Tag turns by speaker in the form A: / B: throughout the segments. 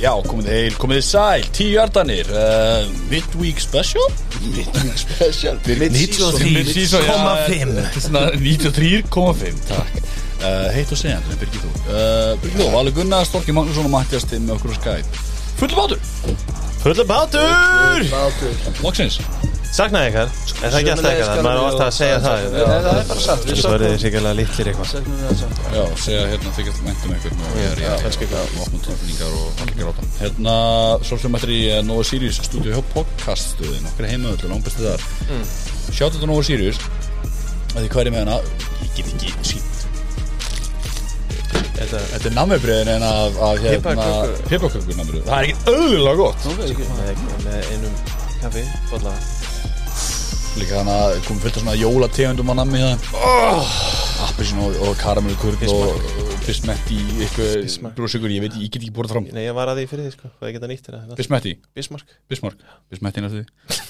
A: Já, komið þið heil, komið þið sæl, tíu jardanir, uh, midweek special? Midweek special,
B: Mid-season, já,
C: 93,5.
A: Þetta er svona 93,5, takk. Uh, heitt og segjandi, Birgir þú. Uh, Birgir þú, Valur Gunnar, Storki Magnússon og Mattias Timm með okkur á Skype. Fullu bátur,
B: Fulla bátur!
A: loksins.
B: Saknaði ykkar, er það ekki alltaf ykkar? það? Maður er alltaf að segja það
D: Nei, það er bara satt, við
B: Svo
D: söknum-
B: verðið þið sikkert litlir eitthvað
D: söknum við það samt.
A: Já, segja hérna, þykja alltaf mæntum einhvern og ég er í opnum tilfinningar og allir gráta. Hérna, svo sem mættir í eh, Nova Sirius stúdíu hjá podcaststöðin, okkar heimaöldur, langbæstu þar. Mm. Sjátt þetta Nova Sirius, að því hverju með hana, ég get ekki sínt.
B: Þetta
A: Þetta er nammibriðin en af, af hérna,
B: Piparköku.
A: pipakökur nammibrið. Það er ekki auðvitað gott.
D: Nú veit ég ekki.
B: er ekki með einum kaffi, bolla
A: Líka þannig að komum fullt af svona jólategundum á nammi það. Oh! Appelsin og, og karamellukurk og bismetti, eitthvað brúsugur, ég veit, ég get ekki borðið fram.
B: Nei, ég var að því fyrir því sko, hvað ég geta nýtt hérna Þetta er
A: Bismetti,
B: Bismarck
A: bismark, bismetti næstu því.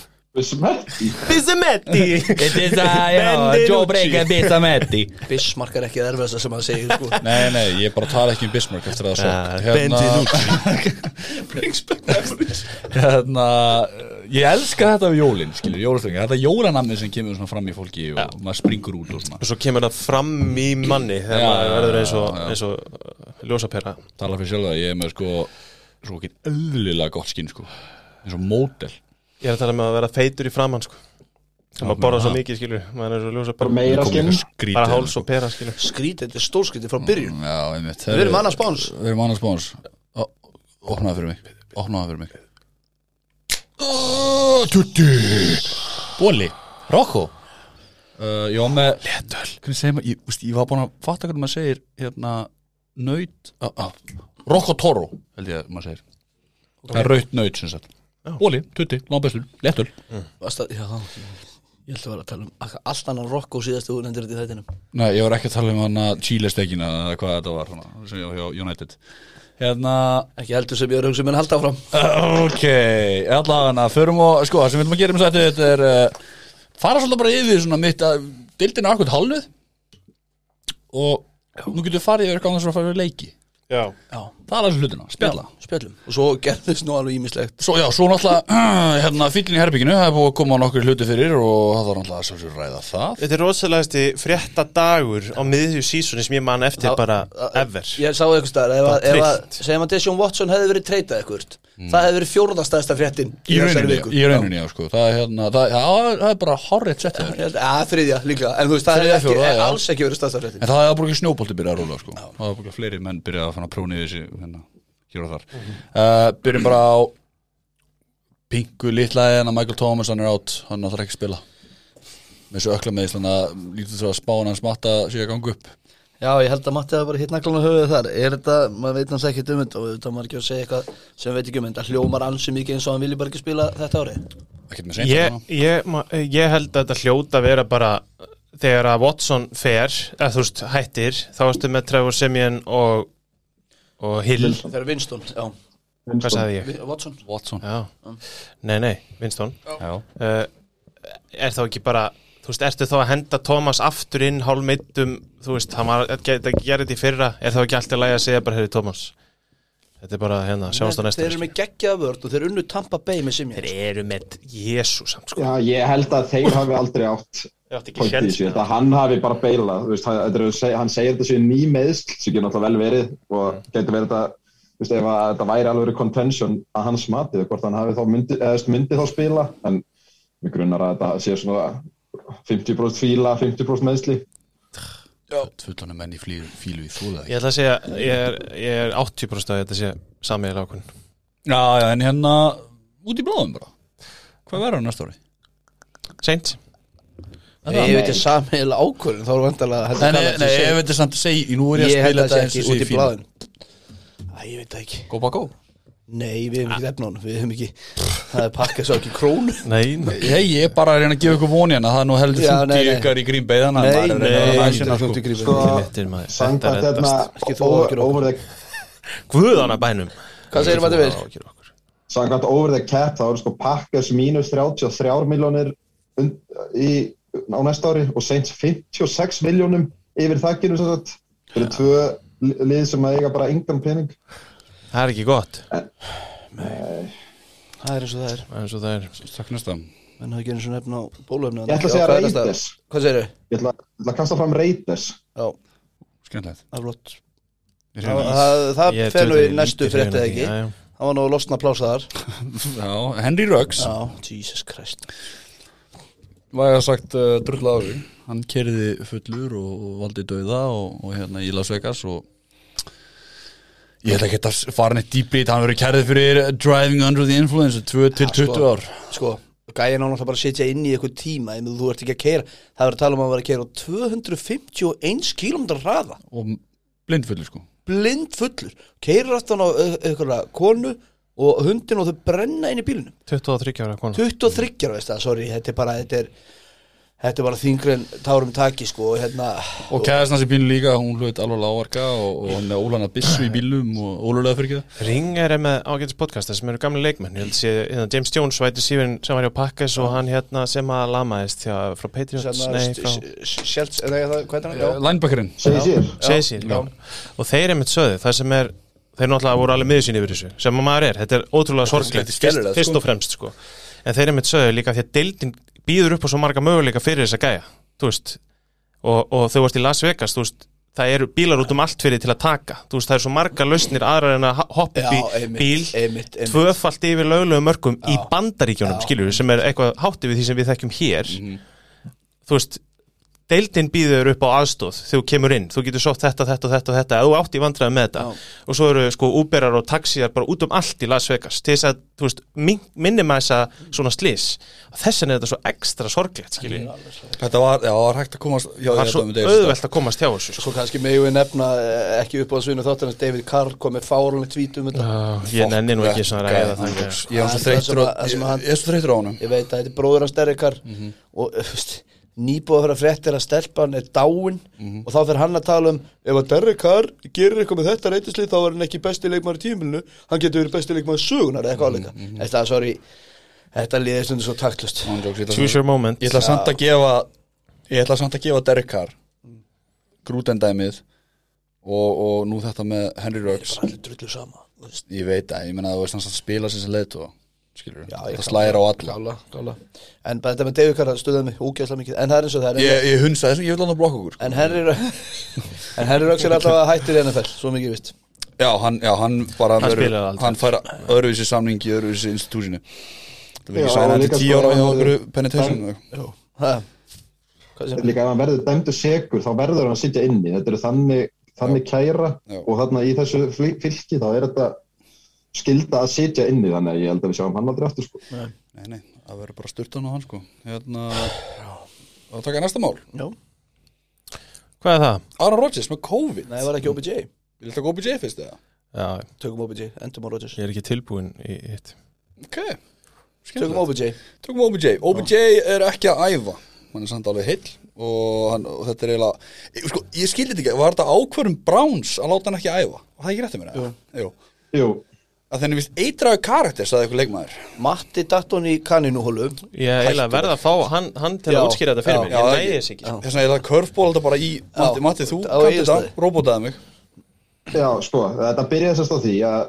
B: Bismetti!
C: It is a, you know,
B: Benvenuti.
C: jawbreaker bit of metti
D: Bismarck er ekki það erfiðasta sem að segja sko.
A: Nei, nei, ég bara tala ekki um Bismarck eftir að það
B: Ah,
A: svo Brings back memories Hérna, eh, ég elska þetta við jólin, skilur, jólastöngin Þetta er jólanamnið sem kemur svona fram í fólki og maður springur út og svona
B: Og svo kemur það fram í manni þegar
A: Já,
B: maður verður eins og,
A: já, já.
B: eins og uh, ljósapera
A: Tala fyrir sjálf að ég er með sko svo ekki öðlilega gott skinn sko eins og mótel
B: Ég er að tala með að vera feitur í framann sko sem maður borða svo mikið skilur, maður er svo ljósapera
E: meira skinn
B: bara
A: Skrítið
B: háls og pera skilur
D: Skrítið, þetta er stórskrítið frá byrjun
A: Já, einmitt
D: Við erum annars báns
A: Við erum annars báns Ó, Opnaðu fyrir mig, opnaðu fyrir mig Ó, Tutti Bóli, Rokko uh, Já, með Letöl Hvernig segir maður, ég, úst, ég var búin að fatta hvernig maður segir hérna, nöyt uh, uh, Rokko Toro, held ég að maður segir Það er raut nöyt, sem sagt Bóli, Tutti, Lámbestur, Letöl
D: Vast að- Já, ég ætla að vera að tala um akka- allt annan rock og síðast þú nefndir þetta í þættinum
A: Nei, ég var ekki að tala um hana Chile stekina eða hvað þetta var hana, sem ég var hjá United Hérna,
D: Ekki heldur sem ég er að hugsa um en halda áfram
A: Uh, Ok, allavega, förum og sko, það sem við viljum að gera um þetta, þetta er uh, fara svolítið bara yfir svona mitt uh, að dildin er akkur halvið og nú getur við farið yfir eitthvað annars að fara yfir leiki
B: Já,
D: Já,
A: Það er alveg hlutina, spjalla
D: spjöllum Og svo gerðist nú alveg ímislegt
A: Svo já, svo náttúrulega, hérna, fíllinn í herbygginu, það er búið að koma nokkur hluti fyrir og það var náttúrulega svolítið að ræða það
B: Þetta er rosalegasti frétta dagur á miðju sísunni sem ég man eftir
D: Já,
B: bara
D: að-
B: ever
D: Ég sá eitthvað staðar Ef að,
B: Bara
D: ef að
B: trillt.
D: segjum að Desjón Watson hefði verið treytað eitthvað Það hefði verið fjórðastæðsta fréttin
A: Í
D: þessari
A: rauninni,
D: viku.
A: í rauninni, já, sko, það er hérna, það, það, er- það er bara horrið sett
D: Ég held- Já, þriðja líklega En þú veist, það
A: Þriðja,
D: hefði ekki,
A: fjórða, já.
D: alls ekki verið stæðsta fréttin
A: En það hefði að búið snjóbolti byrjað að rúla sko. Það hefði búið fleiri menn byrjað að fann að prúni þessi hérna, hér og þar uh, Byrjum bara á Pingu litlaði en að hérna, Michael Thomas hann er átt, hann ætlar ekki að spila með þessu ökla með Íslanda lítið svo að spána hans matta sé að ganga upp
D: Já, ég held að Matti hafa bara hitt naglan á höfuðu þar Er þetta, maður veit hans ekkert um þetta og þetta maður ekki að segja eitthvað sem veit ekki um þetta hljómar ansi mikið eins og hann vilji bara ekki spila þetta ári
A: ekkert með seint
B: ég, ég, ma- ég held að þetta hljóta að vera bara þegar að Watson fer eða þú veist hættir, þá erstu með Trevor Simeon og, og Hill,
D: Það er Winston, já,
B: hvað sagði ég?
D: Vi- Watson
A: Watson
B: Já, nei nei, Winston
A: Já.
B: uh, er þá ekki bara þú veist, ertu þá að henda Thomas aftur inn hálmittum, þú veist, hann var þetta gerði þetta í fyrra, er þá ekki allt í lagi að segja bara, heyrðu Thomas, þetta er bara hérna, sjáumst á
D: Þeir
B: næsta
D: eru með geggjaða vörd og þeir unnu Tampa Bay með Simjans
B: Þeir eru með Jésús sko.
E: Já, ég held að þeir hafi aldrei átt
B: Ég átti ekki
E: point í
B: sjens
E: þessu, ég held að hann hafi bara beilað þú veist, hann, þetta er- seg- hann segir þetta séu ný meðsl sem getur náttúrulega vel verið og getur verið þetta, þú veist, ef að þetta væri alveg contention að hans matið, hvort hann hafi þá myndi, eða, þú veist, myndi þá spila en mig grunnar að þetta sé svona 50% fíla, 50% meðsli
A: Tvullanum menn í flýru, fílu í þúða
B: Ég ætla að segja, ég er, ég er 80% að þetta sé sammeðil ákvörn
A: Já, já, en hérna út í blóðum bara Hvað verður hann næsta ári?
B: Seint
D: Nei, ég veit ég samheila ákvörðin þá er vandalega að
A: Nei, nei, nei, ég veit þess að segja Nú er ég
D: Ég
A: að
D: held
A: spila
D: að það
A: þetta eins
D: sé ekki
A: og
D: út
A: sé
D: í
A: fílu
D: bláðin Æ, ég veit það ekki
A: Go, ba, go
D: Nei, við hefum ekki efna hann, við hefum ekki Það er pakkað svo ekki krónu
B: Nei,
A: Hei, ég er bara að reyna að gefa ykkur voni hérna, það er nú heldur
D: Já,
A: þungt
D: nei,
A: í
D: nei.
A: ykkar í Green Bay þannig að
D: Nei,
A: maður er að reyna að
D: nei,
A: ræsina, sko.
E: sko,
B: Þetta er maður Þetta
E: samkvæmt
B: er
E: hérna
B: endast
D: Ekki þú
E: over-
D: áhyggjur okkur.
E: over the
B: Guðana bænum
D: Hvað segir maður við?
E: Samkvæmt over the cap þá eru sko Packers mínus 33 miljónir und- í- á næsta ári og Saints 56 miljónum yfir þakkinu sem sagt. Þetta eru tvö li- lið sem að eiga bara engan pening.
B: Það er ekki gott
D: Það er eins og það er
B: eins og það er
A: Takk næsta
D: Menn hafa ekki einu svona nefn á bólöfni
E: Ég ætla að segja Reiters
D: Hvað segirðu?
E: Ég ætla, ég ætla að kasta fram Reiters
D: Já,
A: Skemmtilegt
D: það er flott
A: Ég
D: Það,
A: reyna-
D: það, það
B: Ég
D: fer nú í
B: djöfull
D: næstu
B: lítið
D: fréttið
B: hrifinn
D: ekki
B: af því, já, já.
D: Það var nú að losna plása þar
A: Já, Henry Ruggs
D: Já, Jesus Christ
A: Væg að sagt uh, drull ári Hann kerði fullur og, og valdi dauða og, og hérna í Las Vegas og Ég ætla ekki að fara neitt dýpi í þetta, Hann verið kærðið fyrir driving under the influence 2 til 20 ár
D: Sko, gæja náttúrulega bara að sitja inn í eitthvað tíma Ég meina, Þú ert ekki að keira Það verður að tala um að vera að keira á 251 km hraða
A: Og blindfullur sko
D: Blind fullur Keirir aftan á eitthvað konu og hundin og þau brenna inn í bílunum
B: 23 ára konu
D: 23 ára, veist það, sorry, þetta er bara þetta er, þetta er bara þingri en tárum taki sko, og hérna
A: Og kæðast hans í bínu líka, hún hlut alveg lávarka og, og hann með ólana byssu í bílum og ólulega fyrir ekki það
B: Ring er með ágætis podcasta sem eru gamli leikmenn Ég held sé, hérna, James Jones væti sífinn sem var hjá Pakkes og hann hérna sem að lamaðist hjá, frá Patriots,
D: hérna,
B: nei, frá
D: Sjelts, eða það, hvað er það?
A: Linebackerinn
E: Segir sér
B: Seysir og þeir er mitt söðu, það sem er þeir náttúrulega voru alveg miður sín yfir þessu sem að maður er, þetta er ótrúlega sorglegt
D: þetta er
B: fyrst,
D: skelfilegt,
B: fyrst og fremst sko en þeir er mitt söðu líka því að deildin býður upp á svo marga möguleika fyrir þess að gæja þú veist, og, og þau varst í Las Vegas þú veist, það eru bílar út um allt fyrir til að taka, þú veist, það eru svo marga lausnir aðrar en að hoppa
D: Já,
B: upp í
D: einmitt,
B: bíl
D: einmitt, einmitt.
B: tvöfalt yfir löglegum mörgum í bandaríkjónum,
D: Já. Mhm.
B: skiljum við, sem er eitthvað hátti við því sem við þekkjum hér þú veist, deildin býður upp á aðstóð þegar þú kemur inn, þú getur sótt þetta, þetta og þetta og þetta, eða þú átt í vandræði með þetta og svo eru sko úberar og taxíjar bara út um allt í Las Vegas, til þess að, þú veist minnum að þessa svona slís þess vegna er þetta svo ekstra sorglegt, skilji
D: Mm.
A: Þetta var, já, var hægt að komast Já,
B: það er svo auðvelt að komast hjá þessu sko.
D: Svo kannski megu við nefna eh, ekki upp á svinu þáttan að David Carr kom með fárunni tvít um þetta
B: ég nenni nú ekki svona ræða það sko. ekki.
A: Ég var svo þreytur á
D: Það sem að- það sem að hann-
A: Ég er svo þreytur á honum
D: Ég veit að þetta er bróður hans Derek Carr
B: Mhm.
D: og eh, veist, nýbúið að vera fréttir að stelpan er dáin
B: Mhm.
D: og þá fyrir hann að tala um ef að Derek Carr gerir eitthvað með þetta reytislið þá er hann ekki besti leikmaður í tímilinu hann getur verið besti leikmaður sögunar eða
B: Mhm,
D: eitthvað áleika Þetta, sorry, þetta liðið stundu svo taktlust
B: Mhm.
A: Án jokes, ég ætla
B: choose your moment
A: Ég ætla samt að gefa Ég ætla samt að gefa Derek Carr Grútendæmið og, og nú þetta með Henry Ruggs
D: Það er drullu sama þú veist.
A: Ég veit að, ég meina að þú veist hans að spila sem sem leitu Skilur,
D: Já,
A: það
D: ég klála-
A: slægir á alla
D: Klála, klála En bara þetta með David Carr stuðaði mig úgeðslega mikið En það er eins og það er
A: Ég, ég hunsa þessum, ég vil hann að blokka okkur
D: En Henry En Henry Ruggs er alltaf hættur í NFL Svo mikið vist
A: Já, hann, já, hann bara
B: Hann
A: verður-
B: spilar aldrei.
A: Hann fær öðruvísi samning í öðruvísi institúsinu Það verður
E: Já,
A: ekki sæna
E: og
A: hann til
E: líka
A: tíu
E: sko,
A: ára
E: hann
A: með
E: verður-
A: okkur penetration eða eitthvað.
D: Það Hvað sem
E: Líka ef hann verður dæmdu segur þá verður hann að sitja inni Þetta eru þannig, þannig kæra
A: Já.
E: og þarna í þessu fly- fylki þá er þetta skilda að sitja inni þannig að ég held að við sjáum hann aldrei aftur sko.
A: Nei, nei, það verður bara styrtan á hann sko Hérna Það taka næsta mál
D: Já
B: hvað er það?
A: Aaron Rodgers með COVID
D: Nei, það var ekki OBJ
A: Vil þetta OBJ fyrst eða?
B: Já,
D: Tökum OBJ Endum á Rodgers
B: ég er ekki tilbúin í hitt
A: Ok
D: Tökum
A: Skemmtilegt.
D: OBJ
A: Tökum OBJ OBJ er ekki að æfa Hann er samt alveg heill og, hann, og þetta er eiginlega Ég- sko, Ég skildi þetta ekki, var þetta ákvörum Browns að láta hann ekki æfa? Var það ekki rétti mér? eða? Jú
E: Jú,
A: Að þenni vist eitraðu karakter, sagði eitthvað leikmaður
D: Matti datt hún í kanínuhólu
B: ég er eiginlega að verða að fá hann, hann til
D: Já,
B: að útskýra þetta
D: já,
B: fyrir mig,
A: já,
B: ég næði
A: ekki.
B: þess ekki sko.
A: Þess vegna ég laði körfból þetta bara í Matti, Matti, þú
D: á
A: kannt þetta,
D: Egilsstaði.
A: robotaði mig
E: já sko, þetta byrjaði sérst á því að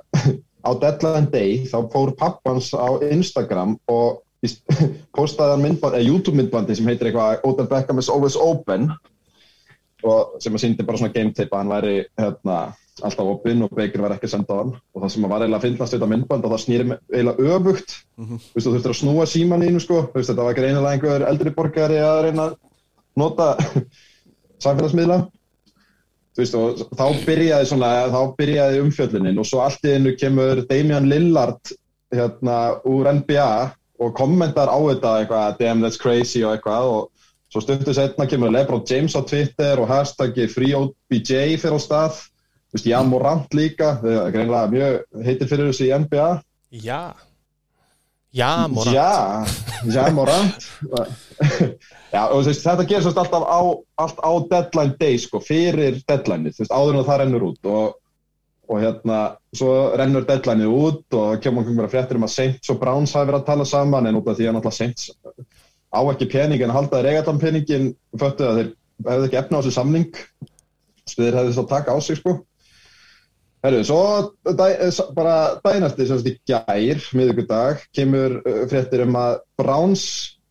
E: á deadline day þá fór pappans á Instagram og víst, postaði hann myndband, eða YouTube myndbandi sem heitir eitthvað Odell Beckham is always open og sem að síndi bara svona game tape að hann væri hérna, alltaf opinn og Baker var ekki að senda á hann og það sem að var eiginlega að fyndast þetta myndband og það snýri me- eiginlega öfugt þú veist þú þurftir að snúa síman ínu sko þú veist þetta var greinilega einhver eldri borgari að reyna að nota samfélagsmiðla þú veist og þá byrjaði svona þá byrjaði umfjöllunin og svo allt í einu kemur Damian Lillard hérna úr NBA og kommentar á þetta eitthvað damn that's crazy og eitthvað og Svo stundu setna kemur Lebron James á Twitter og hashtaggi FreeOBJ fyrir á stað. Þú veist, Jan Morant líka, það er greinlega mjög heitir fyrir þessu í NBA.
B: já, já, Morant
E: Já, Jan Morant. Já, og þú veist, þetta gerir svolítið alltaf á, allt á deadline day, sko, fyrir deadline, þú veist, áður en það rennur út og, og hérna, svo rennur deadline út og kemur einhverjum bara fréttir um að Saints og Browns hafi verið að tala saman en út af því að náttúrulega Saints á ekki peningin að halda regatam peningin föttu að þeir hefðu ekki efna á þessu samning stuðir hefðu þá taka á sig sko Herru, svo dæ, s- bara dænasti sem sagt í gær, miðvikudag, kemur uh, fréttir um að Browns,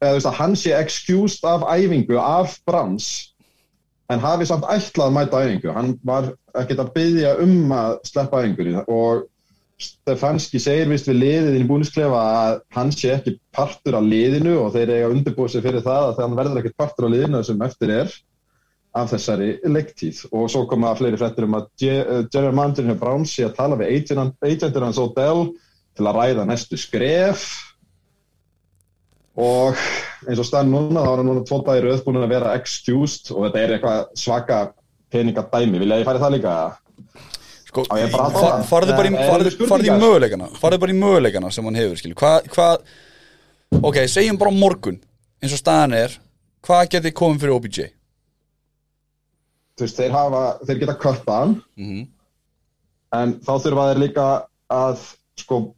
E: eða þú veist að hann sé excused af æfingu, af Browns, en hafi samt ætlað að mæta æfingu. Hann var ekkert að byggja um að sleppa æfingunni og Stefanski segir vist við liðið inn í búnisklefa að hann sé ekki partur af liðinu og þeir eiga að undirbúið sig fyrir það að það verður ekkert partur af liðinu sem eftir er af þessari leiktíð og svo koma fleiri frettir um að Je- eh, Jerry Mandarin hefur Browns sé að tala við agent- agentur hans Odell til að ræða næstu skref og eins og stann núna þá er hann núna tvo dagir auðbúin að vera excused og þetta er eitthvað svaka peningadæmi, vilja ég færi það líka?
A: Sko,
E: Á, ég bara að
A: far-
E: fara.
A: farðu bara í,
E: Það eru
A: farðu,
E: spurningar.
A: farðu í möguleikana farðu bara í möguleikana sem hann hefur skilur hvað, hvað, ok, segjum bara á morgun eins og staðan er hvað geti komið fyrir OBJ
E: Þú veist, þeir, hafa, þeir geta kötta hann
A: Mhm.
E: en þá þurfa þeir líka að sko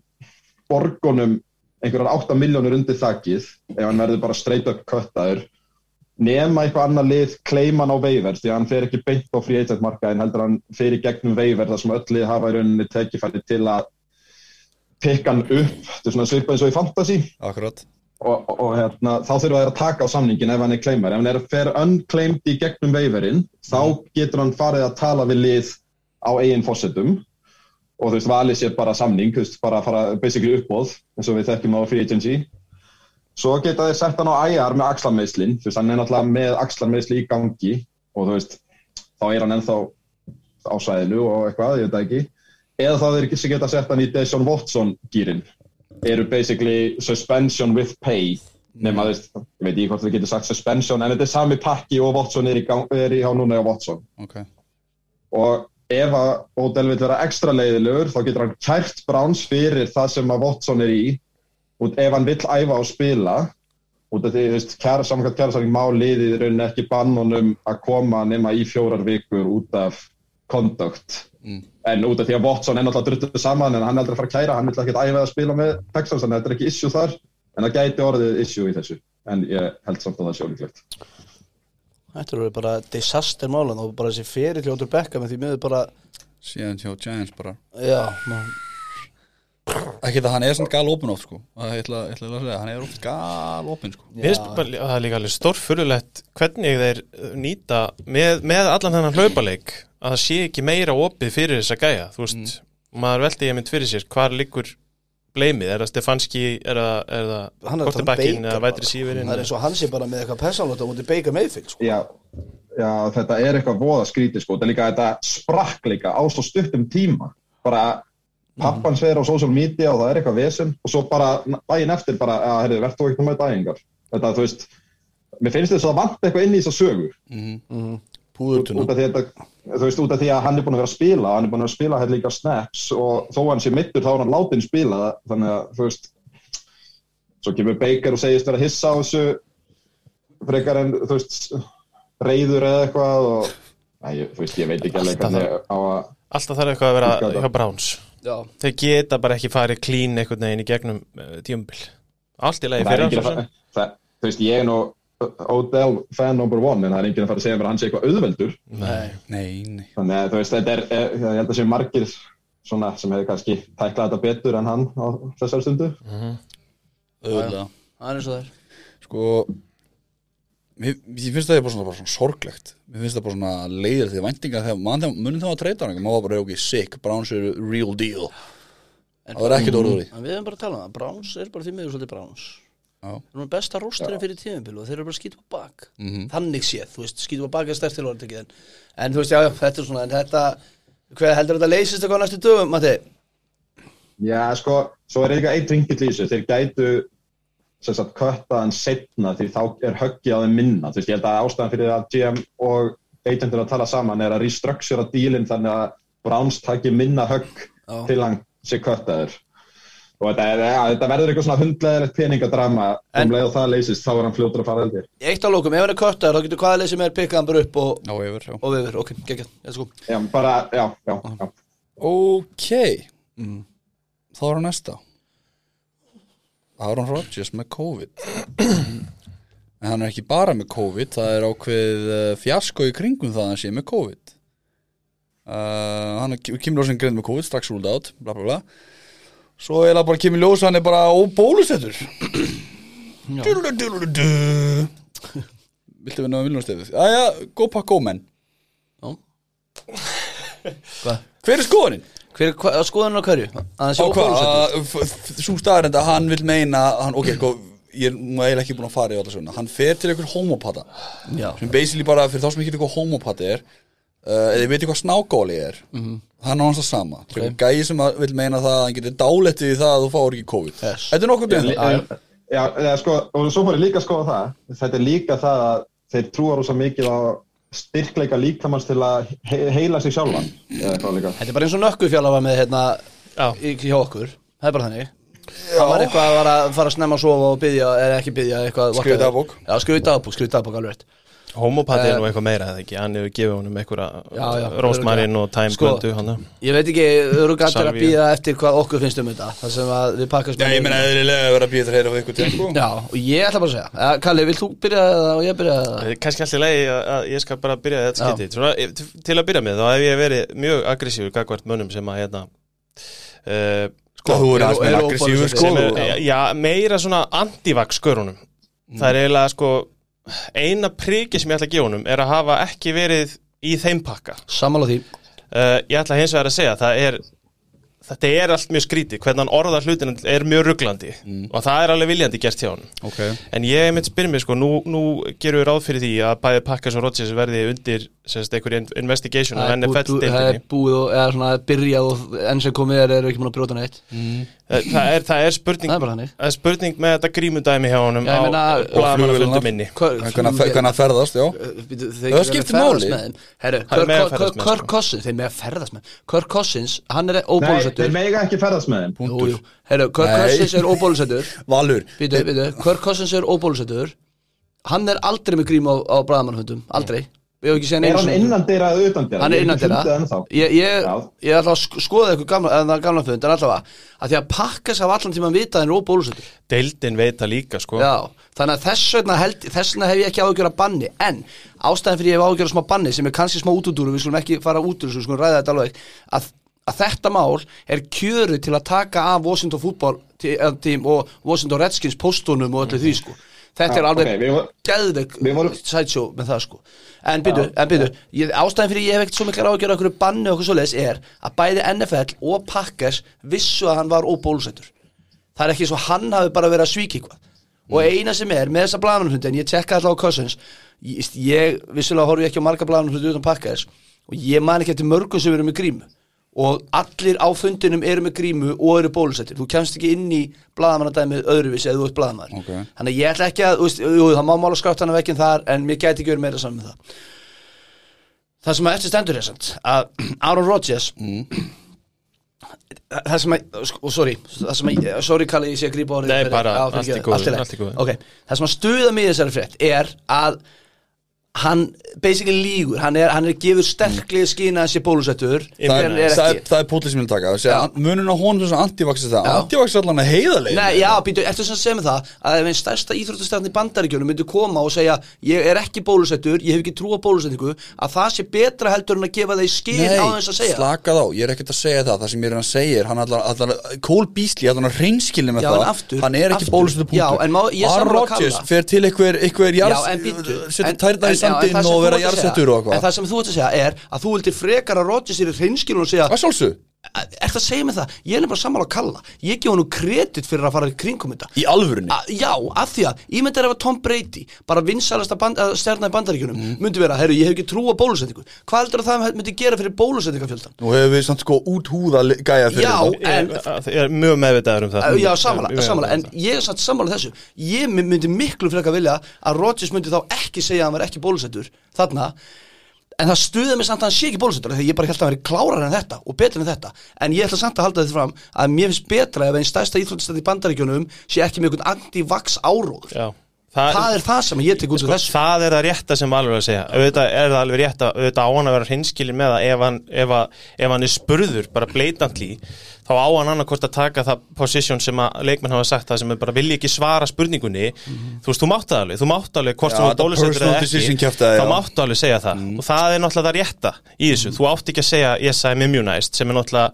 E: borgunum einhverjar 8 miljónur undir þakkið ef hann verður bara straight up köttaður nema eitthvað annað lið kleiman á veifert því að hann fer ekki beint á free agent marka en heldur hann fer í gegnum veifert þar sem öll lið hafa í rauninni tekifæri til að pikka hann upp þetta er svona svipað eins og í fantasy
A: akkurat
E: og, og, og hérna, þá þurfa þeir að taka á samningin ef hann er kleimar, ef hann er fer unclaimed í gegnum veiferinn, þá getur hann farið að tala við lið á eigin fósettum og þú veist, valið sér bara samning, þú veist, bara að fara basically uppbóð, eins og við þekkjum á free agency svo geta þeir sett hann á IR með axlarmeislin, þú veist, hann er náttúrulega með axlarmeisli í gangi og þú veist, þá er hann ennþá á sæðinu og eitthvað, ég veit það ekki eða þá þeir sem geta sett hann í Deshaun Watson gýrin eru basically suspension with pay nema þú veist, ég veit ekki hvort þið getur sagt suspension en þetta er sami pakki og Watson er í, gang, er í hjá núna hjá Watson
A: ok,
E: og ef að Odell vil vera ekstra leiðilegur þá getur hann kært Browns fyrir það sem að Watson er í og ef hann vill æfa og spila út af því, þú veist, kæra, samkvæmt kærasamning má liðið í rauninni ekki bannunum að koma nema í fjórar vikur út af conduct en út af því að Watson er náttúrulega druttuð saman en hann er aldrei að fara að kæra, hann vil ekkert æfa að spila með Texans, þannig að þetta er ekki issue þar en það gæti orðið issue í þessu en ég held samt að það sé ólíklegt
F: Þetta eru bara disaster málan og bara þessi fyrir hljóttur bekka með því miður bara,
A: síðan hjá Giants bara
F: já, ná,
A: ekki það hann er svona gal opinn oft sko það ég ætla, ég ætla að segja, hann er oft gal opinn sko
B: Mér finnst bara, að það er líka alveg stórfurulegt hvernig þeir uh, nýta með, með allan þennan hlaupaleik að það sé ekki meira opið fyrir þess að gæja þú veist, maður veldi ég mynd fyrir sér hvar liggur bleimið, er það Stefanski er það,
F: hann
B: er það
F: er að tala um
B: Kortebakkin
F: beika
B: eða
F: bara.
B: Vætri Sýverin
F: Það er eins og hann sé bara með eitthvað personlóta og mútið beika meðfylg, sko.
E: já, já, þetta er eitthvað voða skrítið sko, þetta er líka þetta sprakk líka á svo stuttum tíma bara pappan sver á social media og það er eitthvað vesen og svo bara daginn eftir bara, að herrið, verð þú ekki með daginn þetta, þú veist, mér finnst þess að vant eitthvað inn í þess að sögu
F: Púðurtuna.
E: út af því að þetta- þú veist, út af því að hann er búin að vera að spila hann er búin að vera að spila hérna líka snaps og þó hann sé mittur þá er hann látin spila þannig að þú veist svo kemur Baker og segist vera að hissa á þessu frekar en þú veist reyður eða eitthvað og Æ, ég, þú veist, ég veit ekki alveg
B: Alltaf
E: hvernig á að
B: alltaf þarf eitthvað að
E: Líka
B: vera
E: þetta.
B: hjá Browns
F: Já,
B: þeir geta bara ekki farið klín einhvern veginn í gegnum uh, tíumbil allt í lagi
E: það er
B: fyrir
E: enginn að
B: hann
E: fara það- þú veist, ég er nú Odell fan number one en það er enginn að fara að segja mér að hann sé eitthvað auðveldur
F: nei,
A: nei, nei
E: þannig að þú veist, þetta er, eh, ég held að sé margir svona sem hefur kannski tæklað þetta betur en hann á þessar stundu
F: það
A: auðvitað
F: er eins og það er.
A: sko mér, ég finnst það er bara svona, bara svona sorglegt mér finnst það bara svona leiðir því væntinga þegar mann þegar munum þá að treyta hann maður var bara ok, sick, Browns eru real deal
F: En-
A: það er ekkert orður því
F: En við hefum bara að tala um það, Browns er bara því miður svolítið Browns.
A: Já.
F: Þeir eru með besta rústurinn fyrir tíðumbil og þeir eru bara skýtum á bak.
A: Mhm.
F: Þannig séð, þú veist, skýtum á bak er stærst til orðið ekki en, en þú veist, já, já, þetta er svona, en þetta, hvað heldur þetta leysist eitthvað á næstu dögum, Matti?
E: Já, sko, svo er eitthvað eitt ringill í þessu. Þeir gætu sem sagt köttaðan setna því þá er höggið á þeim minna. Þú veist, ég held að ástæðan fyrir að GM og agentur að tala saman er að restruktúra dílinn þannig að Browns taki minna högg
F: Já.
E: til hann sé köttaður. Og þetta, er, ja, þetta verður eitthvað svona hundlegaðilegt peningadrama.
F: En-
E: Um leið og það leysist, þá er hann fljótur að fara eldir.
F: Eitt á lókum, ef hann er köttar, þá getur hvaða leið sem er pikkað hann bara upp og,
A: á yfir, já
F: og viður, ok, geggjað, let's go.
E: Já, bara, já, já, já.
A: ok þá er hann næsta Aaron Rodgers með COVID en hann er ekki bara með COVID það er ákveð eh, fjasko í kringum það að hann sé með COVID uh, hann er- kemur ljósin greið með COVID strax rúld át, bla bla bla svo er það bara kemur ljós að hann er bara óbólusettur Dúlu, dúlu, dú. viltu vinna með miljónstefið aðja, go pack go menn
D: Já.
A: hver er skoðaninn?
D: Hver, hva, skoðan á hverju? Að
A: á
D: sjá bólusetningu?
A: hvað, svo staðarind að hann vil meina að hann, ok, sko, ég er nú eiginlega ekki búin að fara í alla svona hann fer til einhver homopata
D: Já.
A: sem basically bara, fyrir þá sem ekki veit hvað homopati er uh, eða ég veit hvað snákóli er
D: Mhm.
A: hann á hans það sama okay. gæi sem að vil meina það að hann getur dálettið í það að þú fáir ekki COVID
D: Yes.
A: þetta er nokkuð byrðan
E: En- Já, eða, sko, og svo fór ég líka að skoða það þetta er líka það að þeir trúa rosa mikið á styrkleika líkamanns til að he heila sig sjálfan eða eitthvað líka
D: Þetta er bara eins og nökkufjala var með hérna
B: Já.
D: í, hjá okkur Það er bara þannig Það var eitthvað að fara, fara að snemma að sofa og byggja eða ekki byggja eitthvað
A: Skrifa í dagbók.
D: Já, skrifa í dagbók, skrifa í dagbók alveg rétt
B: Homopati
D: Eh,
B: er nú eitthvað meira eða ekki Hann hefur gefið honum
D: Já, já,
B: einhverja Rósmarin
D: örugglega.
B: og Time
D: Sko,
B: Blöndu hann að-
D: Ég veit ekki, örug allir að
B: Salvía.
D: býða eftir hvað okkur finnst um þetta þar sem að við pakkast
A: Já, ég meina eðlilega að vera að býta að heyra á ykkur til sko.
D: Já, og ég ætla bara að segja ja, Kalli, vil þú byrja það og ég byrja það?
B: Eh, kannski alltaf leiði að að ég skal bara byrja þetta
D: Já.
B: skytti Svona, eh, t- til að byrja með þá hef ég verið mjög aggressífur gagvart mönnum sem að hérna uh,
A: Sko, þú er
D: eru-
A: aðeins með
D: eru
A: aggressífur
D: óbólusettir.
A: sko
B: sem er, eh,
A: og-
B: já. meira svona antivax skörunum það er eiginlega sko eina priki sem ég ætla að gefa honum er að hafa ekki verið í þeim pakka
D: Sammála því
B: uh, ég ætla hins vegar að segja það er Þetta er allt mjög skrítið, hvernig hann orðar hlutin er mjög rugglandi
D: Mm.
B: og það er alveg viljandi gert hjá hann.
A: okay.
B: En ég mitt spyr mér sko, nú, nú gerum við ráð fyrir því að bæði Pakkas og Rodgers verði undir semst einhverju in- investigation
D: Það
B: og
D: er búið- Það er
B: NFL-deildinni.
D: búið og eða svona byrjað og enn sem komið er, er ekki múin að brjóta neitt
B: Það, Eh, það, er- það er spurning
D: Það er bara þannig.
B: það er spurning með þetta grímudæmi hjá honum
D: Já, ég meina-
B: á blaðamannafundum minni.
A: hvernig að ferðast, já
D: Eh, Það
A: skiptir máli.
B: Hann er
D: Herru,
B: með að ferðast með,
D: Kirk
B: sko.
D: Cossins Þeir með að ferðast með Kirk Cossins, hann er
E: Nei, þeir
D: óbólusettur
E: mega ekki ferðast með þeim
D: Jú, jú. Herru, Kirk
A: Nei.
D: Cossins er óbólusettur
A: Valur,
D: Býtu,
E: Eh.
D: býtu, Kirk Cossins er óbólusettur Hann er aldrei með grím á, á bræðamannhundum Aldrei Ég hef ekki séð hann
E: Er
D: einu
E: hann
D: sinni.
E: innan dyra eða utan dyra?
D: hann er innan þeirra ég, ég,
E: Já.
D: ég ætla að sk- skoða eitthvað gamla, en það er gamla fund en allavega, að því að pakka sér af allan tíma að vita að hann er óbólusettur
B: Deildin veit það líka sko.
D: Já, þannig að þess vegna, held, þess vegna hef ég ekki áhugjör að banni en ástæðan fyrir ég hef áhugjör að smá banni sem er kannski smá útudúru, við skulum ekki fara út úr þessu, við skulum ræða þetta alveg að, að þetta mál er kjöru til að taka af Washington fútbol tím og Washington Redskins póstunum og öllu því sko Þetta er
E: Já,
D: alveg
E: ok, við vor-
D: geðveik
E: Við vorum-
D: sideshow með það sko en byrju, en byrju, ég, ástæðan fyrir ég hef ekkert svo miklar ágjör okkur banni og okkur svoleiðis er að bæði NFL og Packers vissu að hann var óbólusettur það er ekki svo hann hafi bara verið að svíka eitthvað og eina sem er með þessa blaðmannhundi en ég tekka alltaf á Cousins ég, ég vissulega horfi ekki á marga blaðmannhundi utan Packers og ég man ekki eftir mörgum sem eru með grímu og allir á fundinum eru með grímu og eru bólusettir þú kemst ekki inn í blaðamannadæmið öðruvísi eða þú ert blaðamann
A: Ok.
D: þannig að ég ætla ekki að, þú veist, jú, það má mála skráttana vekinn þar en mér gæti ekki verið meira saman með það það sem að eftir stendur er samt að Aaron Rodgers það það sem að, sko, og sorry það sem að, eh, sorry Kalli, ég sé að grípa orðið
B: Nei,
D: fyrir-
B: bara,
D: Já, fyrirgefðu,
B: allt í góðu,
D: allt í
B: allt í góðu.
D: lagi. Ok, það sem að stuða mig í þessari frétt er að hann basically lígur, hann er, hann er gefur sterklið skýna hans í bólusettur
A: það
D: en
A: er,
D: er
A: það er,
D: ekki
A: það er púlið sem ég vil taka að segja,
D: Já.
A: an- munurinn á honum þess að antivaxið það
D: Já.
A: antivaxið allan er heiðarleg
D: Nei, já, býtu, ertu sem að segja með það að ef einn stærsta íþróttastjarn í bandaríkjónum myndi koma og segja ég er ekki bólusettur, ég hef ekki trú á bólusetningu að það sé betra heldur en að gefa þeir skýn á þess að segja
A: slakað á, ég er ekkert að segja það það sem ég er að segja, er, hann allar, allar Cole Beasley, allan að reynskilni með
D: Já,
A: það
D: en aftur-
A: hann er ekki
D: aftur.
A: bólusettur
D: Já,
A: punktur
D: en má- ég er
A: Aaron
D: sammála
A: Rodgers
D: Kalla.
A: fer til einhver, einhver jarðs, uh,
D: Já, en býttu
A: setur
D: en-
A: tærnar
D: en-
A: í
D: já, en það
A: sandinn
D: sem
A: og
D: þú
A: vera
D: ert að
A: jarðsettur
D: segja-
A: og
D: En
A: eitthvað
D: það sem þú ert að segja er að þú vildir frekar að Rodgers er í hreinskilun og segja
A: að sjálfsög,
D: Ert að segja mig það? Ég er nefnilega sammála að kalla Ég gef honum kredit fyrir að fara í kringum þetta
A: í alvörunni
D: A, já, af því að ég myndi að ef að Tom Brady bara vinsalasta band, að stjarna í bandaríkjunum
A: Mm.
D: myndi vera, herru, ég hef ekki trú á bólusetningu hvað heldur að það myndi gera fyrir bólusetningafjöldan?
A: nú hefur við samt sko út húða gæja fyrir
D: Já,
A: þetta.
B: Ég er-
D: en
B: Ég er mjög meðvitaður um það
D: Já, samanlega,
B: Mjög meðvitaður
D: samanlega,
B: um
D: en
B: það.
D: ég er samt samanlega þessu Ég my- myndi miklu frekar vilja að Rodgers myndi þá ekki segja að hann var ekki bólusettur Þarna En það stuði mig samt að hann sé ekki bólusettur af Því að ég bara held að hann veri klárar en þetta og betur en þetta En ég ætla samt að halda þetta fram að mér finnst betra ef einn stærsta íþróttistætt í bandaríkjunum sé ekki með einhvern anti-vax áróður
B: Já. Það, sko,
D: það er það sem ég tek út úr þessu
B: það er það rétta sem Valur er að segja auðvitað er það alveg rétta, auðvitað á hann að vera hinskilin með það ef hann, ef, að, ef hann er spurður bara bleitantli þá á hann annarkort að taka það position sem að leikmenn hafa sagt það sem er bara vilja ekki svara spurningunni þú veist, þú mátt það alveg, þú mátt alveg hvort
G: Mhm. Já,
B: þú er
G: þetta
B: bólusettur
G: personal
B: eða
G: decision
B: ekki
G: kjaftaði,
B: þá
G: já. Mhm.
B: máttu alveg segja það og það er náttúrulega það rétta í þessu þú átt ekki að segja yes I'm immunized sem er náttúrulega,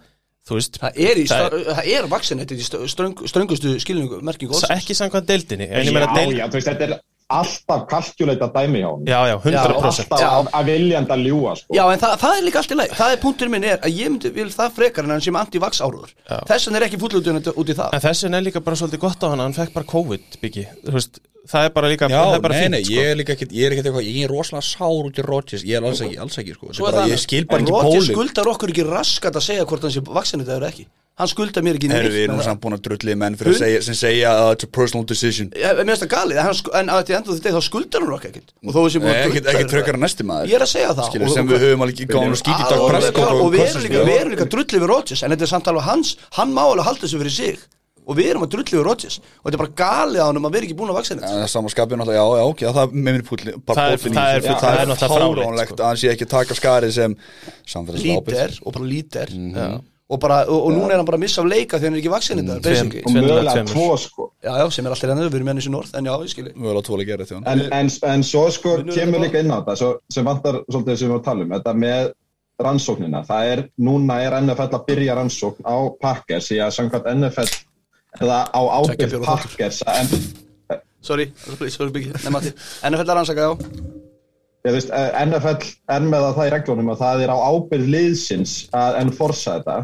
B: þú veist
D: Það er, í,
B: Það
D: það er, það er vaksin þetta er í stö- ströng, ströngustu skilningu merkingu
B: sa-
D: orðsins.
B: ekki samkvæmt deildinni en ég meina
E: Já,
B: deild,
E: já, þú veist, þetta er alltaf kalkjuleita dæmi hjá hann
B: já, já, 100%
E: Alltaf
D: Já.
E: að- að viljandi að ljúa, sko
D: Já, en það, það er líka allt í lagi Það er punkturinn minn er að ég myndi vil það frekar en hann sem anti-vaks áruður Þess vegna er ekki fúllutun út í það
B: En þessin er líka bara svolítið gott á hann hann fekk bara COVID, Biggi Þú veist, það er bara líka
G: Já,
B: það er bara
G: nei,
B: fínt,
G: nei,
B: sko.
G: ég er líka ekkert, ég er ekkert eitthvað, ég er rosalega sár út í Rodgers, ég er alls ekki, alls ekki, sko, Þetta
D: Svo
G: er
D: er
G: bara,
D: það
G: ég skil bara
D: en
G: ekki
D: Rodgers
G: bólið.
D: skuldar okkur ekki raskat að segja hvort hann sé vaksin þetta eða ekki Hann skuldar mér ekki
G: Herru, við erum
D: með
G: nú
D: það.
G: samt búin að drullið menn fyrir að segja, sem segja að it's a personal decision.
D: Ég- Mér finnst það galið, en hann sku- en að þetta endur þetta þá skuldar hann okkur ekkert Og þó þessi
G: Nei, Ekki, ekki trökkar að næsti maður.
D: Ég er að segja það
G: Skilur,
D: Og-
G: sem við höfum alveg gáðum að skýti í dag
D: Alveg
G: Prescott
D: klár, og við
G: Cousins,
D: erum líka,
G: já.
D: við erum líka drullið við Rodgers en þetta er samt alveg hans, hann má alveg halda þessu fyrir sig og við erum að drullið við Rodgers og þetta er bara galið á hann um að vera ekki búin að vaksa
G: Já,
D: þetta
G: það er Eh, sama skapið náttúrulega, já, já, ok, já, það er með minni púlin bara
B: Það er-
G: púllinn í
B: það er-
G: þessu.
B: það er náttúrulega fráleitt,
G: fáránlegt
B: sko.
G: að hann sé ekki að taka skarið sem samfélagslega
D: lítir og bara lítir og, bara, og, og núna er hann bara að missa af leika þegar hann er ekki vaksin þetta basically.
E: og
B: Sennilega
E: mögulega
B: tveimur.
E: tvo, sko
D: já, já, sem er allir ennur, við erum enn í norð en já, ég skilji
G: mögulega tvolega að gera þetta já.
E: en, en, en svo sko kemur líka inn á þetta svo, sem vantar svolítið sem við varum að tala um þetta með rannsóknina það er, núna er NFL að byrja rannsókn á Packers því að samkvæmt NFL eða á
D: Tveggja
E: ábyrð
D: bjóra þáttur.
E: Packers en,
D: sorry, sorry, sorry byggi, nema til NFL er ansaka, já
E: ég, veist, eh, NFL er með það það í reglunum að það er á ábyrð liðsins að enforsa þetta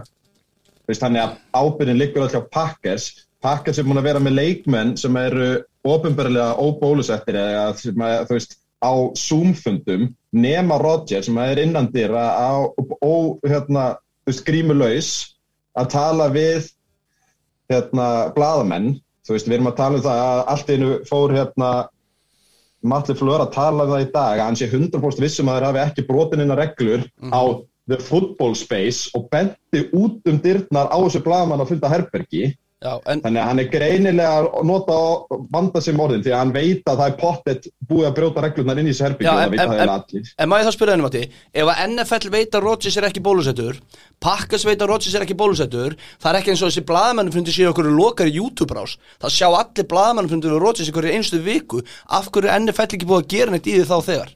E: Þú veist, þannig að ábyrðin liggur alltaf Packers Packers er búin að vera með leikmenn sem eru ofinbarlega óbólusettir eða sem að, þú veist, á Zoom-fundum nema Rodgers sem er innan dýra á, ó, hérna, þú veist, grímulaus að tala við hérna, blaðamenn þú veist, við erum að tala um það að allt í einu fór hérna Matli Flör að tala um það í dag að hann sé 100% vissum um að þeir hafi ekki brotinina reglur
D: Mhm.
E: á the football space og benti út um dyrnar á þessu blaðamann að funda herbergi
D: já, en
E: þannig að hann er greinilega að nota og vanda sem orðin því að hann veit að það er pottet búið að brjóta reglurnar inn í þessu herbergi
D: Já,
E: og
D: en-
E: það veit
D: en-
E: að það er
D: en-
E: allir
D: En maður þá spyrja henni Matti Ef að NFL veit að Rodgers er ekki bólusettur Pakkas veit að Rodgers er ekki bólusettur Það er ekki eins og þessi blaðamennfundir séu okkur lokar í YouTube rás Það sjá allir blaðamennfundir og Rodgers í hverju einstu viku Af hverju er NFL ekki búið að gera neitt í því þá þegar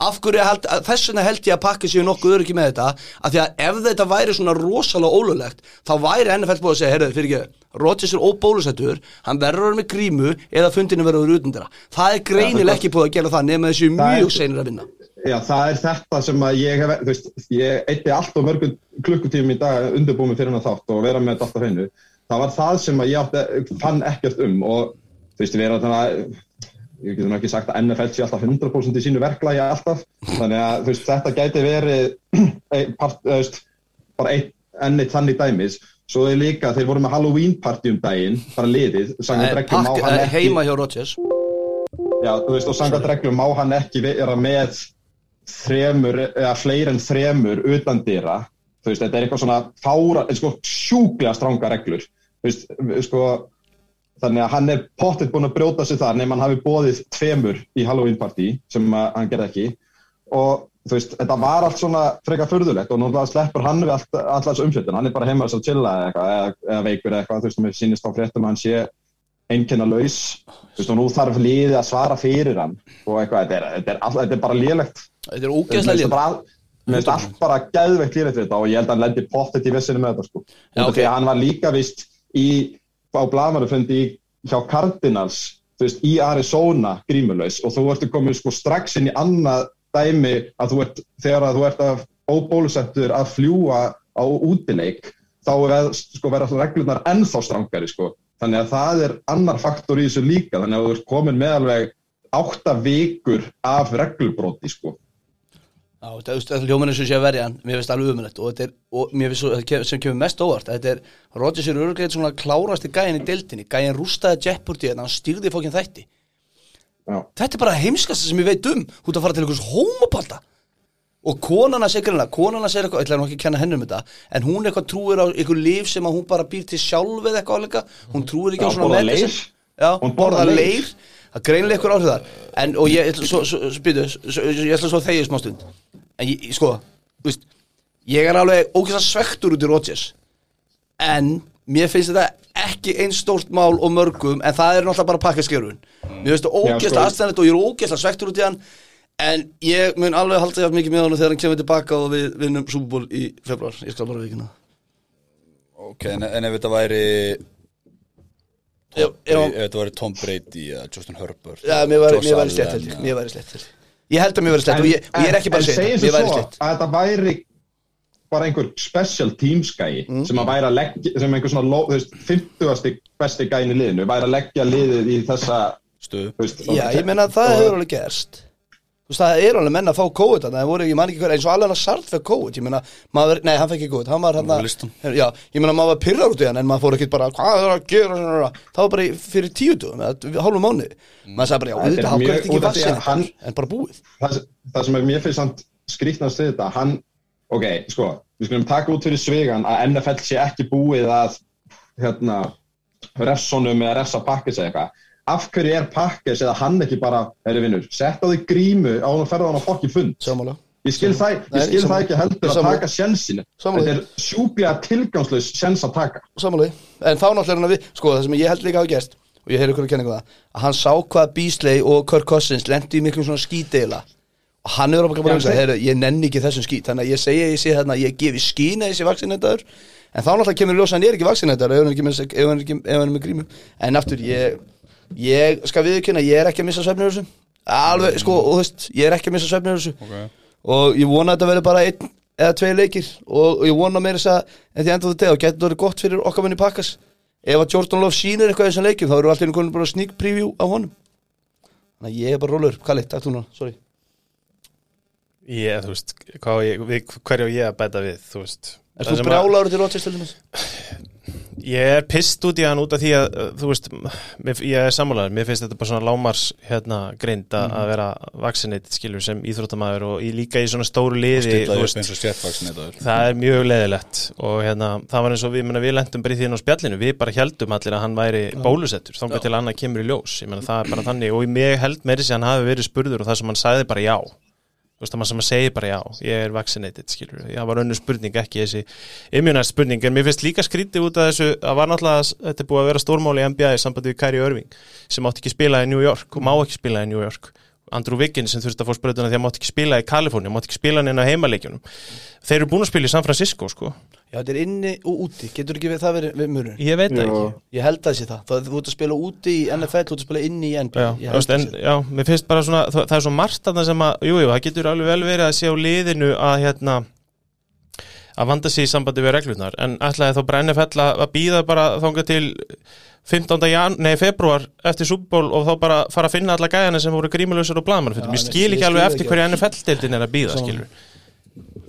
D: Af hverju held, að- þess vegna held ég að pakka séu nokkuð öryggi með þetta af því að ef þetta væri svona rosalega ólulegt þá væri NFL búið að segja, heyrðu, fyrir ekki Rodgers er óbólusettur, hann verður að vera með grímu eða fundinu verður utendara það er greinileg ekki búið að gera það nema þessu
E: Það er-
D: mjög seinir að vinna
E: Já, það er þetta sem að ég hef, þú veist, ég eitti allt og mörgum klukkutíum í dag undirbúmi fyrir hann þátt og vera með þetta alltaf hennu. Það var það sem að ég átti, fann ekkert um og þú veist, við erum þannig að, ég getum ekki sagt að NFL sé alltaf 100% í sínu verklagi alltaf, þannig að þú veist, þetta gæti verið ein part, þú veist, bara eitt, enn eitt þannig dæmis. Svo er líka, þeir voru með Halloween party um daginn, bara liðið,
D: Það
E: samkvæmt
D: er
E: reglum
D: pakk-
E: má hann
D: eh,
E: ekki,
D: heima hjá Rodgers
E: já, þú veist, og samkvæmt reglum má hann ekki vera með þremur, eða fleiri en þremur utan dýra, þú veist, þetta er eitthvað svona fára, eh, sko, sjúklega stranga reglur, þú veist, eh, sko þannig að hann er pottitt búinn að brjóta sig þar nema hann hafi bóðið tveimur í Halloween party sem að, hann gerði ekki og þú veist, þetta var allt svona frekar furðulegt og náttúrulega sleppur hann við allt, allt þessu umfjöldin, hann er bara heima þess að chilla eða, eitthvað, eða, eða veikur eða eitthvað, þú veist, mér sýnist á fréttum að hann sé einkenna laus, þú veist, og nú þarf liðið að svara fyrir hann og eitthvað, þetta er, þetta er, all, þetta er bara lélegt
D: Þetta er ógeðslega lið
E: Mér finnst allt bara gæðveikt lýrið fyrir þetta og ég held að hann lendi pottet í vissinu með þetta sko. Já,
D: ok.
E: Því að hann var líka vist í, á blamarufundi í- hjá Cardinals, þú veist, í Arizona grímulaus og þú ertu komin sko strax inn í annað dæmi að þú ert, þegar að þú ert að óbólusettur að fljúa á útileik, þá er, sko, verða alltaf reglurnar ennþá strangari sko. Þannig að það er annar faktor í þessu líka, þannig að þú ert komin með alveg átta vikur af reglubróti sko.
D: Já, þetta er- þetta er hljómanin sem sé að verja hann Mér finnst alveg umrætt og, þetta er, og mér finnst svo- það kem- sem kemur mest óvart Þetta er, Rodgers er örglega svona klárasti gæin í deildinni Gæin rústaði Jeopardy en hann stýrði fókin þætti
E: Já.
D: Þetta er bara heimskasta sem ég veit um Þú ert að fara til einhvers hómapalda Og konana segir hérna, konana segir eitthvað, ég ætla nú ekki að kenna henni um þetta En hún eitthvað trúir á einhver líf sem að hún bara býr til sjálf eða eitthvað alveg Hún trúir ekki á
E: Já,
D: svona
E: borðar
D: medicine.
E: leir.
D: Já,
E: Hún
D: borða
E: borðar
D: leir
E: leir.
D: það greinlega ykkur áhrif þar en, og ég, ætla svo, svo, svo, býtu, svo, ég ætla svo að þegja smá stund en ég, ég- sko, þú veist ég er alveg ókvæmst svektur út í Rodgers en mér finnst þetta ekki eins stórt mál og mörgum en það er náttúrulega bara pakkaskerun mér finnst þetta
E: Já, sko.
D: ógeðslega aðstæðanlegt og ég er ógeðslega svektur út í hann en ég mun alveg halda hjá mikið með hann þegar hann kemur tilbaka og við vinnum Superból í februar ég skal bara vikina
A: Ok, en, en ef þetta væri
D: Já, já.
A: ef þetta væri Tom Brady eða Justin Herbert
D: Já, mér væri,
A: Josh
D: mér væri
A: Allen,
D: slett held ég
A: eða-
D: Mér væri slett held ég Ég held að mér væri slett og ég, og ég er ekki bara að segja
E: en
D: það Mér
E: segjum
D: væri
E: svo
D: slett
E: að þetta væri bara einhver special teamsgæi
D: Mm.
E: sem að væri að leggja, sem einhver svona ló- þú veist, 50. besti gæin í liðinu væri að leggja liðið í þessa
A: Stöðu.
E: þú veist,
D: Já, ég meina að það hefur alveg gerst Þú veist, það er alveg menn að fá kóið þannig að það voru, ég man ekki hver, eins og alveg hann að sart fyrir kóið ég meina, maður, nei, hann fekk ekki kóið hann var hann
A: var á
D: að,
A: listanum.
D: já, ég meina maður var pyrrar út í hann en maður fór ekkert bara, hvað er að gera svona, svona. það var bara í- fyrir tíu dögum, eða hálfum mánu maður sagði bara, já,
E: Þetta er
D: þetta hann
E: mjög-
D: hvernig ekki
E: út af því að
D: vassin
E: hann-
D: en bara búið
E: það, það sem er mér finnst samt skrýtnast við þetta hann, ok, sko, við skulum taka út fyrir svigan að NFL sé ekki búið að hérna, refsonum eða refsa pakkis eða eitthvað af hverju er pakkis eða hann ekki bara er vinnur, setta þig grímu á hann og ferða hann á fokki fund
D: Sammála.
E: ég skil það,
D: Nei,
E: ég skil
D: sammála.
E: það ekki heldur að
D: Sammála.
E: taka sjensinu
D: Sammála.
E: þetta er sjúbja tilgangslaus sjens að taka
D: Samanlega, en þá náttúrulega er hann að við sko, það sem ég held líka hafa gerst og ég heyri ykkur að kenna ykkur það að hann sá hvað Beasley og Kirk Cousins lendi í miklum svona skídeila og hann er bara
E: Já,
D: bara að
E: en-
D: heyra, ég nenni ekki þessum skít þannig að ég segja, ég sé þarna, ég gefi skína þessi vaksinættaður en þá náttúrulega kemur í ljós að hann er ekki vaksinættaður ef hann er ekki með, þessi- ef hann er ekki, ef hann er með grímu en aftur, ég, ég skal viðkynna, ég er ekki að missa svefnir þessu alveg, sko, og þú veist, ég er ekki að missa svefnir þessu
A: Ok.
D: og ég vona að þetta verður bara einn eða tvei leikir og ég vona meira þess að en því enda þetta og getur þetta verið gott fyrir okkar menni pakkas ef að Jordan Love sýnir eitthvað í þessum leikum þá eru allir einhvern bara sneak preview á honum þannig að ég er bara rólur Kalli, takk þú núna, sorry
B: Ég, þú veist, hvað á ég, við, hverju á ég að bæta við, þú veist
D: Er
B: Það
D: þú
B: sem að-
D: brjálaður til Rodgers til dæmis?
B: Ég er pist út í hann út af því að, uh, þú veist, m- mér, ég er sammálaður, mér finnst þetta bara svona lámars, hérna, grind að,
G: Mhm.
B: að vera vaksinneitt, skilur, sem íþróttamæður og í, líka í svona stóru liði,
A: Stilla
B: þú
A: upp
B: veist,
A: eins og stjertvaksni þetta
B: það er mjög leðilegt og hérna, það var eins og við, menna, við lentum bara í því inn á spjallinu, við bara heldum allir að hann væri bólusettur, þangað til annað kemur í ljós ég menna, það er bara þannig og ég held meiri sér hann hafi verið spurður og það sem hann sagði bara já þú veist það maður sem að segja bara já, ég er vaccinated skilur, það var önnur spurning ekki þessi immunært spurning, en mér finnst líka skrítið út af þessu, það var náttúrulega, þetta er búið að vera stórmáli í NBA í sambandi við Kari Örving sem átti ekki spila í New York og má ekki spila í New York Andrew Wiggins sem þurfti að fá spröðuna því að mátti ekki spila í Kaliforni, mátti ekki spila hann á heimaleikjunum þeir eru búin að spila í San Francisco sko,
D: Já, þetta er inni og úti, getur ekki við það verið við mörun?
B: ég veit það ekki
E: Jú.
D: Ég held að það sé það, það þú ert að spila úti í NFL, þú ert að spila inni í NBA
B: Já,
D: Ég
B: þú
D: held
B: veist, en,
D: að sé það.
B: já, mér finnst bara svona það, það er svo margt að það sem að, jújú, jú, það getur alveg vel verið að sé á liðinu að hérna að vanda sig í sambandi við reglurnar en ætlaði þá bara NFL að, að býða bara þangað til 15. jan, nei, februar eftir Superból og þá bara fara að finna alla gæðana sem voru grímulösur og blaðmann fyrir,
D: Já,
B: mér
D: nei,
B: skil
D: ég
B: ekki alveg
D: skil
B: eftir
D: ekki
B: hverju NFL-deildin er að býða, skilur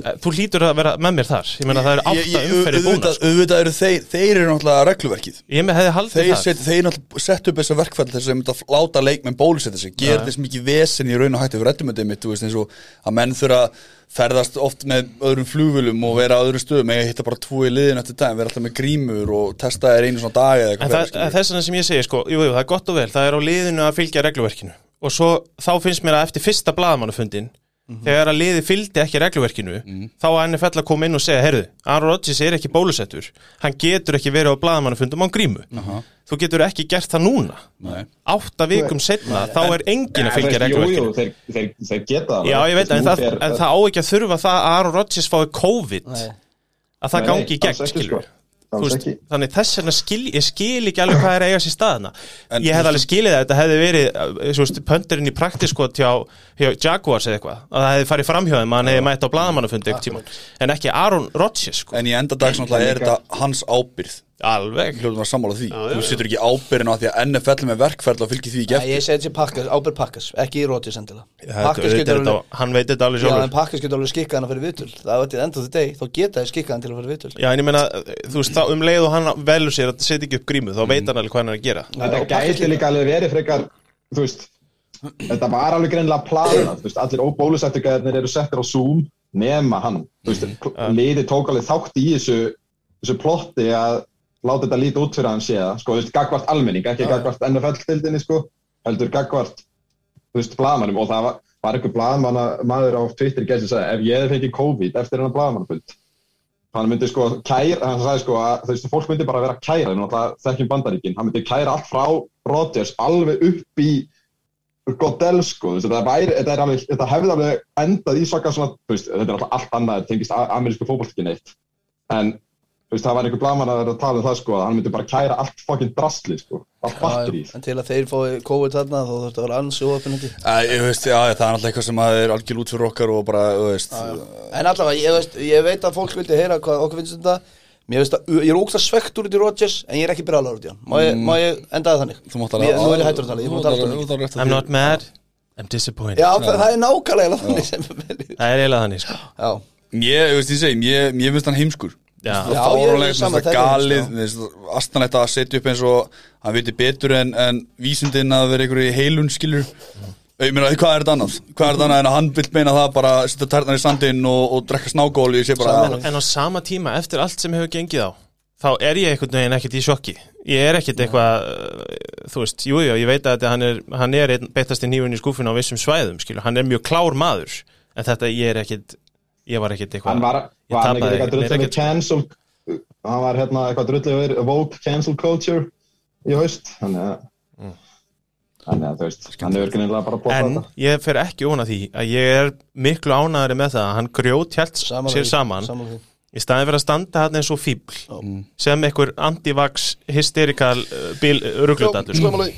B: Eh, þú hlýtur að vera með mér þar ég meina það eru átta umferði búna
A: Auðvitað auðvitað eru þeir þeir eru náttúrulega regluverkið
B: ég með hefði haldið
A: Þeir,
B: það
A: set, þeir náttúrulega sett upp þessar verkfall þess að mynda að láta leikmenn bólusetja sig gera þess mikið vesen í raun og hættu við rættum þetta mitt, þú veist eins og að menn þurfa að ferðast oft með öðrum flugvölum og vera á öðrum stöðum, eða hitta bara tvo í liðin eftir daginn, vera alltaf með grímur og testa þér einu svona dag eða
B: En
A: eitthvað
B: það, en þess vegna sem ég segi, sko, jú, jú, það er gott og vel, það er á liðinu að fylgja regluverkinu og svo þá finnst mér að eftir fyrsta blaðamannafundin
E: Mhm.
B: þegar að liði fylgdi ekki regluverkinu þá að henni fell að koma inn og segja, herðu, Aaron Rodgers er ekki bólusettur hann getur ekki verið á blaðamannafundum án grímu þú getur ekki gert það núna
A: Nei.
B: átta vikum setna, þá er engin að fylgja regluverkinu
E: Jú, jú, þeir, þeir, þeir geta það
B: Já, ég veit,
E: Þú
B: en það,
E: fer-
B: en það á ekki að þurfa það að Aaron Rodgers fái COVID að það
E: Nei, nei,
B: gangi í gegn,
E: alls ekki,
B: skilur
E: sko. Alls
B: Þú veist,
E: ekki.
B: þannig þess vegna skil, ég skil ekki alveg hvað er að eiga sér staðana
A: En-
B: ég hef alveg skilið það, þetta hefði verið uh, þú veist, pöndurinn í praktiskot hjá, hjá Jaguars eða eitthvað, að það hefði farið framhjóðum að hann hefði mætt á bladamannafundi eitthvað tíma en ekki Aaron Rodgers, sko,
A: En í enda dags náttúrulega er þetta hans ábyrð
B: alveg
A: hljóðum að sammála því, þú setur ekki ábyrðin á því að NFL er með verkferð og fylgir því ekki
D: Nei, ég segi þetta sé pakkas, ábyrð pakkas, ekki í Rodgers endilega
B: Þetta-
D: Pakkas
B: þetta
D: getur
B: er
D: alveg
B: þetta- hann veit þetta alveg
D: Já, en
B: sjálfur
D: Pakkars getur alveg skikkað hann að fyrir vitul Það var til enda því deg, þá geta þið skikkað hann til að fyrir vitul
B: Já, en ég meina, þú veist, þá um leið og hann velur sér að setja ekki upp grímu, þá veit hann alveg hvað hann er að gera
E: þetta gæti líka alveg verið frekar þú veist, þetta var alveg greinlega planað, þú veist, allir óbólusættigæðarnir eru settir á Zoom nema hann þú veist, liði tók alveg þátt í þessu, þessu plotti að láta þetta líta út fyrir að hann sé það, sko, þú veist, gagvart almenning, ekki gagvart NFL-tildinni, sko heldur gagvart þú veist, blaðamannum og það var, var einhver blaðamanna maður á Twitter í gær sem sagði ef ég hefði fengið COVID eftir hennar blaðamannafund hann myndi sko kæra, hann sagði sko að þú veist, fólk myndi bara vera að kæra þeim náttúrulega þekkjum bandaríkin, hann myndi kæra allt frá Rodgers alveg upp í Godel sko, þú veist, þetta, væri, þetta, er alveg, þetta hefði alveg endað í svaka svona, þú veist, þetta er alltaf allt annað, þetta tengist a- amerísku fótbolti ekki neitt en þú veist, það var einhver blaman að vera að tala um það sko, að hann myndi bara kæra allt fokkin drastli sko, allt batterið
D: En til að þeir fái COVID þarna þá þarf þetta að vera ansi óöfnandi
A: Æ, ég veist, já, það er alltaf eitthvað sem að er algjör út fyrir okkar og bara, þú veist
D: En allavega, ég, veist, ég veit að fólk vildi heyra hvað okkur finnst um það Mér veist að, ég er ógst að svegt úr út í Rodgers en ég er ekki brálaður út í hann Má
B: Mm.
D: ég, má ég endaði þannig?
A: Þú mátt
D: Mér- Nú er ég hættur að tala, ég mátt alltaf mikið
A: alveg
B: I'm not mad, I'm disappointed
D: Já, það það er nákvæmlega þannig sem
B: Það er eiginlega þannig sko.
D: Já,
A: Ég, þú veist, ég segi, ég, ég finnst hann heimskur Það
B: Já.
D: Já,
A: er
D: ég er
A: fáránlegt,
D: sammála,
A: það er
D: þetta er
A: galið
D: heimskur,
A: mér finnst Astanlegt að setja upp eins og hann viti betur en, en vísindin að vera einhverju í heilun skilur Ég meina, hvað er þetta annað? Hvað er þetta annað en að hann vill meina það bara að setja tærnar í sandinn og, og drekka snákóli ég sé
D: hérna.
A: bara,
B: En á sama tíma, eftir allt sem hefur gengið á þá er ég einhvern veginn ekkert í sjokki ég er ekkert eitthvað uh, þú veist, jújú, jú, ég veit að þetta- hann er, hann er einn beittast í nýfun í skúfinu á vissum svæðum skilur, hann er mjög klár maður en þetta, ég er ekkert ég var ekkert eitthvað
E: hann var,
B: ég
E: var hann
B: tapaði
E: ekkert eitthvað
B: mér
E: drullið með
B: ekkert-
E: cancel hann var hérna eitthvað drullið með woke cancel culture í haust þannig að þannig að þú veist, hann er örgunilega bara að blotta
B: Mm. en
E: þetta
B: ég fer ekki óna því að ég er miklu ánæðari með það að hann grjót hjælt
D: saman
B: sér saman
D: saman því.
B: í staðin fyrir að standa hann eins og fíbl sem einhver anti-vax hysterikal uh, bíl rugglutaldur sko.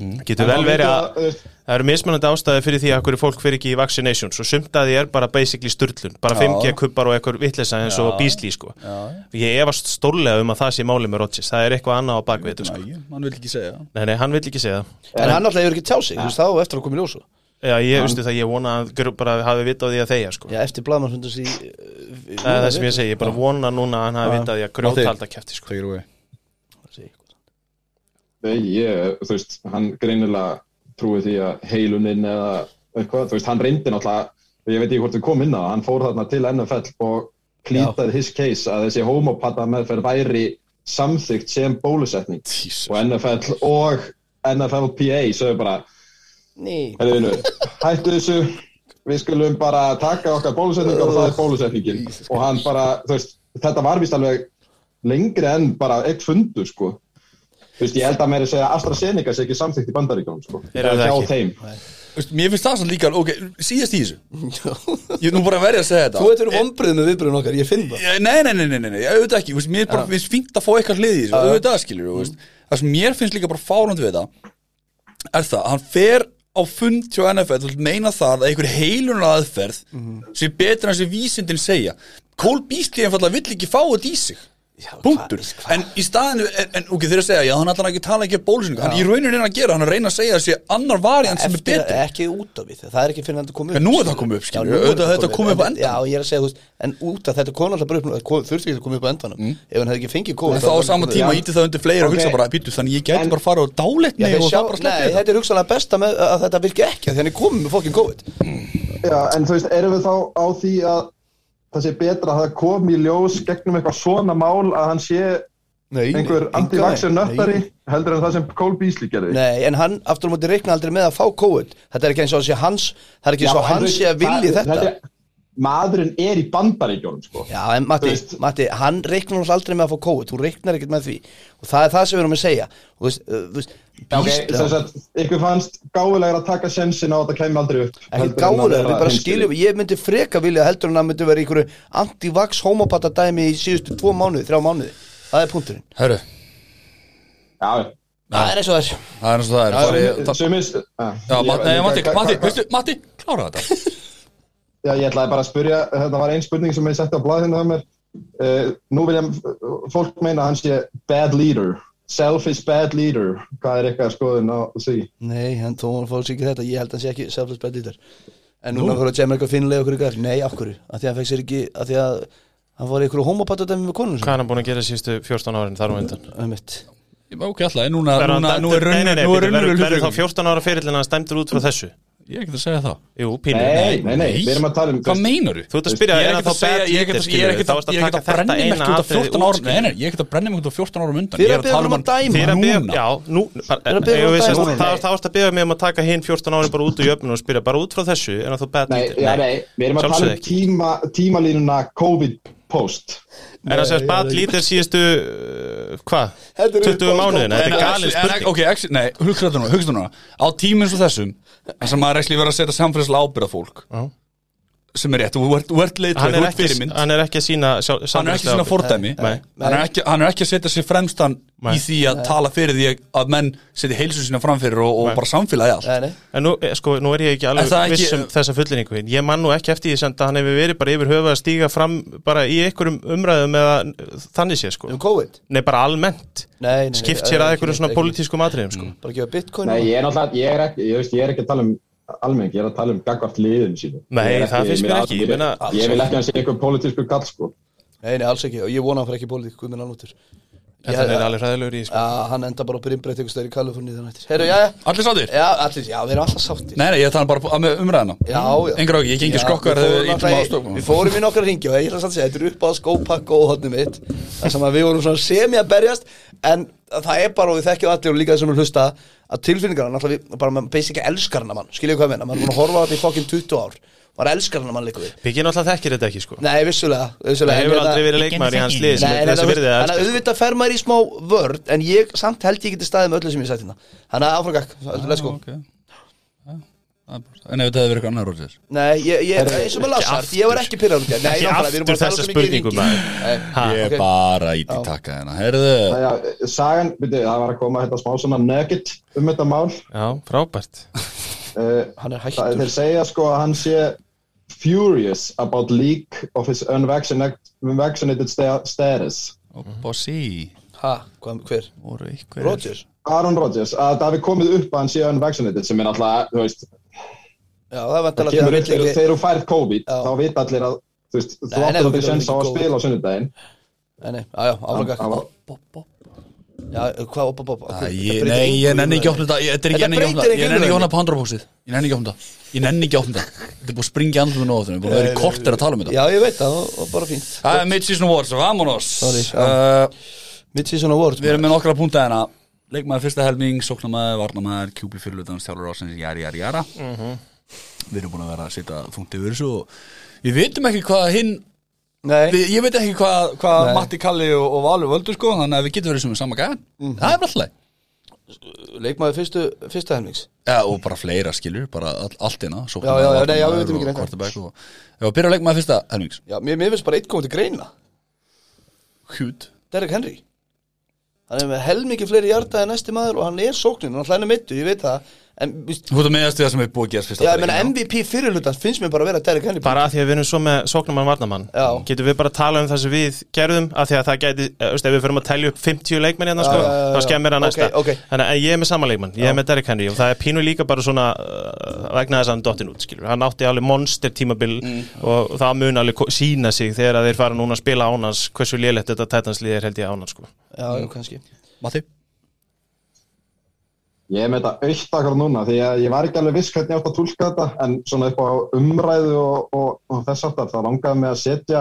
E: En
B: getur vel
E: hann
B: verið
E: veit
B: að
E: þú veist,
B: það eru mismunandi ástæði fyrir því að hverju fólk fyrir ekki í vaccinations og sumt að því er bara basically sturlun bara 5G kubbar og einhver vitleysa eins og bíslí sko. ég efast stórlega um að það sé máli með Rodgers það er eitthvað annað á bakvið þetta, sko.
A: Æ, hann vil ekki segja
B: nei, nei, hann vil ekki segja það
D: En hann alltaf hefur ekki tjáð sig, þú veist, þá á eftir að koma í ljósu
B: Já, ég, veistu það, ég vona að Grub bara hafi vitað því að þeia sko.
D: Já, eftir blaðmann hundar sér
B: það er það sem ég segi, ég bara vona núna að hann hafi vitað því að grjóthalda kæfti sko.
A: Take it away
E: Nei, ég, þú veist, hann greinilega trúið því að heiluninn eða eitthvað, þú veist, hann reyndi náttúrulega, ég veit ekki hvort við komum inn á það, hann fór þarna til NFL og klítaði his case að þessi homopata meðferð væri samþygt sem bólusetning
A: Jesus.
E: og NFL og NFLPA sögðu bara,
D: Ný,
E: herðu nú, hættu þessu, við skulum bara taka okkar bólusetningar og það er bólusetningin og hann bara, þú veist, þetta var vist alveg lengri en bara eitt fundur, sko. Þú veist, ég held að meira segja að AstraZeneca sé ekki samþykkt í bandaríkjónum, sko.
B: Þeir eru
E: Eða
B: það
E: hjá
B: ekki.
E: þeim.
A: Veist, Mér finnst það svo líka, ok, síðast í þessu Ég er nú bara að verja að segja þetta
D: þú veit eru vombrið með viðbröðun okkar, ég finn það
A: Ég- Nei, nei, nei, nei, nei, nei, auðvitað ekki þú veist, Mér er bara, mér finnst fínt að fá eitthvað hlið í þessu Auðvitað skilur, þú
D: Mm.
A: veist Það sem mér finnst líka bara fárandi við það Er það, að hann fer á fund hjá NFL Þú vilt meina það að einhver heilunar aðferð
D: Mhm.
A: Sér betur en sem vísindin segja Cole Beasley einfallega vill ekki fá þetta í sig Punktur
D: sko-
A: En í staðinu, en, en ok, þeir að segja Já, hann ætlar ekki að tala ekki að bólusinningu Hann í rauninu er að gera, hann er að reyna að segja þessi annar variant sem er
D: Eftir
A: betur
D: að ekki út af við, það er ekki fyrir hann að koma upp
A: En nú er það
D: skilur.
A: komið upp, skilur.
D: Já, nú er
A: Auðvitað þetta komið upp á
D: en-
A: endanum.
D: Já, ég er að segja, þú veist, en út af þetta kom alltaf bara upp það kom- þurfti ekki að koma upp á endanum Ef hann hefði ekki fengið
A: Mm.
D: COVID
A: En þá á
D: hefði
A: sama
D: komið upp.
A: tíma
E: Já.
A: íti það undir fleira og
E: Ok.
A: hugsa bara, býtu, þannig ég gæti
E: En-
A: bara að fara á
D: Já,
A: dáletni
D: þeir
A: og
D: sjá,
A: það bara
D: nei,
A: sleppið
D: þetta er hugsanlega besta með að þetta virki ekki af Því hann er komið með fokkin COVID
E: Já, en þú veist, erum við þá á því að það sé betra að það kom í ljós gegnum eitthvað svona mál að hann sé
D: Nei,
E: einhver
D: engan
E: anti-vaxxer
D: veginn.
E: nöttari heldur en það sem Cole Beasley gerði.
D: Nei, en hann aftur á móti reikna aldrei með að fá COVID Þetta er ekki eins og hann sé hans Það er ekki
E: Já,
D: eins og
E: en
D: hann
E: þú veist,
D: sé að vilji
E: það-
D: þetta
E: er- Maðurinn er í bandaríkjónum, sko.
D: Já, en Matti,
E: Þú veist-
D: Matti, hann reiknar hans aldrei með að fá COVID Þú reiknar ekkert með því Og það er það sem við erum að segja Þú veist, uh, þú veist,
E: Ok,
D: býst-
E: sem sagt, ykkur fannst gáfulegur að taka sensin á að það kæmi aldrei upp
D: Ekkert gáðulega, við bara skiljum Ég myndi freka vilja heldur en að myndi vera í einhverju Anti-vax homopata dæmi í síðustu tvo mánuði, þrjá mánuði Það er punkturinn
A: Hörru,
E: Já,
D: Það er eins og það er
A: það er eins og það er
E: já,
A: Bara ég-
E: sumir- sumir já,
A: Já,
E: ég-
A: Matti, nei,
E: ég-
A: Matti,
E: hva- hva-
A: Matti,
E: hva-
A: veistu, Matti, klára þetta
E: Já, ég ætlaði bara að spyrja, þetta var ein spurning sem ég setti á blaðinu hjá mér uh, Nú vilja fólk meina að hann sé bad leader, selfish bad leader Hvað er eitthvað skoðun á því?
D: Nei, hann tóma fór sér ekki þetta, ég held að hann sé ekki selfless bad leader En núna fyrir að tjema eitthvað finnilega okkur ykkur Nei, af hverju, af því að hann fekk sér ekki Af því að hann var í ykkur homopatadæmi með konun
B: hvað er hann búin að gera síðustu 14 árin þar á undan
D: Nei,
A: Ok, alltaf, núna,
B: Verður
A: núna,
B: hann
A: nú er
B: dæmdur- Nei, nei, nei,
A: raunur
B: bíddu, verður- verður þá 14 ára fyrirlin að hann stæmdur út frá þessu
A: Ég er ekkert að segja það
B: Jú, pínu
E: Nei, nei, nei, við erum að tala um
A: Hvað meinur
B: Þú ert að spyrja
A: Ég er
B: er hann
A: ekkert
B: þá
A: að segja, ég er
B: bad
A: ekkert að- ég
B: leader,
A: er
B: skilurðu?
A: ekkert
B: Þá
A: að-
B: varstu
A: ég er ekkert að brenna
B: taka
A: mig út
B: þetta
A: af 14
B: eina atriði
A: árum
B: út,
A: Nei, nei, ég er ekkert að brenna mig út af 14 árum undan
D: Þið
A: Ég
D: eru
A: er að
D: að biðja
A: tala
D: okkur
A: um hann
D: um að dæma.
B: Þeir að
A: Núna.
B: byggja, já, nú
D: Þeir að biðja
B: eigum
D: um
B: við sem-
D: dæmi.
B: Það það varst að byggja mig um að taka hinn 14 ári bara út úr jöfnum og spyrja bara út frá þessu en að þú bad
E: Nei, já,
B: leader
E: nei, við erum að tala
B: Sjálfsögðu
E: um
B: ekki.
E: tíma, tímalínuna COVID-post
B: Er það sem bad leader síðustu uh, hvað?
F: Þetta er
B: 20
F: uppáhalds-
B: mánuðina, þetta er
A: En
B: galin
A: actually-
B: spurning
A: en- Ok, actually- nei, hugsaðu þetta núna, hugsaðu þetta núna Á tímum svo þessum þar sem maður er ekki verið að setja samfélagslega ábyrða fólk
B: Já.
A: sem er rétt, þú ert- þú ert leitur,
B: Hann
A: þú
B: er
A: ert
B: ekki,
A: fyrirmynd
B: hann er ekki að sína
A: hann er ekki svona fordæmi hann er ekki, hann er ekki að setja sér fremstan
B: Nei.
A: í því að tala fyrir því að menn setja heilsu sína framfyrir og, og
B: Nei.
A: bara samfélagi allt
D: Nei, nei.
B: En nú, eh, sko, nú er ég ekki alveg
A: Er það ekki-
B: viss um þessa fullinningu hinn. Ég man nú ekki eftir því sem að hann hefur verið bara yfir höfuð að stíga fram bara í einhverjum umræðum eða þannig sé, sko.
D: Um COVID
B: Nei, bara almennt.
D: Nei, nei, nei,
B: Skipt
D: ekki
B: sér
D: neitt,
B: að einhverjum svona
D: ekki neitt.
B: pólitískum atriðum, sko.
D: Bara gefa bitcoin
E: Nei, ég er náttúrulega, ég er ekki, ég veist, ég er ekki að tala um almenning, ég er að tala um gagvart liðum sínu
B: Nei,
E: Ég er ekki-
B: það finnst mér
E: ég
B: ekki, ég
E: vil-
B: meina-
E: Ég vil ekki að sé einhver pólitísku kall, sko
D: Nei, nei, alls ekki Og ég vona að hann fyrir ekki í pólitík Guð minn alvötur
B: Þetta er alveg hræðilegur í, sko.
D: Já, hann enda bara á brimbreitt einhvers stöður í Kaliforni þannig eftir Herru, já,
A: allir sáttir?
D: já, allir, já, við erum alltaf sáttir
A: Nei, nei, ég tala bara um umræðina
D: Já, já
A: engar ákveð, ég gengi
D: Já,
A: skokkar þegar við
D: við fórum
A: ítlum
D: náttúrulega í-
A: ástofnum
D: Við fórum í nokkra ringi og ég ætla samt að segja, þetta er upp á skópakk og hóðnum mitt Það sem að við vorum svona semi að berjast En það er bara, og við þekkjum allir og líka þessum við hlusta Að tilfinningarna, náttúrulega, við bara með basic elskarna mann Skiljum hvað við, maður er búin að horfa á þetta í fokkin 20 ár Var elskarna mann líka við
B: Biggi náttúrulega þekkir þetta ekki, sko.
D: Nei, vissulega,
B: Það
D: vissulega en
B: hefur
D: hérna-
B: aldrei verið leikmaður í hans liði sem
D: Nei,
B: er sko-
D: nei,
B: þessi
D: það-
B: virðið að
D: Þannig að
B: elska.
D: auðvitað fer maður í smá vörd En ég, samt held ég geti staðið með öllu sem ég sætti hérna Þannig að áfram gakk, let's go
A: en ef þetta hefur verið eitthvað annar rótis
D: Nei, ég, ég, eins og með Lassart, ég var ekki pyrrar út í það Nei,
B: Ekki
D: nákvæmlega, við erum bara
B: aftur
D: að tala
B: þessa
D: svo mikið í
B: spurningu,
D: ringi.
B: maður.
D: Nei,
B: Ha,
A: ég
D: ok.
A: er bara ít í takka hérna herðu,
E: Það er, sagan, byrju, það var að koma þetta smá svona nugget um þetta mál
B: Já, frábært.
E: uh,
D: Hann er
E: Það-
D: hættur
E: Þeir segja sko að hann sé furious about leak of his unvaccinated unvaccinated sta- status
A: og sí
D: Ha, hvað, hver?
A: voru eitthvað
D: Roger?
E: Aaron Rodgers, að það hefði komið upp að hann sé unvaccinated sem er náttúrulega, þú veist
D: Já, það er
E: það
D: vantalega
E: kemur upp þegar þegar þú færð COVID
D: Já.
E: þá vita allir að þú veist, þú
D: Nei, nei, þú
E: áttir að þið
D: getur
E: sens á
D: ekki
E: að
D: COVID.
E: spila á sunnudaginn
D: Nei, nei, já, já, áfram gakk
E: Hann var-
D: Já, hvað, opa, opa
A: Æ, ég- Nei, ég nenni ekki opnum þetta Ég- Þetta er ekki
D: Þetta
A: enni ekki opnum
D: breytir
A: þetta
D: ekki
A: Ég nenni ekki
D: umræðunni.
A: opnum pandrobóksið Ég nenni ekki opnum þetta Ég nenni ekki opnum þetta Þetta er búið að springja andlum og nóðum Við erum verið kortir að tala um þetta
D: Já, ég veit það, og- og bara fínt
A: Það er mid-season awards, vamonos
D: Sorry, já.
A: uh,
D: Mid-season award
A: Við erum með nokkra púnta hérna Leikmaður fyrsta helming, sóknamaður, varnamaður, kjúbli fyrirlutans, þjálfur ásins, jari, jari, jara Við erum búin að vera að setja þungt yfir þessu og Við veitum ekki hvað hinn
D: Nei,
A: við, Ég veit ekki hvað, hvað
D: Nei.
A: Matti Kalli og, og Valur völdu sko Þannig að við getum verið sem við sama gæðan
D: Mhm.
A: Það er bara alltaf
D: leikmaður fyrstu, fyrsta helmings
A: Já, og bara fleira skilur, bara all, allt innan Já,
D: Já, já, já, nei, já, við veitum ekki neitt.
A: og, Já, byrja að leikmaður fyrsta, helmings
D: Já, mér, mér finnst bara eitt komið til greina
A: Hjút
D: Derek Henry Hann er með helmingi fleiri hjarta en næsti maður og hann er sóknin, hann hlæna meittu, ég veit það En, víst,
A: Þú veit að meðast við það sem við búið að gerast fyrsta
D: já,
A: bara,
D: ég meina
A: já.
D: MVP fyrirlutans finnst mér bara að vera Derek Henry
B: Bara að því að við erum svo með sóknumann varnamann
D: Já.
B: Getum við bara að tala um það sem við gerðum að því að það gæti, eh, veist, ef við förum að telja upp 50 leikmenn hérna,
D: já,
B: sko,
D: já,
B: þá
D: já.
B: skemmir hann
D: Ok,
B: næsta
D: ok.
B: Þannig að ég er með sama leikmann, ég er með Derek Henry og það er pínu líka bara svona uh, vegna þess að hann dottin út, skilur Hann átti alveg monster tímabil
D: Mm,
B: og það mun alveg ko- sína sig þegar að þeir fara núna að spila ánans hversu lélegt þetta tætanslið er held ég ánans, sko
D: Já, já, kannski
A: Matti
E: Ég er með þetta auðvitað núna því að ég var ekki alveg viss hvernig ég átt að tólka þetta en svona upp á umræðu og, og, og þess aftar þá langaði mig að setja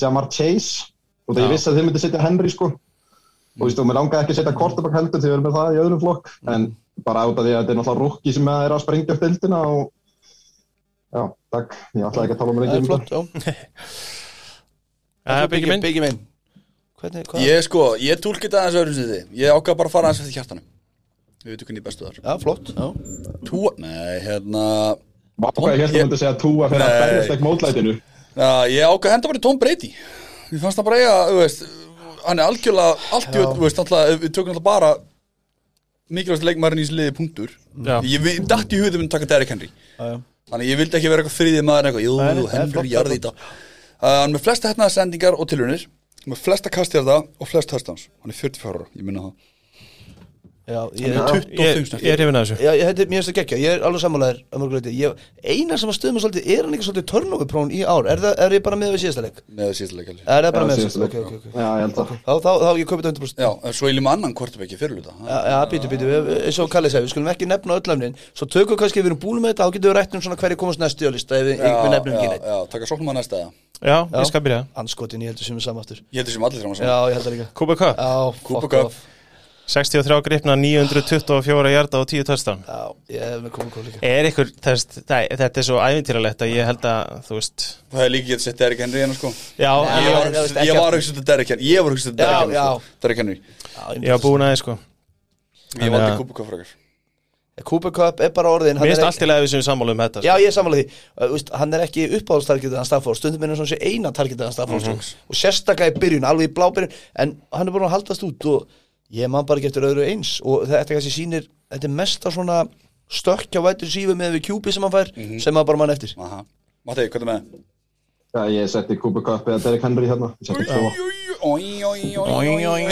E: Jamar Chase og það ég
B: Já.
E: vissi að þið myndi setja Henry sko og þú veist og mér langaði ekki að setja Kortabak heldur því við erum með það í öðrum flokk
D: Mm.
E: en bara út af því að þetta er náttúrulega rúkki sem er að sprengja upp deildina og já, takk, ég ætlaði ekki að tala um
D: Það er
E: reyngjum
D: flott, já
B: Það er byggja minn
D: Biggie minn Hvernig, hvað?
A: Ég sko, ég tólki þetta aðeins öðrum sem þið Ég ákvað bara að fara aðeins eftir hjartanum Við veitum hvernig bestu þar
D: Já, flott já.
A: Tú, nei, hérna
E: Vá, hvað ég held að myndi segja túa fyrir að berjast ekki mótlætinu
A: Já, ég ákvað að henda bara í Tom Brady Ég fannst það bara eiga, þú veist Hann er algjörlega, algjörlega, þú veist, alltaf Við tökum alltaf bara mikilvægst leikmaðurinn í þessu liði punktur
B: Já.
A: Ég vi- datt í hugðum að taka Derrick Henry
D: Já, já.
A: Þannig að ég vildi ekki vera eitthvað þriðið maður en eitthvað, jú,
D: Nei, nei, það er flott,
A: Henry
D: það er
A: jarði í þetta uh, Hann er með flesta hérna sendingar og tilunir Með flesta kastjarða og flest höstans Hann er 44 ára, ég minna það
D: Já, ég,
A: Hann er 20
B: Ég, ég er yfirna þessu
D: já, ég, þetta, mér finnst það gekkja, ég er alveg sammálaður að mörgu leyti. Ég- Einar sem að stöðum að svolítið, er hann ekki svolítið törnófi prón í ár? Er, það, er ég bara með við síðasta leik?
A: með síðlega
D: Er það bara
E: Já,
D: með við
E: síðasta
D: síðasta
E: leik,
D: leik?
E: já.
D: Okay, okay, okay.
E: Já, ég held að
D: Þá, þá, þá, ég kaupið 100%.
A: Já, en svo viljum við annan kvartabæki fyrirluta
D: Já, já, býtu, býtu, við- eins og Kalli sagði, við skulum ekki nefna öll öllöfnin Svo tökum við kannski, við erum búin með þetta, þá getum við rætt um svona hverju komast næst í á lista ef við, við nefnum ekki neitt
A: Já, taka sóknum að næsta
B: Já, ég skal byrja
D: Anskotin, ég heldur sem við samáttur
A: Ég heldur sem allir þrjum að
D: Já, ég held það líka
B: Kúpa Cup,
D: Já,
A: Kúpa
D: fuck
A: Cup.
D: off.
B: 63 gripna 924 hjarta og 10 töstan
D: Já, ég hef með Kúpa Cup líka
B: Er ykkur, þess, það, þetta er svo ævintýralegt að ég held að, þú veist
A: Það er líka gett sett Derrick Henry hérna sko
B: Já,
D: Nei,
B: ég,
A: Ég
B: var,
A: var, ég var hugsað til Derrick Henry Ég var hugsað til
D: Já,
A: Derrick Henry
D: já.
A: sko. Derrick Henry
D: Já, ég
B: ég var búin aðeins sko
A: Ég
B: En,
A: valdi
B: uh,
A: Kubikov frækar
D: Kúpa Cup er bara orðin hann
B: Mér
D: er
B: finnst
D: ekki-
B: allt í leið við sem sammála um þetta
D: Já, ég er samanlega því, uh, veist, hann er ekki uppáhaldstargetið hann Stafford, stundum er hann svona sé eina targetið hann Stafford sko. og sérstaklega í byrjun, alveg í blábyrjun en hann er bara að haldast út og ég man bara getur öðru eins og þetta kannski sýnir, þetta er mesta svona stökkja vætur sífi með við kjúpi sem hann fær sem hann bara mann eftir
A: Aha Matti, hvað er með?
E: Já, ég setti Cooper Cup eða Derrick Henry hérna Ég setti tvo
A: Oi, oi, oi, oi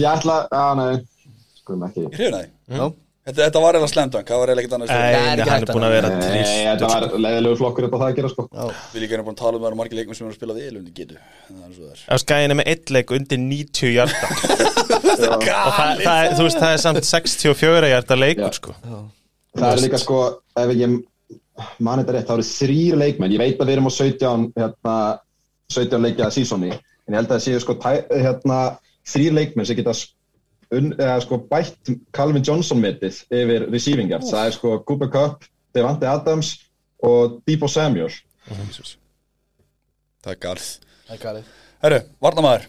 E: Ég ætla, að nei Skulum ekki
A: Ég hrifna þig
D: Já.
A: Þetta, þetta var eða slendan, hvað var eða ekkert annars
B: Nei,
A: Nei.
B: hann
D: ekki
B: er
D: hægt
B: búin að vera
E: Nei,
B: trist
E: þetta var leiðilegu flokkur upp á það að gera sko
A: Við líka erum búin að tala um að það eru margir leikum sem eru að spila vel um þið getu Það er svo það er
B: Ef skæðin er með eitt leik undir 90 hjarta Og það, það, er- þú veist, það er samt 64 hjarta leikur
E: Já.
B: sko
E: Það er líka sko, ef ég man þetta rétt, það eru þrýr leikmenn Ég veit að við erum á 17, hérna, 17 leikja sísoni En ég held að það séu sko tæ, hérna, þrýr leikmenn sem geta un, eða, sko, bætt Calvin Johnson metið yfir receiving yards Það er sko Cooper Cup, Devante Adams og Debo Samuel
A: Það er garð
D: Það er galið.
A: Herru, varnamaður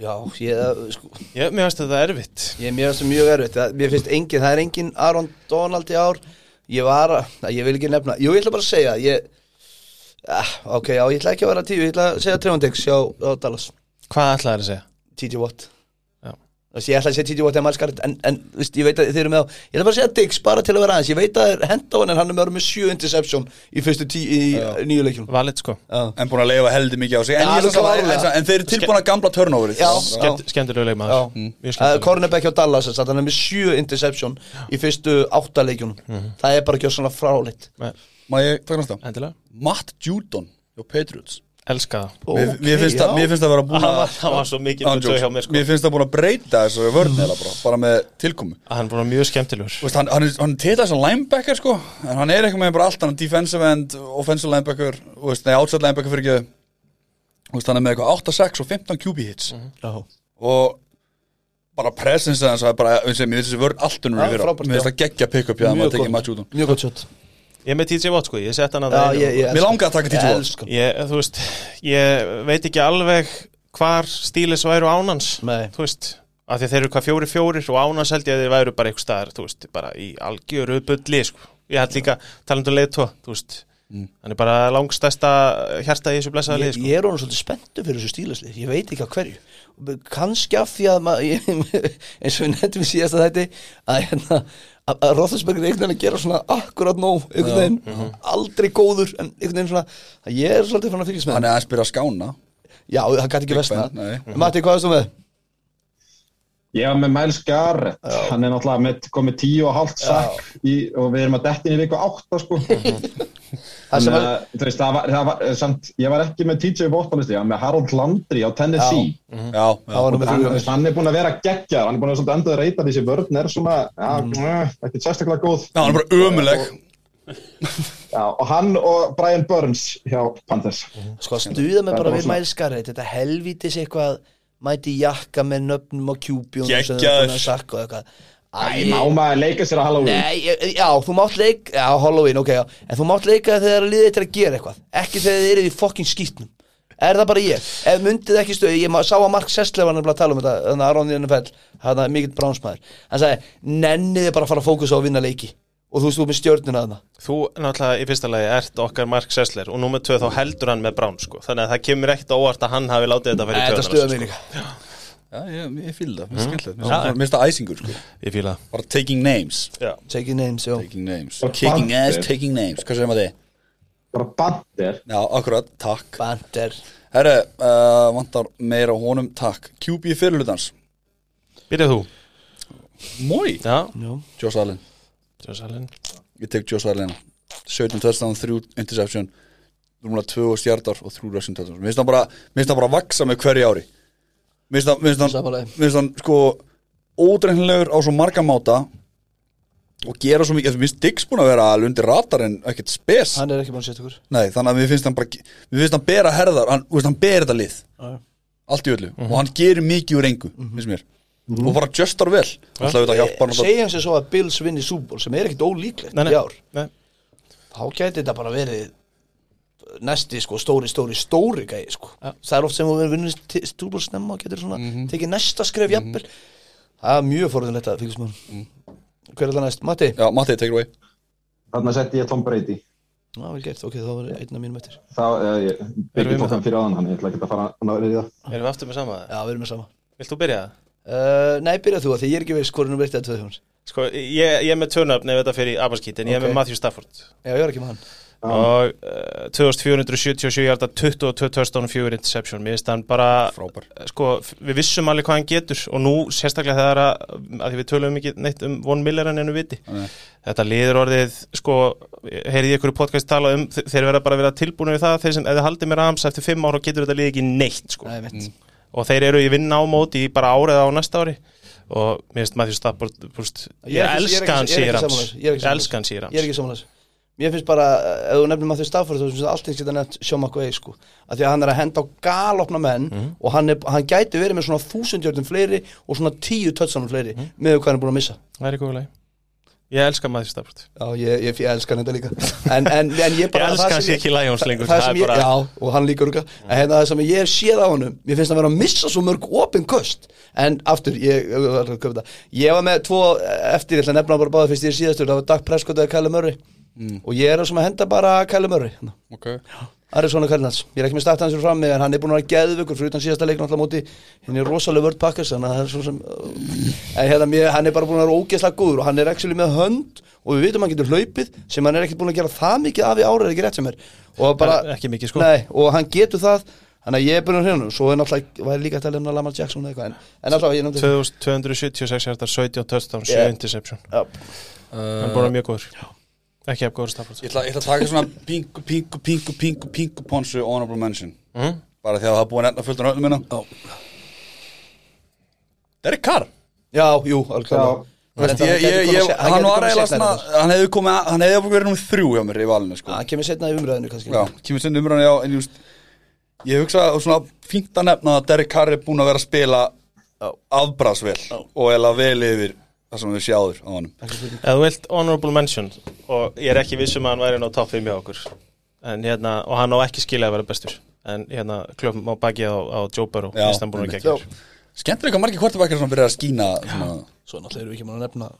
D: Já, ég, uh, sko,
B: Já, mér finnst þetta erfitt
D: ég er mjög, mjög erfitt Það- mér finnst engin, það er engin Aron Donald í ár ég var, að- að ég vil ekki nefna jú, ég ætla bara að segja ég, ah, ok, já, ég ætla ekki að vera tíu ég ætla að segja Trevondix hjá, hjá Dallas
B: Hvað ætlaði það að segja?
D: TJ Watt
B: Já.
D: Þú veist, ég ætla að segja TJ Watt en, Skarrett, en, en þú veist, ég veit að þið eru með á ég ætla bara að segja Diggs bara til að vera aðeins ég veit að það er henda á hann en hann er með, með sjö interception í fyrstu tí í nýju leikjum
B: Valit sko
D: já,
A: En búin að leifa heldi mikið á sig En,
D: Já,
A: ég er
D: alveg
A: samt- en,
D: klárlega.
A: en, en þeir eru tilbúin að gamla turnoverið
D: Já.
A: Svo-
B: Skemmt, Skemmtilegu
D: já.
B: leikmaður Mjög
D: Uh,
B: skemmtilegur.
D: cornerback hjá Dallas þess að hann er með sjö interception í fyrstu átta leikjunum það er bara ekki svona fráleitt
B: Nei,
A: Má ég taka næsta?
B: Endilega
A: Matt Judon og Patriots
B: Elska
A: Mér
B: það
A: mér finnst það- mér finnst það að vera búin
B: Hann
A: að
B: var, hann var svo mikið
A: Án
B: nötu
A: jokes.
B: hjá mér sko
A: Mér finnst það búin að breyta þessu vörn eða bara, bara með tilkomi
B: Hann var mjög skemmtilegur
A: Þú veist, hann, hann, er- hann titlaði sem linebacker sko en hann er eitthvað með bara allt hann er defensive end, offensive linebacker þú veist, nei, outside linebacker fyrir ekki þú veist, hann er með eitthvað 8-6 og 15 QB hits og bara presence hans það er bara, eins og ég finnst þessi vörn allt unnur
D: Já,
A: í fyrra
D: frábært,
A: mér finnst
D: já.
A: það geggja pick-up hjá það
D: Mjög
A: maður tekið
D: gott.
A: match út um
D: mjög gott shot
B: Ég er með TJ Watt sko, ég sett hann að
D: já, ég, ég,
A: mér langaði að taka
D: ég
A: TJ Watt
D: elskan
B: Ég, þú veist, ég veit ekki alveg hvar stílis væru ánans
D: Nei.
B: þú veist, af því að þeir eru hvað fjóri fjórir og ánans held ég að þeir væru bara einhver staðar, þú veist, bara í algjöru bulli, sko, ég held líka talandu leiðtó, þú veist hann er bara langstæsta hjarta í þessu
D: Mm.
B: blessaða
D: ég,
B: liði, sko,
D: ég er orðin svolítið spenntu fyrir þessu stílasli ég veit ekki að hverju kannski af því að ma, ég, eins og við nefndum í síðasta þætti að, hérna, að, að Roethlisberger er einhvern veginn að gera svona akkurat nóg einhvern veginn, aldrei góður en einhvern veginn svona að ég er svolítið fann að fylgjast með
A: hann
D: hann
A: er aðeins byrjað að skána
D: já, það gæti ekki
A: Big
D: vestna
A: Ben, nei.
D: Matti, hvað er þú með?
E: Ég var með Miles Garrett, hann er náttúrulega með, komið tíu og hálft sakk í, og við erum að detta inn í viku átta sko.
D: það
E: Þannig
D: sem
E: að,
D: að
E: þú veist, það var, það var eh, samt, ég var ekki með TJ Vottanlisti, ég var með Harold Landry á Tennessee.
A: já, já,
D: það var nummer
E: Hann,
D: þrjú
E: þú veist, hann er búin að vera geggjar, hann er búin að vera endur að reyta því sem vörðn er svona, ja, mm. ekki sérstaklega góð.
A: Já, hann er bara ömuleg
E: Já, og hann og Brian Burns hjá Panthers.
D: sko að stuða mig bara
E: Þetta var
D: við
E: svona-
D: mælskarrið þetta helvítis eitthvað mæti jakka með nöfnum og kjúbjón sem þau
A: Geggjaður.
D: búin að sakka og eitthvað
E: Æ, má maður leika sér á Halloween.
D: Nei, ég- já, þú mátt leika Já, Halloween, ok, já En þú mátt leika þegar liðið til að gera eitthvað Ekki þegar þið eruð í fokkin skýtnum Er það bara ég? Ef myndið ekki stöðu Ég ma- sá að Mark Sessler var nefnilega að tala um þetta Þannig að Aron í NFL Þannig að mikill bránsmaður Hann sagði, nenniði bara að fara að fókusa á að vinna leiki Og þú veist, þú ert með stjörnina þarna
B: þú náttúrulega í fyrsta lagi ert okkar Mark Sessler og númer tvö þá heldur hann með Brown, sko, þannig að það kemur ekkert á óvart að hann hafi látið þetta fyrir
D: Þetta stuða mig líka
A: já, ég, ég fíl það, mér er skemmtilegt Mér finnst- mér finnst það æsingur sko
B: ég fíla það.
A: bara taking names
B: Já.
D: Taking names, já
A: taking names
E: Og
A: kicking ass,
E: bandið.
A: taking names hvað segir maður þið?
E: Bara bandir.
A: já, akkurat, takk
D: Banter
A: Herre, uh, vantar meira honum takk QB fyrirlutans
B: Byrjað þú
H: Mói
B: Já,
A: Josh Allen
B: Josh Allen
A: Ég tek Josh Allen 17 touchdown, 3 interception Rúmlega 2 stjardar og 3 rushing touchdowns Mér finnst hann bara, mér finnst hann bara vaksa með hverju ári Mér finnst hann, mér finnst hann,
D: Sammála.
A: mér finnst hann sko ódreifnilegur á svo marga máta og gera svo mikið, mér finnst Diggs búin að vera alveg undir ratar en ekkert spes
D: Hann er ekki búin að setja ykkur
A: Nei, þannig að mér finnst hann bara mér finnst hann bera herðar, hann, þú veist, hann bera þetta lið
D: Já.
A: allt í öllu
D: Mhm.
A: og hann gerir mikið úr engu, finnst mér og bara justar vel, alltaf þetta hjálpar hann
D: Segjum sem svo að Bills vinni Super Bowl sem er ekkit ólíklegt
B: Nei, nei,
D: í ár
B: nei.
D: Þá gæti þetta bara verið næsti sko stóri stóri stóri gæi sko Það er oft sem við vinnum Super Bowl snemma og getur svona tekið næsta skref jafnvel Það er mjög forðinlegt að fylgjast með hann Hver er það næst? Matti?
A: Já, Matti, take it away
E: Þarna setti ég Tom Brady
D: Já, vel gert, ok, þá var einn af mínum eftir
E: Þá, eh, ég
B: við
E: byggði
B: með
E: tókan fyrir áðan hann, ég ætla ekki að fara að náður í það.
B: Ah. Erum við aftur með sama?
D: Já, við erum með sama
B: Vilt þú byrja það?
D: uh, Nei, byrja þú að því ég er ekki veist hvort er nú veitt að tvöð hjá hans
B: Sko, ég, ég er með tönöfn ef þetta fyrir abaskít en ég er
D: Ok.
B: með Matthew Stafford
D: Já, ég er ekki með hann
B: og uh, 2477 hjarta 22 touchdown 4 interception mér finnst hann bara
A: Frábær.
B: eh, sko, f- við vissum alveg hvað hann getur og nú sérstaklega þegar að, að því við tölum ekki neitt um von Miller en ennum viti
A: Nei.
B: þetta liður orðið sko, heyrið ég ykkur í podcast tala um þe- þeir verða bara að vera tilbúinu við það þeir sem, ef þið haldið mér aðams eftir 5 ára getur þetta lið ekki neitt sko.
D: Nei, mitt
B: og þeir eru í vinna á móti í bara árið á næsta ári og mér finnst Matthew Stafford búst,
D: Ég
B: ég,
D: er ekki- ég er ekki-
B: elska hann
D: ég er ekki
B: sér
D: sammála
B: hans
D: þessu, ég er ekki
B: ég
D: sammála
B: elska hann sér
D: ég er
B: hans
D: ekki samanlæs Mér finnst bara, eh, ef þú nefnir Matthew Stafford þá finnst alltaf geta nefnt Sean McVay sko að því að hann er að henda á galopna menn
B: Mhm.
D: og hann, er, hann gæti verið með svona þúsundjörnum fleiri og svona tíu tötsanum fleiri
B: Mhm.
D: með hvað hann er búin að missa
B: það er í góðu lagi ég elska Matthew Stafford
D: Já, ég, ég, ég elska hann þetta líka en, en, en ég
B: Ég
D: bara
B: elska
D: það
B: hans
D: sem
B: ekki Lions lengur
D: það sem ég,
B: bara,
D: já, og hann líka rúka en hérna það sem ég hef séð á honum mér finnst hann vera að missa svo mörg opin köst en aftur, ég, ég, var að kaupa þetta. ég var með tvo eh, eftir, ég ætla að nefna bara báða fyrst ég er síðastur, það var Dag Prescott eða Kæle Murray
B: Mm.
D: og ég er að svona henda bara Kæle Murray hérna.
A: okay.
D: Ari Svona Kærnals, ég er ekki með starta hans fyrir frammi en hann er búin að vera geðvökur fyrir utan síðasta leik náttúrulega móti hinn er rosalega vörd pakkast þannig að það er svo sem en hérna, mér, hann er bara búin að vera ógeðslega góður og hann er actually með hönd og við vitum að hann getur hlaupið sem hann er ekkert búin að gera það mikið af í ára ekki rétt sem er og bara,
B: Það er ekki mikið, sko.
D: nei, og hann getur það þannig að ég er búin að hérna svo er náttúrulega, væri líka að tala um Lamar Jackson eða eitthvað en, en alltaf ég nefndi
B: 2276 hjartar, 17 touchdown, 7
D: Yeah.
B: interception
D: Já.
B: hann er búin að vera mjög góður ekki af góður Stafford
A: Ég ætla, ég ætla að taka svona pingu, pingu, pingu, pingu, pingu ponsu honorable mention
B: Mm.
A: Bara því að það er búin að fullt á nöfnum minna
D: Já.
A: Derek Carr
D: já, jú, alveg
E: Já.
A: Vest, ég, ég, ég, Hann var eiginlega svona Hann hefði komið að- Hann hefði alveg verið númið þrjú hjá mér í valinu sko.
D: hann kemur setna í umræðinu kannski
A: Já, kemur sinn umræðan já En just, ég hugsa og svona fínt að nefna að Derek Carr er búin að vera að spila afbrásvel og eiginlega vel yfir það sem við sjáður á honum
B: eða þú vilt honorable mention og ég er ekki vissum að hann væri ná top 5 hjá okkur en hérna, og hann á ekki skilja að vera bestur en hérna, klöfum á baki á, á Joe Burrow,
A: Já,
B: fyrst hann búin að gegja
A: Skemmtilega hvað margir kvartabækir sem byrjar að skína svona,
D: svo náttúrulega erum við ekki maður að nefna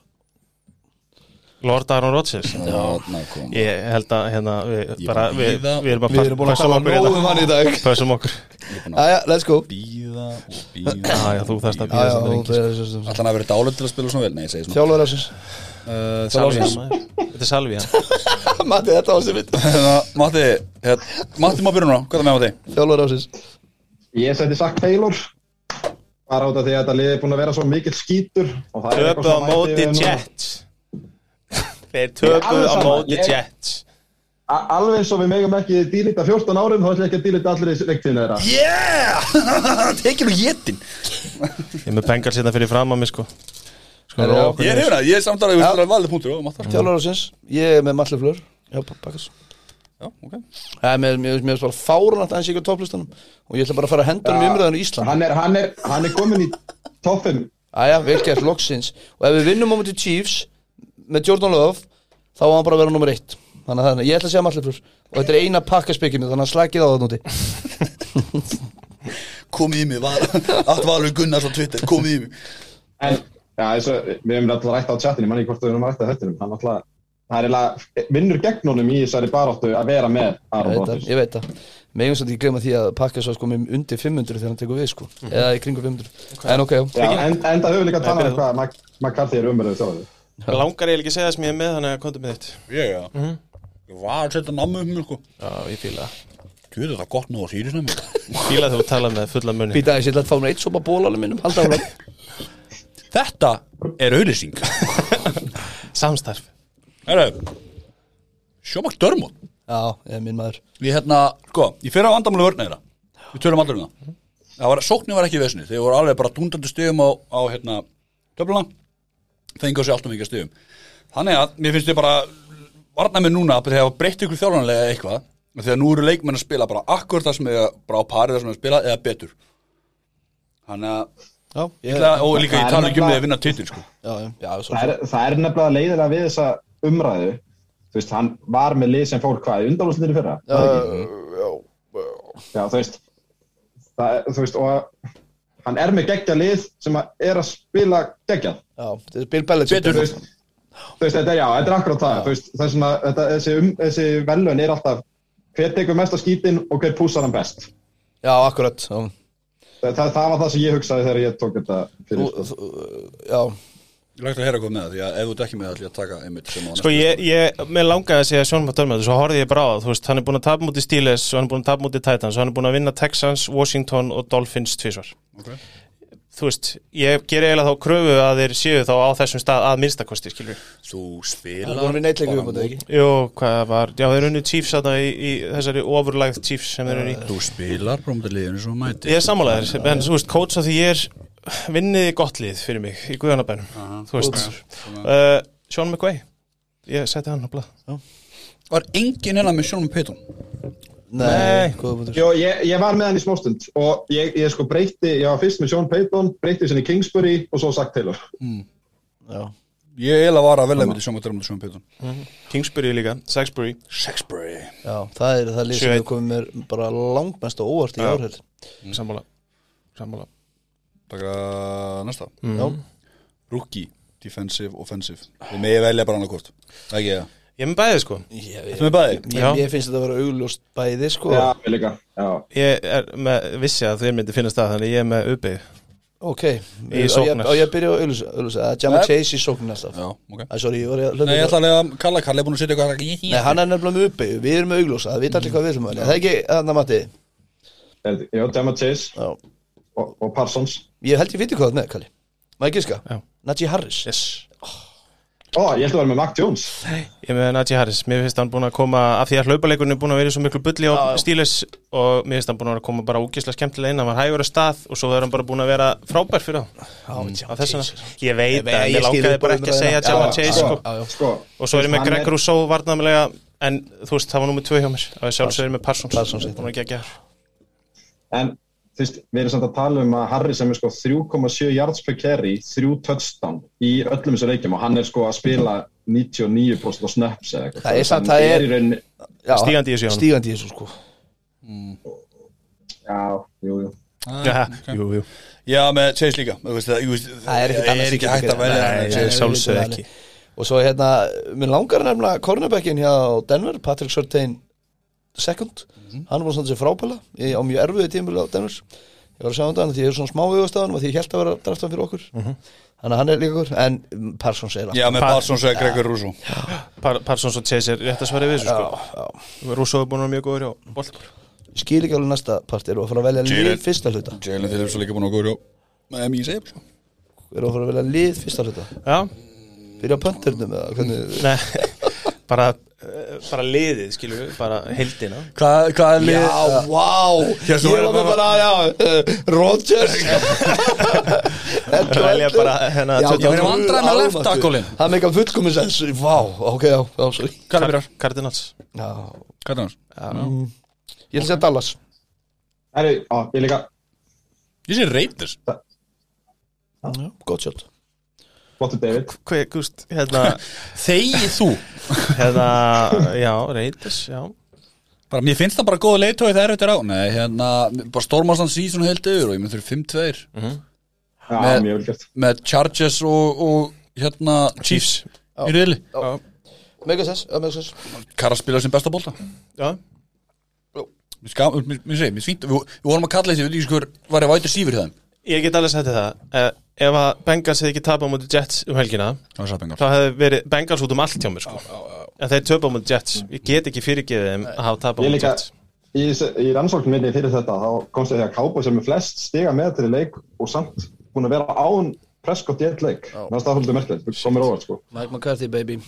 B: Lord Aaron Rodgers
A: þarna kom.
B: ég held að hérna, við, bara, við,
H: bíða.
B: við erum að
D: Við erum búin að
B: pössum
D: tala
B: okkur hérna.
D: nóg um hann í dag.
B: pössum okkur
D: Jæja, let's go
A: Bíða og bíða
B: Já, já, þú þarft að bíða
D: Jæja,
B: sem
D: og
B: það
D: það er svo sem-
A: Ætlan að vera dálöf til að spila svona vel? Nei, ég segi svona Uh,
D: Þjálfari ásins
B: er ekki þetta er Salvi, já
D: Matti, þetta var sem mitt
A: Hérna, Matti, hér, Matti má byrja núna, hvað er það með Matti?
D: Þjálfari ásins
E: Ég setti Sack Taylor bara út af því að þetta liði er búin að vera svo mikill skítur og það er
B: Töpuð á
E: sem mætti
B: móti
E: við núna.
B: Jets Þeir töpuð
E: alveg
B: á
E: saman,
B: móti
E: ég-
B: Jets
E: A- Alveg eins og við megum ekki dýlita 14 árum þá ætla ég ekki að dýlita allir í leiktíðinu þeirra
A: Yeah! Tekir nú jétin
B: Ég er með bengal sérna fyrir fram að mig sko Sko
D: Herra,
B: róa
D: já.
B: okkur
A: Ég er
B: niður.
A: hefna, ég er samt að það er valið punktur og Matti
D: Þjálfari ásins Ég er með Matli Flör Já, bakkast
A: Já, ok
D: Það er með, mér mér finnst bara fárunat að hans ekki á topplistanum og ég ætla bara að fara að henda hann í umræðinu í Ísland
E: Hann er, hann er, hann er komin í toppin
D: Æja, vel gert, loksins og ef við vinnum á mútið Chiefs með Jordan Love þá var hann bara að vera nummer eitt þannig að þannig, ég ætla að segja Matli Flör og þetta er eina pakkaspekið mitt, þannig að slakið á það núti
A: Komið í mig, var, allt valur Gunnars á Twitter, komið í mig
E: en já, eins og við höfum alltaf rætt á chatinu manni hvort við höfum rætt á þettinum hann alltaf Það er eiginlega vinnur gegn honum í þessari baráttu að vera með
D: Ég veit
E: Aron
D: það,
E: Rodgers.
D: ég veit það Megum svolítið ekki glemma því að pakka svo sko með undir 500 þegar hann tekur við sko Eða í kringu 500 En ok, já
E: Já, en, en það höfum líka að tala
B: byrjaðu.
E: um hvað Mac- McCarthy er um umverðið þjóðið.
B: Mig Langar ég ekki að segja það sem ég er með þannig að konta með þitt
A: Ég, já Ég var að setja nammu um mig, sko
B: Já, ég fíla það.
A: Þú veit það gott nú á síðisnum
B: Fíla þegar þú tala með fulla munni
D: Býta aðeins, ég ætla að fá mér eitt sopa bólanum minnum Halda ára
A: Þetta er auðlýsing
B: Samstarf
A: Herru Sjómak Dörmón
D: Já, ég er minn maður
A: Ég hérna, sko, ég fyrir á vandamáli vörna þeirra Við tölum allir um það Það var, sóknin var ekki vesni, þeir voru alveg bara dúndandi stigum á, á hérna, töfluna Fengu á sig alltaf mikið stigum Þannig að, mér finnst ég bara Varna með núna, þegar það var breytt ykkur þjálfanlega eitthvað og Þegar nú eru leikmenn að spila bara akkur það sem er bara á parið það sem er að spila eða betur Þannig að,
D: Já, ég,
A: yeah. og líka
E: Það
A: ég
E: er
A: tala ekki um
E: nefnilega-
A: því að vinna titil, sko
D: já, já, já svo,
E: það er, það er nefnilega leiðilega við þessa umræðu þú veist, hann var með lið sem fór hvað undanlúslindir í fyrra var það ekki? já, þú veist það, er- þú veist, og hann er með geggja lið sem að er að spila geggjað
D: já, þetta er Bill Belichick
E: þú veist, þú veist, þetta er já, þetta er akkurat það þú veist, það er svona, þetta, þessi, um, þessi velun er alltaf hver tekur mest á skítin og hver púsar hann best
D: Já, akkurat Já,
E: það, það, það var það sem ég hugsaði þegar ég tók þetta fyrir sko.
D: já,
A: Ég lagt að heyra hvað með það, því að ef þú dekkið með það ætla ég að taka einmitt sem á
B: Sko ég, ég mér langaði að segja Sjónum að dörma Svo horfði ég bara á það, þú veist Hann er búin að tapa múti Steelers og hann er búin að tapa múti Titans og hann er búin að vinna Texans, Washington og Dolphins tvisvar
A: Ok.
B: Þú veist, ég ger eiginlega þá kröfu að þeir séu þá á þessum stað að minnstakosti, skilur við
A: Þú
D: það
A: spila
D: er búin að við neitleika um þetta ekki
B: Jó, hvað var, já þeir unnu Chiefs þarna í, í þessari overlægð Chiefs sem þeir unnu í
A: Þú spilar bara um þetta liðinu sem þú mætir
B: Ég er sammálaður, en þú veist, coach að því ég er vinnið gott lið fyrir mig í Guðanabænum, þú veist uh, Sean McVay, ég seti hann á blað
A: Var enginn hérna með Sjónum Pétun
D: Nei, góða búin
E: Jó, ég, ég var með hann í smástund og ég, ég sko breyti, ég var fyrst með Sean Payton, breyti sinni Kingsbury og svo Sack Taylor.
D: Já,
A: Ég eiginlega var að velja með því Sjónum Pétun með Sjónum Pétun
B: Kingsbury líka, Saxbury
A: Sexbury
D: já, það er það lið sem
B: Sjö-
D: hefur komið mér bara langmest og óvart í
B: Já.
D: árhæl
B: Sammála, sammála
A: Taka næsta
D: Já,
A: Rookie, defensive, offensive Við megi velja bara annað hvort Það ekki það
B: Ég er með bæðið sko,
D: ég,
A: Þetta með bæði
B: Já.
D: ég, ég finnst þetta að vera augljóst bæði sko
E: Já, ég líka. Já.
B: ég er með vissi að þeir myndi finnast það, þannig ég er með uppið
D: Ok,
B: Í
D: og ég,
B: sóknar.
D: og ég byrja á augljósa, augljósa. Jamma
A: Nei.
D: Chase í sóknin alltaf
A: Já, ok
D: Æ, sorry, ég var að hluta
A: Nei, ég ætla að lega Kalla, Kalla er búin að setja eitthvað
D: Nei, hann er nefnilega með uppi, við erum með augljósa, það vita allir hvað við erum að velja. Það er ekki, þannig að Matti,
E: Er- Já, Demma Chase
D: já,
E: og, og Parsons.
D: ég held ég viti hvað það er með, Kalli. Má ég giska?
B: Já.
D: Najee Harris.
B: Yes
E: Ó, ég ætla að vera með Mac Jones.
B: Ég er með Najee Harris, mér finnst hann búin að koma af því að hlaupaleikunni er búin að vera í svo miklu bulli á stílis og mér finnst hann búin að vera að koma bara úkislega skemmtilega inn, hann var hægur að stað og svo er hann bara búin að vera frábær fyrir þá
D: Já,
B: á Mm. þess vegna Ég veit
D: Ég veit, ég
B: að
D: skil
B: mér langaði
D: þig
B: bara
D: bara
B: ekki að
D: um
B: segja
D: ræðina.
B: Jamma
D: Já,
B: Chase
E: sko.
B: sko
E: Sko,
B: og svo er ég með
E: hann
B: Greg Rousseau varnamlega en þú veist, það var nummið tvö hjá mér að sjálfsögur með Parsons,
D: Parsons,
B: búin að gegja
E: En, þú veist, við erum samt að tala um að Harry sem er sko 3,7 yards per carry, 3 touchdown í öllum þessu leikjum og hann er sko að spila 99% á snaps eða eitthvað.
D: Það er samt-
E: Hann
D: það er-
E: í rauninni,
D: já,
B: stígandi í þessu hjá honum.
D: Stígandi í þessu, sko.
E: já, jú, jú.
B: Ah, Jú, jú,
G: Já, með Chase líka Þú veist, það- jú veist,
D: Það er ekkert annað sem
G: ekki
D: getur
G: hægt
D: gerað.
G: að velja
D: Nei,
G: hann
B: nei,
G: með
D: nei,
G: Chase.
B: sjálfsögðu
D: nei, nei.
B: ekki
D: Og svo, hérna, mér langar nefnilega cornerbackin hjá Denver, Patrick Surtain second,
G: Mhm.
D: hann var svona þessi frábæla, ég á mjög erfiði tímul á Denver. Ég var að sjá um þetta, því ég er svona smá viðast á hann og því ég held að vera draftan fyrir okkur. Þannig að hann er líka okkur, en mm, Parsons er að.
G: Mhm. Já, með Parsons og Gregor Russo
B: Par Parsons og Chase er rétt að svara við þessu sko Rousseau er búin að vera mjög góður hjá Boltbar
D: Ég skil ekki alveg næsta part, eru að fara að velja lið
G: Jared.
D: fyrsta hluta
G: Jalen Phillips er líka búin að góður hjá Miami, ég segi
A: sko.
G: bara svo.
D: eru að fara að velja lið fyrsta hluta
B: Já,
D: byrja á pönturnum eða hvernig
B: Nei, bara, eh, bara liðið, skilur við, bara heldina
A: Hvað hvað er lið
D: Já, vá,
G: Hérna
D: ég
G: væri
D: var með
G: bara-
D: bara, já, uh, Rodgers
B: Bara velja bara, hérna,
D: Já,
B: 28.
A: Ég
D: bara
A: verið vandræði með left tackle-in.
D: Það meika fullkomins ens, vá, ok, já, já, sorry
A: Kalla byrjar
B: Cardinals
D: Já,
A: Kalla hans
D: ég ætla að segja Dallas
E: Herri, á, ég líka.
A: Ég sé Raiders
D: Já, Gott sjátt
E: Flottur David.
B: Hver, gúst, hérna,
A: Þegi þú
B: hérna, já, Raiders, já
A: Bara, mér finnst það bara góða leiðtói þegar þetta er á Nei, hérna, bara stormast hann síðan heilt yfir og ég mynd þurfi 5-2
E: Já,
A: Með-
E: mjög vel gert.
A: með Chargers og, og hérna Chiefs í riðli
D: Meika sens, já, meika sens
A: Karra spilaði sem besta bólta
B: Já,
A: Mér skam- mér- mér segi, mér svínt Við við vorum að kalla þessi, við veitum ekki sko hver var ég vætur sífur það
B: ég get alveg sætti það eh, Ef að Bengals hefði ekki tapað mútið Jets um helgina
A: Það var sapengar
B: þá hefði verið Bengals út um allt hjá mér, sko En þeir töpa mútið Jets, ég get ekki fyrirgeðið þeim að hafa tapað
E: Ég
B: mútið
E: líka,
B: Jets
E: í, í rannsóknum minni fyrir þetta, þá komst ég því að Cowboys er með flest stiga með til í leik og samt búin að vera án Prescott í eitt leik Mér finnst það svolítið merkilegt, það komir óvart sko
D: Mike McCarthy baby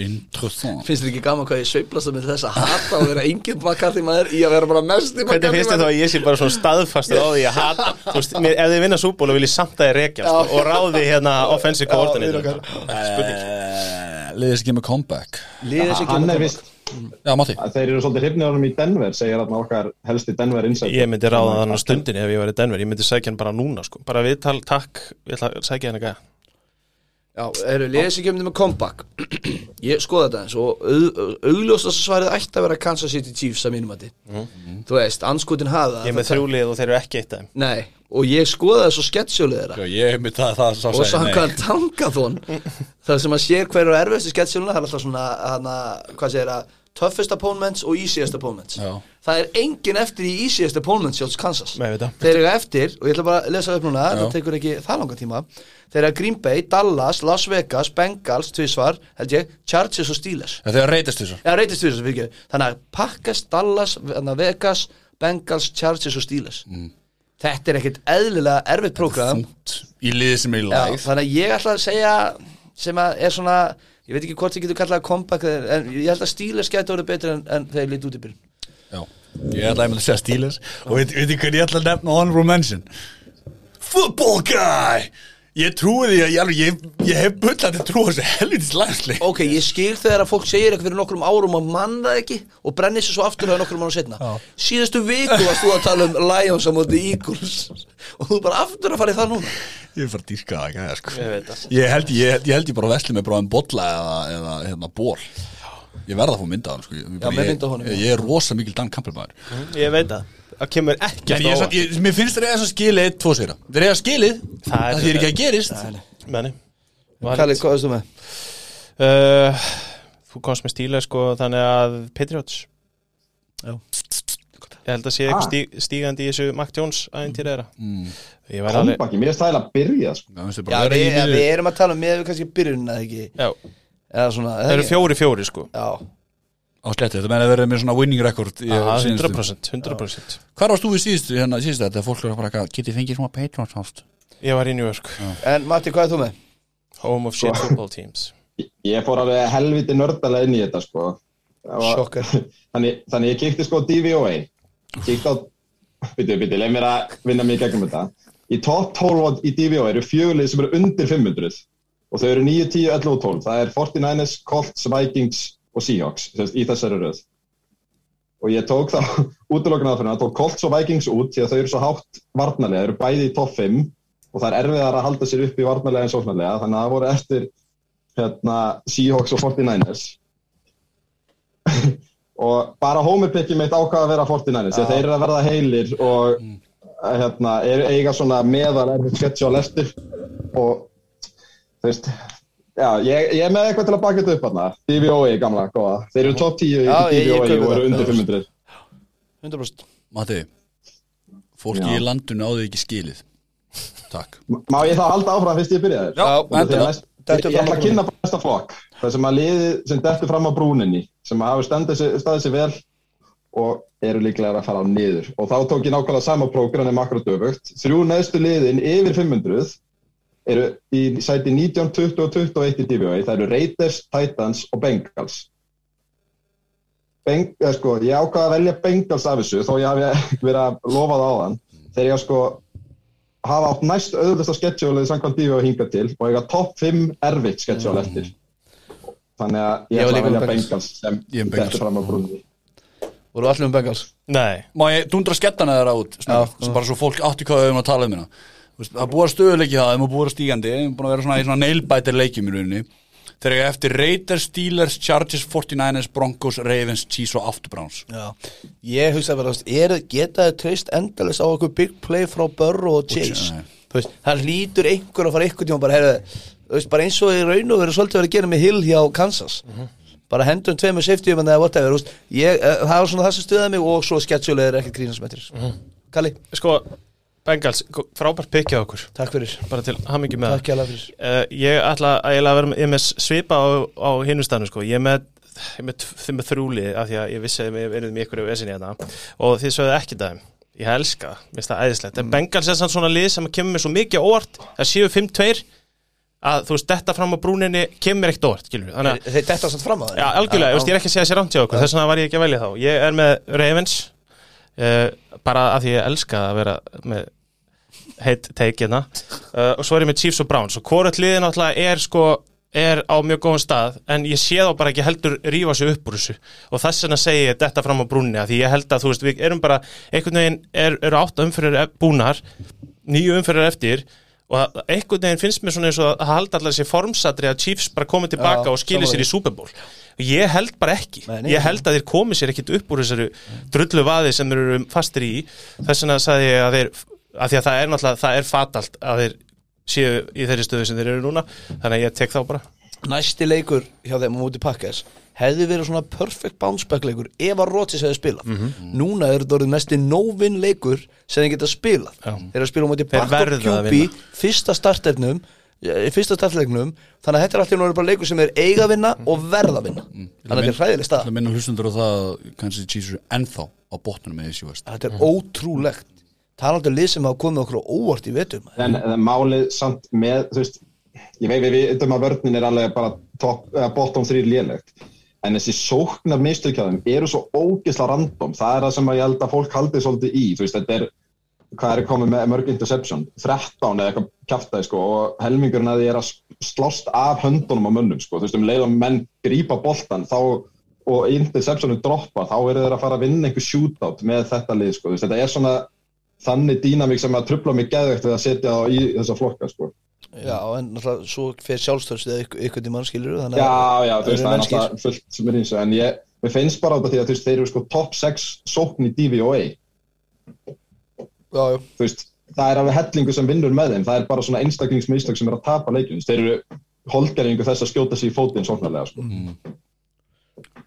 A: Interessant
D: Finnst þér ekki gaman hvað ég sveiflast að mér þess að hata að vera engin McCarthy maður í að vera bara mest í
B: Hvernig
D: McCarthy
B: finnst þið þá að ég sé bara svona staðfastur á því að hata Þú veist, mér, ef þið vinna súból og viljið samt að þið rekja sko, og ráði hérna offensive coordinator
A: Liðis ekki með comeback
D: Liðið sem
E: Hann er vist,
A: Já, Matti
E: þeir eru svolítið hrifnið honum í Denver segir þarna okkar helsti Denver insight
B: Ég myndi ráða þannig á stundinni ef ég var í Denver Ég myndi sækja hann bara núna sko Bara viðtal, takk, ég ætla að sækja hann eitthvað
D: Já, eru liðið sem kemur með comeback Ég skoða þetta eins og au- augljósast svarið ætti að vera Kansas City Chiefs að mínum að Þú veist, anskotin hafa það.
B: Ég er með þrjúlið og þeir eru ekki eitt af þeim
D: Nei, og ég skoðaði svo sketsjólið þeirra
A: Já, ég hef mér það, það sá
D: og
A: segir nei.
D: samkvæðan tangathon þar sem að sér hverju er erfiðstu sketsjóluna það er alltaf svona, hana, hvað segir það toughest opponents og easiest opponents
A: Já.
D: það er engin eftir í easiest opponents hjá Kansas
B: Nei, ég veit það.
D: þeir eru eftir, og ég ætla bara að lesa upp núna það tekur ekki það langa tíma þeir eru Green Bay, Dallas, Las Vegas, Bengals tvísvar, held ég, Chargers og Steelers
A: Já, Þegar reytist þessu
D: eða reytist tvísvar, fyrir ekki þannig að Pakkas, Dallas, hana, Vegas Bengals, Chargers og Steelers þetta er ekkert eðlilega erfitt prógram
A: Mm. Þungt Í liði sem er í
D: Já,
A: live
D: þannig að ég ætla að segja sem að er svona, ég veit ekki hvort þið getur kallað að comeback, eða- en ég held að Steelers gæti orðið betur en, en þeir lítið út í byrjun
A: Já Ég ætla einmitt að segja Steelers Og veit, veit ég hvernig ég ætla að nefna honorable mention Football guy Ég trúi því að ég, alveg- ég, ég hef bullandi trú á þessu helvitis landsleik
D: Ok, ég skil þegar að fólk segir eitthvað fyrir nokkrum árum og mann það ekki og brennir sér svo aftur þegar nokkrum árum setna Síðustu viku varst þú að tala um Lions á móti Eagles og þú bara aftur að fara í það núna
A: Ég er bara að dýrka það ekki það, sko
B: Ég veit það.
A: Ég held ég, held- ég, held ég bara vesli með bráðum bolla eða, eða hérna ból Ég verða að fá mynda hann sko Ég, bara-
D: með
A: ég-
D: mynd af honum, já.
A: Ég er rosa mikil Dan Campbell maður
B: Ég veit það Það kemur ekki
A: En ég, samt- ég, mér finnst þeir eða svo skilið tvo sigra Þeir eiga skilið
B: Það er-
A: Það þýr ekki að gerist
B: Menni
D: Kalli, hvað veist þú með?
B: uh, Þú komst með stíla sko Þannig að Patriots
D: Já.
B: Ég held að sé eitthvað stíg, stígandi í þessu Mac Jones ævintýri þeirra mm. Ég væri alveg
E: Kompaki, mér finnst það eiginlega að byrja sko.
A: Já, finnst þér
D: Já,
A: bara vera
D: við,
A: í
D: við
A: miður
D: erum að tala um, við kannski byrjunina eða ekki
B: Já,
D: eða svona, eða
B: það eru
D: ekki?
B: fjóri fjóri sko
D: Já,
A: Á sletti, þetta meina að vera með svona winning record í
B: Aha,
A: síðustu.
B: 100%, 100%.
A: Hvar varst þú í síðustu, hérna, síðustu þetta? Fólk eru bara að geti fengið svona Patreon sást
B: Ég var í New York
D: en Matti, hvað er þú með?
B: Home of shit football teams
E: Ég fór alveg helviti nördalega inn í þetta sko. Það var-
D: Sjokkar
E: þannig, þannig ég kíkti sko á DVOA kíkti á byrju, byrju, leið mér að vinna mig í gegnum þetta í top 12 í DVOA eru fjögulið sem eru undir 500 og þau eru 9, 10, 11 og 12 það er 49ers, Colts, Vikings og Seahawks sem sagt, í þessari röð og ég tók þá útlokkan aðferðina, tók Colts og Vikings út því að þau eru svo hátt varnarlega, þau eru bæði í top 5 og það er erfiðar að halda sér upp í varnarlega en sóknarlega, þannig að það voru eftir hérna, Seahawks og 49ers og bara homerpikki mitt ákvaða að vera 49ers ja. þeir eru að verða heilir og
D: Mm.
E: hérna, er, eiga svona meðal erfið sketsjál eftir og þú veist já, ég, ég er með eitthvað til að baka þetta upp hérna DVOI gamla, góða, þeir eru top 10
D: Já,
E: í
D: ég- ég
E: DVOI
D: kaupi
E: og
D: það.
E: eru undir 500
D: 100%
A: Matti, fólki
E: Já.
A: í landinu áðu ekki skilið Takk
E: Má ég þá halda áfram fyrst ég byrjaði?
A: Já, endilega.
E: næst, ég,
D: Dettu
E: ég ætla
D: fram á
E: að kynna bara næsta flokk Það sem að liði sem dettur fram á brúninni sem hafa staðið sig, staðið sig vel og eru líklega að fara á niður og þá tók ég nákvæmlega sama prógrann um akkurat öfugt Þrjú neðstu liðin yfir 500 eru í sæti 19, 20 og 21 í DVOI Það eru Raiders, Titans og Bengals Beng, eh, sko, Ég ákvaða að velja Bengals af þessu þó ég hafi verið að lofa það á þann þegar ég sko hafa átt næst auðvitað sketsjólið samkvæmt dífi og hinga til og eiga topp 5 erfitt sketsjól eftir þannig að
D: Mm. Ég
E: ég
D: var
E: ætla
D: líka
E: að
D: með
E: velja
D: Bengals.
E: Bengals sem
A: Ég er með Bengals.
E: þetta fram á brúni
D: Voru allir um Bengals?
B: Nei,
A: Má ég dundra skettana þeirra út snöggt?
D: Já.
A: Bara svo fólk átti hvað við erum að tala um hérna Þú veist, Það er búið að stöðuleiki það, þeim er búið að vera stígandi Þeim er búið að vera svona í svona neilbætir leikjum í rauninni Þeir eru eftir Raiders, Steelers, Chargers, 49ers, Broncos, Ravens, Chiefs og After Browns
D: Já
F: Ég hugsaði bara, þú veist, er, geta þið treyst endalist á einhver big play frá Burrow og Chase
A: nei.
F: Þú veist, Það hlýtur einhver að fara einhver tíma bara, heyrðu, þú veist, bara eins og í raun og verið svolítið verið að gera með Hill hjá Kansas bara hendum tveimur safety um en það er whatever þú veist, ég, uh, það var svona það sem stuðaði mig og svo sketsjulega er ekkert grínasmetris mm
B: Mhm.
F: -hmm. Kalli,
B: sko Bengals, frábært pikkja okkur
F: takk fyrir
B: bara til hammingi með
F: Takk hjá fyrir
B: Uh, ég ætla að eiginlega vera með, ég er með svipa á, á hinnustanu sko, ég er með ég er með, tv- með þrjúli af því að ég vissi að við erum í ykkur af esinni hérna og þið sögðu ekki dæm Ég elska það, mér finnst það æðislegt En Bengals er samt svona lið sem kemur mér svo mikið á óvart Það séu 5-2 að þú veist, þetta fram á brúninni kemur ekkert á óvart, skilur við Þannig að,
D: Þeir detta samt fram á það
B: já, algjörlega, þú veist, ég er ekki að segja sér ámt hjá okkur Þess vegna var ég ekki að velja þá Ég er með Ravens uh, Bara að því ég elska að vera með heitt teikina uh, Og svo er ég með Chiefs og Browns Og hvort liðin náttúrulega er sko er á mjög góðum stað en ég sé þá bara ekki heldur rífa sig upp úr þessu og þess vegna segi ég þetta fram á brúnni af því ég held að þú veist við erum bara einhvern veginn er, eru átta umfyrir búnar nýju umfyrir eftir og að- einhvern veginn finnst mér svona eins og að halda allar þessi formsatri að Chiefs bara komi tilbaka
D: Já,
B: og skili sér í Super Bowl og ég held bara ekki,
D: Nei, nei.
B: ég held að þeir komi sér ekkit upp úr þessari drullu vaði sem þeir eru fastir í þess vegna sagði ég að þeir að því að það er náttúrulega, það er fatalt að þeir séu í þeirri stöðu sem þeir eru núna þannig að ég tek þá bara
D: Næsti leikur hjá þeim á móti Packers hefði verið svona perfect bounce back leikur ef að Rodgers hefði spilað
B: Mhm.
D: Núna er þetta orðið mesti no-win leikur sem þeir geta spilað
B: Já.
D: Þeir eru að spila á móti
B: Þeir
D: Bakko
B: verða að
D: QB fyrsta starternum í fyrsta startleiknum þannig að þetta er alltaf nú bara leikur sem er eiga að vinna og verða að vinna
B: Mm.
D: þannig að þetta er hræðileg stað
A: Það minna hlustundur á það að kannski Chiefs eru ennþá á botnunum með þessi vest
B: Mm.
D: Þetta er ótrúlegt talandi um lið sem hafa komið okkur á óvart í vetum
E: en, en málið samt með þú veist, ég veit við vitum að vörnin er alveg bara top, eða bottom 3 lélegt en þessi sóknar mistökjaðum eru svo ógisla random, það er það sem að ég held að fólk haldið svolítið í, þú veist, þetta er hvað er komið með mörg interception 13 eða eitthvað kjaftaði sko og helmingurinn að því er að slást af höndunum á mönnum sko, þú veist, um leið og menn grípa boltan þá og interceptionum droppa, þá eru þeir að fara að vinna einhver shootout með þetta lið sko, þú veist, þetta er svona þannig dýnamík sem að trubla mig geðvegt við að setja þá í þessa flokka sko.
B: Mm.
D: Já, en náttúrulega svo fer sjálfstöðsvið ykkur til mannskilur
E: Já, já, þú veist,
D: eru
E: það er
D: mennskir.
E: alltaf fullt sem er eins og en ég, mér finnst bara á þetta því að þú veist, þeir eru sko top 6 sókn í DVOA
D: já, já.
E: þú veist, það er alveg hellingu sem vinnur með þeim, það er bara svona einstaklingsmiðstak sem er að tapa leikjum, Þú veist, þeir eru holgeringu þess að skjóta sér í fótinn sóknarlega sko.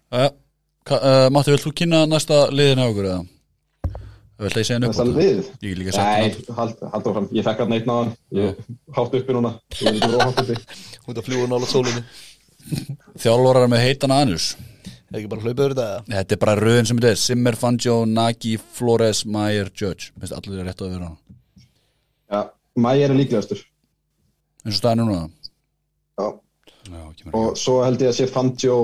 A: uh, uh, Matti, vilt þú kynna næsta liðin á okkur eða? Vilt það ég segja henni upp á
E: þess að
A: það?
E: við
A: Ég get líka sagt
E: Nei, hald, haldur áfram, ég fekk að neitt náðan ég hátt uppi núna þú verður ekki róhátt uppi
D: Út að fljúa nála sólinni
A: Þjálvarar með heitan anus
D: Er ekki bara hlaupið yfir þetta?
A: Þetta er bara röðin sem þetta er Simmer, Fangio, Nagy, Flores, Meyer, Judge Mér finnst allir rétt á að vera hann
E: já, Mæja er líklegastur
A: eins og staðan er núna
E: já.
A: Já, kemur ekki.
E: og svo held ég að sé Fantjó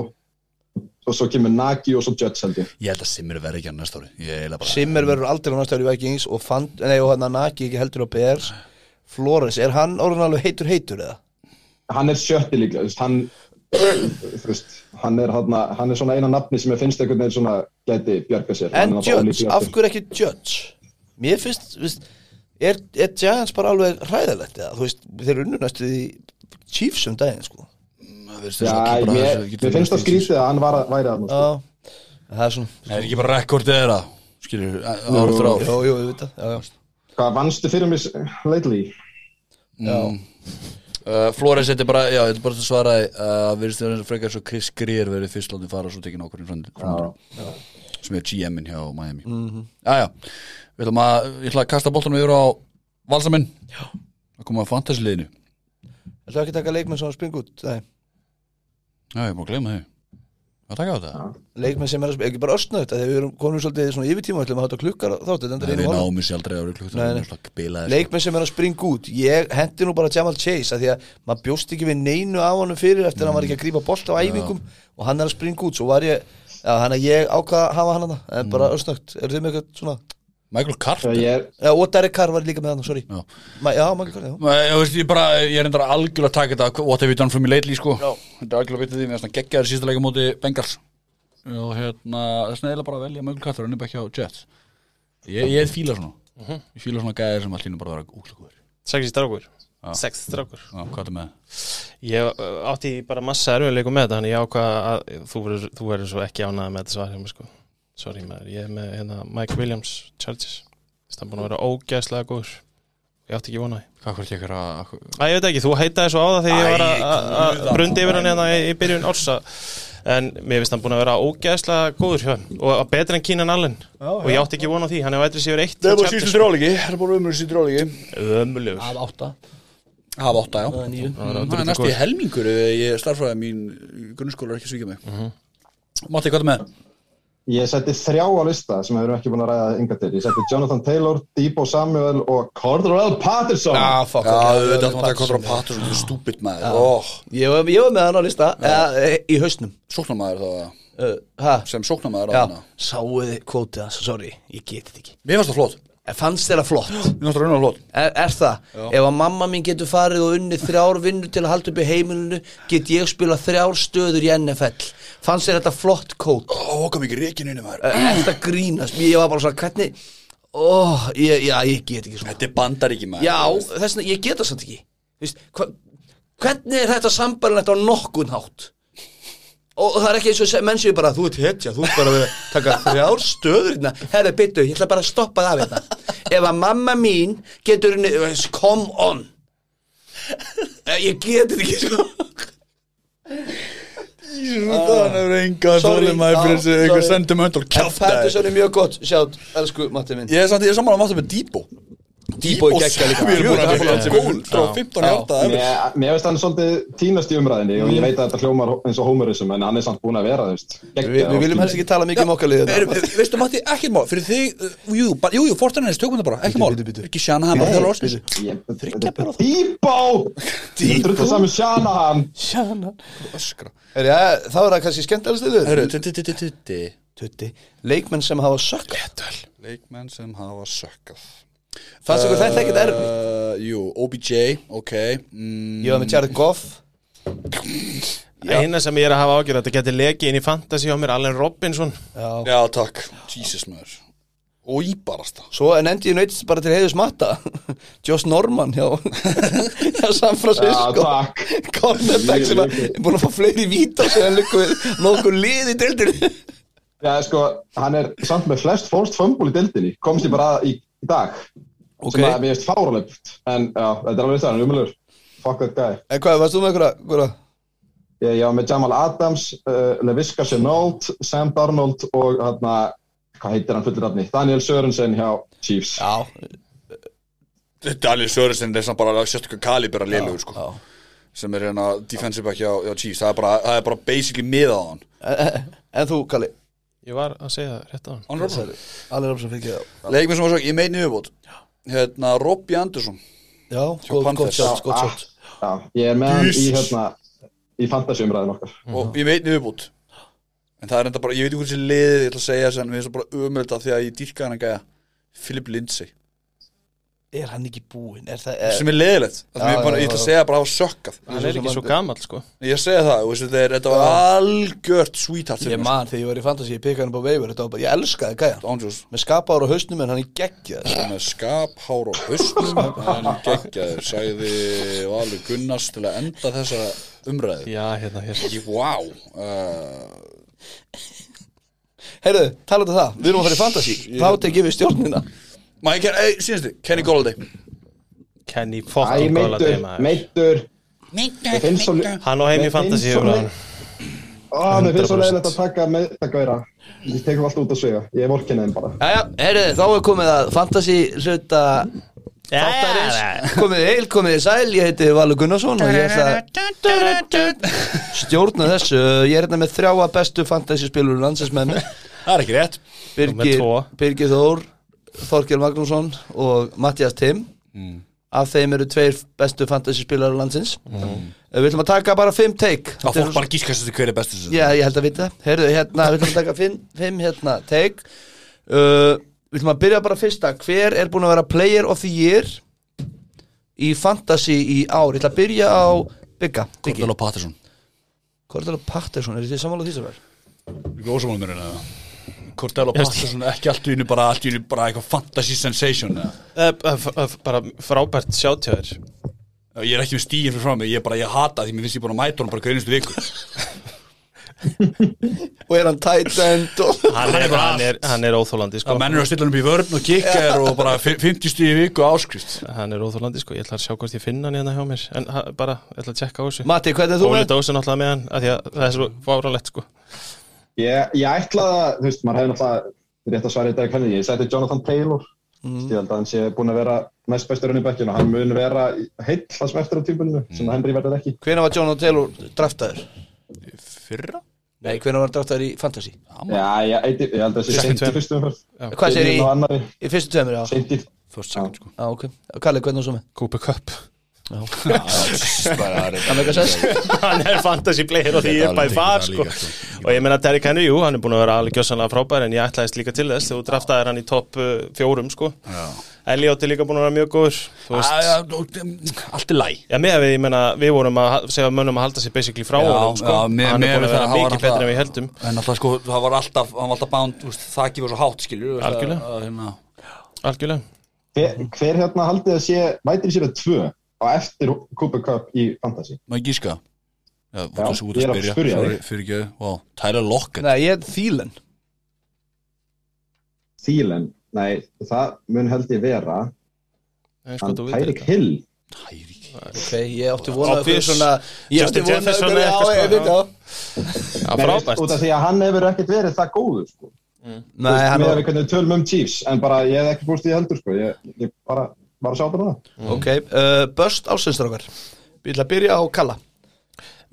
E: og svo kemur Nagi og svo Judge held ég
A: Ég held að Simmer verði ekki hann næsta ári Ég er eiginlega bara
D: Simmer verður aldrei á næsta ári í Vikings og, fand, nei, og hann að Naki ekki heldur á BR Flores, er hann orðan alveg heitur heitur eða?
E: hann er sjötti líka þú veist, hann, þú veist, hann, er, hann, hann er svona eina nafni sem ég finnst einhvern veginn svona gæti bjarga sér
D: En
E: Hann er náttúrulega
D: Judge,
E: ólíklegastur.
D: af hverju ekki Judge? Mér finnst, viðst, er, er Giants bara alveg hræðilegt eða? Þú veist, þeir eru unnunastu í Chiefs um daginn sko
A: Það virðist eins og
E: Já,
A: ekki bara
E: mér,
A: þessu- getur
E: mér finnst það
A: verið-
E: skrítið að hann var, að- væri að sko.
D: Já, það er svona
A: Það er ekki bara rekordið þeirra Skilur, ára þrá
D: Jó, jú, við veit það, já, já
E: Hvað vannstu fyrir mig lately?
A: uh, Flores, þetta er bara, já, þetta er bara að svara uh, Virðist þeirra frekar svo Chris Greer verið fyrst látið fara svo tekinn okkur framöndra Sem er GM-in hjá Miami mm
D: Mhm.
A: -hmm. Já, já, við ætlum að Ég ætla að kasta boltanum yfir á Valsaminn Já Að koma að fantasiliðinu
D: Ætlaðu ekki að taka leikmenn sem að springa út? Nei,
A: Já, ég má gleyma þau Hvað taka á þetta?
D: leikmenn sem er að springa, ekki bara östna þetta Þegar við erum komin svolítið í svona yfirtíma ætlum að hátta klukkar þátt Þetta
A: Nei,
D: er
A: við
D: einu
A: náum þessi aldrei árið klukk
D: Nei, nei.
A: sko-
D: leikmenn sem er að springa út ég hendi nú bara Jamal Chase af því að maður bjóst ekki við neinu á honum fyrir eftir að hann var ekki að grípa bolt á æfingum og hann er að springa út, svo var ég já, hann að ég ákvað að hafa hann hana en
A: Mm.
D: bara örsnögt, eru þið með eitthvað svona
A: Michael Carter
E: Ég er,
D: já, og Derek Carr var líka með hann, sorry
A: Já.
D: Ma, já, maður kallar, já.
A: Nei, Ég, veist, Eh, ég, bara, ég er endur algjörlega að taka þetta What have you done for me lately sko Já. Þetta er algjörlega vitið því Mér finnst geggjaður í sísta leika móti Bengals Og hérna Þess vegna er bara að velja Mögul Katar Önni ekki á Jets Ég, ég fíla svona Ég fíla svona gæðir sem allir nú bara vera útlugur
B: Sexi strákur Sexi strákur
A: Já, hvað er með
B: Ég uh, átti bara massa erfiðleikum með þetta Þannig ég ákvað að þú verður, þú verður svo ekki ánægð með þetta svar hjá mér, sko. Sorry maður, ég er með hérna, Mike Williams Chargers Það er búin að vera ógæðslega góður Ég átti ekki vonaði
A: Hvað hvort ég er að
B: Æ, ég veit ekki, þú heitaði svo á það þegar ég var að- að- að
A: guð,
B: brundi yfir hann hérna í, í byrjun orsa En mér finnst hann búin að vera ógæðslega góður hjá hann Og betri en Kínan Allen Og ég átti ekki vonað því, hann hefur eitthvað sér eitt
G: Það er bara síðustu drálíki, það er bara umur síðustu drálíki
B: Ömulegur
D: af átta,
A: Hafa átta, já
D: nýju
A: Það er næstu í eh, Mhm. helmingur ef Ég starfræði mín Grunnskólar ekki að svíkja mig Matti, hvað er með
E: Ég setti þrjá á lista sem við erum ekki búin að ræða yngar til. Ég setti Jonathan Taylor, Debo Samuel og Cordell Patterson.
A: Ah, fuck,
D: Já,
A: ok,
D: auðvitað
A: auðvitað
D: er
A: maður að kontra
D: Patterson.
A: Patterson, þú stúpid maður oh,
D: Ég var, ég var með hann á lista eða, e, í hausnum
A: Sóknarmaður þá, eða?
D: uh, ha,
A: sem sóknarmaður á
D: já,
A: hana
D: Sáuði kvótið hans, sorry, ég get þetta ekki
A: Mér fannst það flott,
D: En fannst þér það flott?
A: mér fannst það raunar flott
D: Er, er það? Ef að mamma mín getur farið og unnið þrjár vinnur til að halda upp í heimilinu get ég spila þrjár stöður í NFL Fannst þér þetta flott kót?
A: Ó, kom ekki reikin inni maður
D: Er þetta grínast? Ég var bara svona, hvernig? Ó, ég, já, ég get ekki svona
A: Þetta er bandaríki maður
D: Já, þess vegna, ég geta samt ekki Þú veist, hva, Hvernig er þetta sambarilegt á nokkun hátt? Og það er ekki eins og se- menn séu bara Þú ert hetja, þú ert bara að vera að taka þrjár stöður hérna. Herra, byttu, ég ætla bara að stoppa það við þetta Ef að mamma mín getur henni Come on Eh, Ég geti þetta ekki sko.
A: Það er enga
D: Sorry.
A: þolinmæði fyrir
D: Já,
A: þessu einhver
D: sorry.
A: sentimental
D: En
A: kjáft
D: Patterson er mjög gott, sjátt, elsku Matti minn
A: Ég er samt, ég er saman að maður með Debo
D: Debo er geggjað líka.
A: Við erum búin að fara
D: Djöfull, hann er
A: gól frá 15 í 8
E: Mér, mér veist hann svolítið týnast í umræðinni og ég veit að þetta hljómar eins og homerism en hann er samt búin að vera, þú veist.
D: Mm. Við við viljum helst ekki tala mikið um okkar liðið
A: Erum- Veistu Matti, ekkert mál, fyrir þig uh, Jú, jú, bara- jú, jú, Fortnite tökum þetta bara, ekkert mál
D: Bíddu, bíddu, bíddu.
A: Ekki sjana hann, bara þjóla orsins
E: ekki... Dýbó! Drutta saman Shanahan!
A: Öskra
D: Já, þá er það kannski skemmtilegst liðið
A: Herru, tutti, tutti, tutti
D: Tutti, leikmenn sem hafa sökk
A: Leikmenn sem hafa sökkað
D: Fannst ykkur þetta ekkert erfitt?
A: Uh, Jú, OBJ, ok mm,
D: Ég var með Jared Goff
B: Eina sem ég er að hafa ágjörð Þetta geti lekið inn í fantasy á mér Allen Robinson
A: Já, takk Jesus maður Og íbarasta
D: Svo en endi ég neitt bara til heiðus matta Josh Norman hjá, hjá San
E: Já,
D: Francisco
E: takk.
D: Cornerback sem að- er búin að fá fleiri víta sem hann liggur við nokkur lið í deildinni
E: Já, sko, hann er samt með flest fórst fömbul í dildinni. Komst ég bara að í, í dag.
D: Ok.
E: Sem að mér veist fáralegt. En já, þetta er alveg það, hann er umhverfur. Fuck that guy.
D: En hvað, varst þú með einhverja? einhverja?
E: Ég, ég var með Jamal Adams, uh, Leviska Chenault, Sam Darnold og hérna, hvað heitir hann fullir afni? Daniel Sörensen hjá Chiefs.
D: Já,
A: Daniel Sörensen er samt bara sérstaklega kalibera lélugur sko
D: já.
A: sem er hérna defensive back hjá, hjá Chiefs það er bara, það er bara basically miða á hann
D: En þú, Kalli
B: Ég var að segja það rétt á hann
D: Allir Robson fengið það
A: Leikmenn sem var svo, ég meini viðbót hérna Robby Anderson
D: Já, góð, gott
A: Panthers.
D: shot, gott shot
E: Ah, Já, ég er með hann í
A: Jesus.
E: hérna í fantasjumræðin okkar
D: Mhm.
A: og ég meini viðbót en það er enda bara, ég veit ekki hvernig liðið ég ætla að segja þess en við erum bara umölda því að ég dýrka hann að gæja Philip Lindsay
D: Er hann ekki búinn? Er það,
A: sem er leiðilegt
D: Eh. Já,
A: ja, bara,
D: já,
A: ég ætla
D: já.
A: að segja bara að hafa sökkað
B: Hann er ekki svo gamall sko
A: ég segja það, þú veist, þetta er- þetta var algjört sweetheart
D: Ég man þegar ég var í fantasy, ég pikkaði hann upp á veifur Þetta var bara, ég elskaði gæja
A: Ándjós
D: Með skapaður á hausnum en hann er geggjað
A: með skaphár og haustum en geggjaður, sagði Valur Gunnars til að enda þessa umræðu
B: Já, hérna, hérna
A: Ég, Vá uh,
D: Heyrðu, talaðu um það, við erum að fara í fantasy Þá tekið við stjórnina
A: Mæ, ey, síðanstu, eh, Kenny Golladay
B: Kenny
E: Æ,
B: fucking góla
E: meittur, meittur Mér finnst svo
B: Hann á heim í
E: Mér finnst
B: fantasy
E: svo
B: umræðan
E: Ó, mér finnst svo
B: 100%.
E: leiðilegt að taka með þetta gæra Ég tekum allt út að segja, ég er vorkinn þeim bara
D: Jæja, heyrðu, þá er komið að fantasy hluta þáttarins Komið heil, komið þið sæl, ég heiti Valur Gunnarsson og ég ætla að stjórna þessu Ég er hérna með þrjáa bestu fantasy spilur landsins með mér
I: Það er ekki rétt
B: Númer
D: Birgir,
B: tvo.
D: Birgir Þór, Þorkjell Magnússon og Mattias Timm Af þeim eru tveir bestu fantasy spilar landsins Við ætlum að taka bara fimm take
I: Það fólk bara gískast þetta hver er bestur
D: Já, ég held að vita Herðu, hérna, við ætlum að taka fimm, fimm hérna, take uh, Við ætlum að byrja bara fyrsta Hver er búin að vera player of the year í fantasy í ár? Ég ætla að byrja á Bigga Biggi
I: Cordell og Patterson
D: Cordell Patterson, er þið sammála því sem er?
I: Ekki ósamálum mér en það
A: hérna.
I: Cordell og Patterson ekki allt í einu bara allt í einu bara eitthvað fantasy sensation eða.
B: Eh, eh, eh, Bara frábært sjátjöður
I: Ég er ekki með stíðin fyrir frá mig, ég er bara, ég hata því mér finnst ég búin að mæta honum bara hverjumstu viku
D: Og er hann tight end og
B: Hann er, hann er, hann er óþólandi sko
I: Það mennur að stilla hann upp í vörn og kikkar og bara fi- 50 stíði viku áskrift
B: Hann er óþólandi sko Ég ætla að sjá hvort ég finna hann hérna hjá mér En ha- bara, ég ætla að tjekka á þessu
D: Matti, hvernig er þú
B: Óli
D: með?
B: Dósi náttúrulega með hann af því að Það er svo fáralegt sko
E: Ég, ég ætlaði að, þú veist, maður hefði náttúrulega rétt að svara í dag hvernig Ég seti Jonathan Taylor
D: Mm.
E: Ég held að hann sé búin að vera næst bestur unni bekkinu og hann mun vera heill
D: Mm.
E: það sem eftir á tímpuninu sem að Henry verður ekki
D: Hvenær var John Taylor draftaður?
I: Fyrra?
D: Nei, hvernig var hann dráttar í Fantasy?
E: Já, já, eitt, ég held að það sé seint í fyrstu umferð
D: Hvað segir
E: Byrjun á
D: í,
E: annarri,
D: í fyrstu tveimur? Já,
E: seint í
A: First second sko
D: já ok. Kalli, hvernig var svo með?
B: Cooper Cup
D: Það með eitthvað sess?
B: hann er fantasy player og því ég er bæði far sko. og ég meina Derrick Henry, jú, hann er búin að vera alveg gjössanlega frábær en ég ætlaðist líka til þess þegar þú draftaðir hann í topp uh, fjórum sko.
A: Mm.
B: Elliot er líka búin að vera mjög góður þú veist,
A: Ah, um, Allt er læg
B: já, mér við, ég meina, við vorum að ha- segja mönnum að halda sér basically frá honum sko. hann er búin að vera mikið betur en við heldum
A: En alltaf sko, það var alltaf, hann var alltaf bánd úst, Það ekki var svo hátt skilur við,
B: Algjörlega.
A: að- að, hérna,
B: algjörlega,
E: Hver,
D: Mhm.
E: hver hérna haldið að sé mætir sér að tvö á eftir Cooper Cup í Fantasy
A: Má ég gíska? Já,
E: Já,
A: þú svo út að
E: ég er að
A: spyrja
E: spyrja
A: Sorry,
E: þig.
A: Fyrir ekki, wow, Tyler Lockett
D: Nei, ég er þýlen.
E: Thielen, nei, það mun held ég vera
B: Nei, sko,
E: hann
B: þú veit
E: Tyreek
B: þetta
E: Hill
A: Tyreek
D: Ok, ég átti vonað
B: Obvious.
D: fyrir svona... Ég átti
B: Justin
D: vonað
B: Jefferson
D: fyrir, já,
B: eða eitthvað,
D: ég
B: sko,
D: veit það.
B: Já,
E: Nei,
B: frábært,
E: út af því að hann hefur ekkert verið það góður sko.
D: Nei, hann
E: með að
D: var...
E: við hvernig við tölum um Chiefs en bara ég hef ekki búist í heldur sko. ég, ég bara var að sjá bara það
D: Ok, uh, börst ásynstrákar. Við ætla að byrja á Kalla.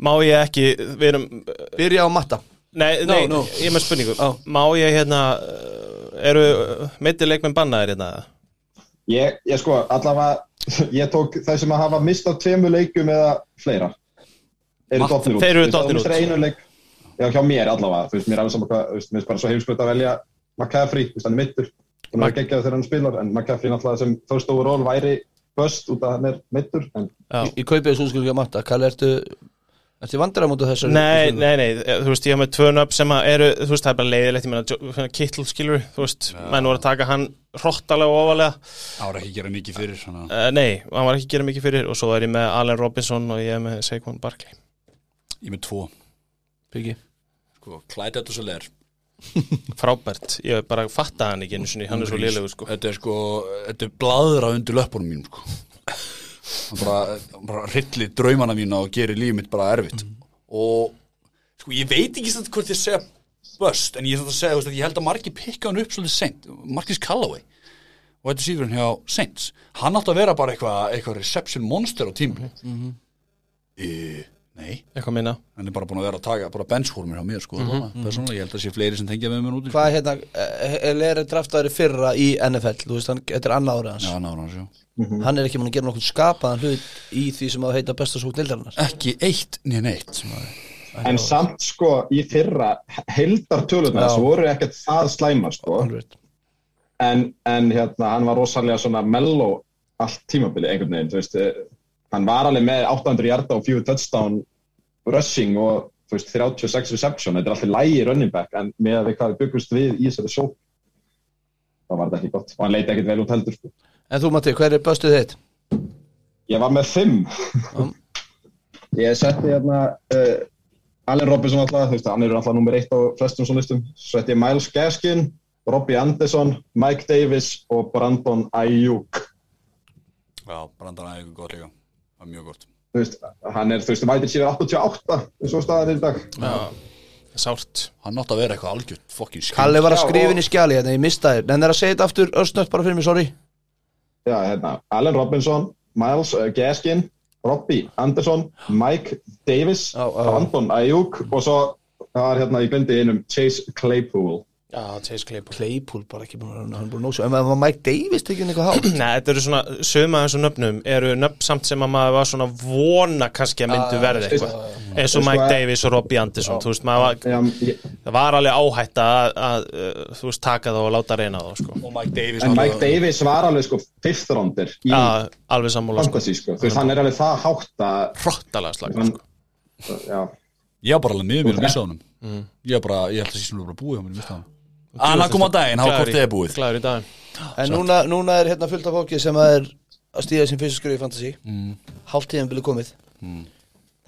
B: má ég ekki við erum,
D: Byrja á Matta.
B: nei, nei,
D: no.
B: ég er með spurningu má ég hérna uh, eru meitileikmenn bannaðir hérna
E: ég, ég sko allavega ég tók þeir sem að hafa mistað tveimu leikum eða fleira eru dottir út
B: þeir eru
E: Þú veist,
B: dottnir
E: þú missir
B: út.
E: einu leik, já hjá mér allavega þú veist mér er alveg saman hvað þú veist mér er bara svo heimskvöld að velja McCaffrey þú veist hann er mittur hann er
B: Mac-
E: ekki ekki þegar hann spilar en McCaffrey náttúrulega sem first overall væri bust út af hann er mittur en
B: Já.
D: Ég kaupið þessu útskjöld á Matta. Kalli, ertu... Ertu vandrar á mótu þessari?
B: Nei, nei, nei, eh, þú veist, ég hef með tvö nöfn sem að eru, þú veist, það er bara leiðilegt, ég meina, Kittle skilur, þú veist, menn voru að taka hann hróttalega og ofalega,
A: Það var ekki að gera mikið fyrir svona.
B: uh, nei, hann var ekki að gera mikið fyrir og svo er ég með Allen Robinson og ég er með Saquon Barkley.
A: Ég er með tvo
D: Piggi.
A: sko, Clyde Edwards og Leir
B: Frábært, ég hef bara fattað hann ekki einu sinni, hann er svo liðlegu, sko.
A: Þetta er sko, þetta er bladra undir löppunum mínum sko Hann bara, hann bara rilli draumana mína og gerir lífið mitt bara erfitt
B: Mhm.
A: Og sko, ég veit ekki þetta hvort ég segja bust En ég þetta segja, þú veist, að ég held að margir pikka hann upp svolítið seint Markis Callaway og þetta síður hann hjá Saints hann átti að vera bara eitthvað eitthva reception monster á
B: Mhm.
A: tímli mm nei,
B: Eitthvað minna.
A: hann er bara búin að vera að taka bara benchhormir hjá mér sko
B: Mhm,
A: mm persónulega, ég held að sé fleiri sem tengja með mér út í, sko.
D: Hvað hérna, er Lerið draftaður í fyrra í NFL, þú veist, hann, þetta er annað árið hans.
A: Já, ná, ná, sjá.
B: Mhm.
D: Hann er ekki mann að gera nokkuð skapaðan hlut í því sem á að heita besta sókn dildarinnar.
A: ekki eitt, nýja neitt
E: En samt sko í fyrra heldartölunar
D: Já.
E: þess voru ekkert það slæma sko en, en hérna hann var rosalega svona mello allt tímabili einhvern veginn þú veist, eh, hann var alveg með 800 hjarta og 4 touchdown rushing og þú veist, 36 reception þetta er alltaf lægi running back en með að við hvað við byggust við í þessari sók þá var þetta ekki gott og hann leiti ekkert vel út heldur sko.
D: En þú Matti, hver er bestuð þitt?
E: Ég var með fimm Ég setti hérna uh, Allen Robinson alltaf, þú veist, hann er alltaf nummer eitt á flestum svona listum. Svo setti ég Miles Gaskin, Robbie Anderson, Mike Davis og Brandon Ayuk.
A: já, brandan aðeins gott líka það er mjög gott
E: Þú veist, hann er, þú veist, mætir síðan 88, eins og staðan er í dag.
B: Sárt.
A: hann átti að vera eitthvað algjört fokkin skil
D: Kalli var að
E: Já,
D: skrifa
E: og-
D: inn í skjali, þannig ég mistaði þér. En það er að segja þetta aftur östnött bara fyrir mig, sorry.
E: Já, hérna, Allen Robinson, Miles uh, Gaskin, Robbie Anderson, Mike Davis,
D: Já, já.
E: Brandon Ayuk og svo, það var hérna, ég glendi einum, Chase Claypool.
B: Já, Chase Claypool.
D: Claypool bara ekki búin að hann búin að nósa. En var Mike Davis tekinn eitthvað hátt?
B: Nei, þetta eru svona, söma þessu nöfnum eru nöfn samt sem að maður var svona vona kannski að myndu verði eitthvað. Eins og
E: Sko,
B: Mike
E: að-
B: Davis og Robbie Anderson, þú veist, maður var,
E: Já, ég,
B: það var alveg áhætt að, að uh, þú veist, taka þá og láta reyna þá sko.
A: og Mike Davis
E: En Mike
A: náttúrulega-
E: Davis var alveg sko fifth rounder í
B: ja, alveg sammála sko.
E: fantasy sko, þú veist hann er alveg það hátt að
B: hróttalega slag
E: hann,
B: sko.
E: já,
A: ég var bara alveg mjög mjög að missa honum ég var bara, ég held að sístum bara búið hann missa honum Anna kom á daginn, hann hvort þið er búið
B: glæður í daginn
D: En núna, núna er hérna fullt af fólki sem að er að stíga sem fyrstu skrifa í fantasy mm. Hálftíðan vilja komið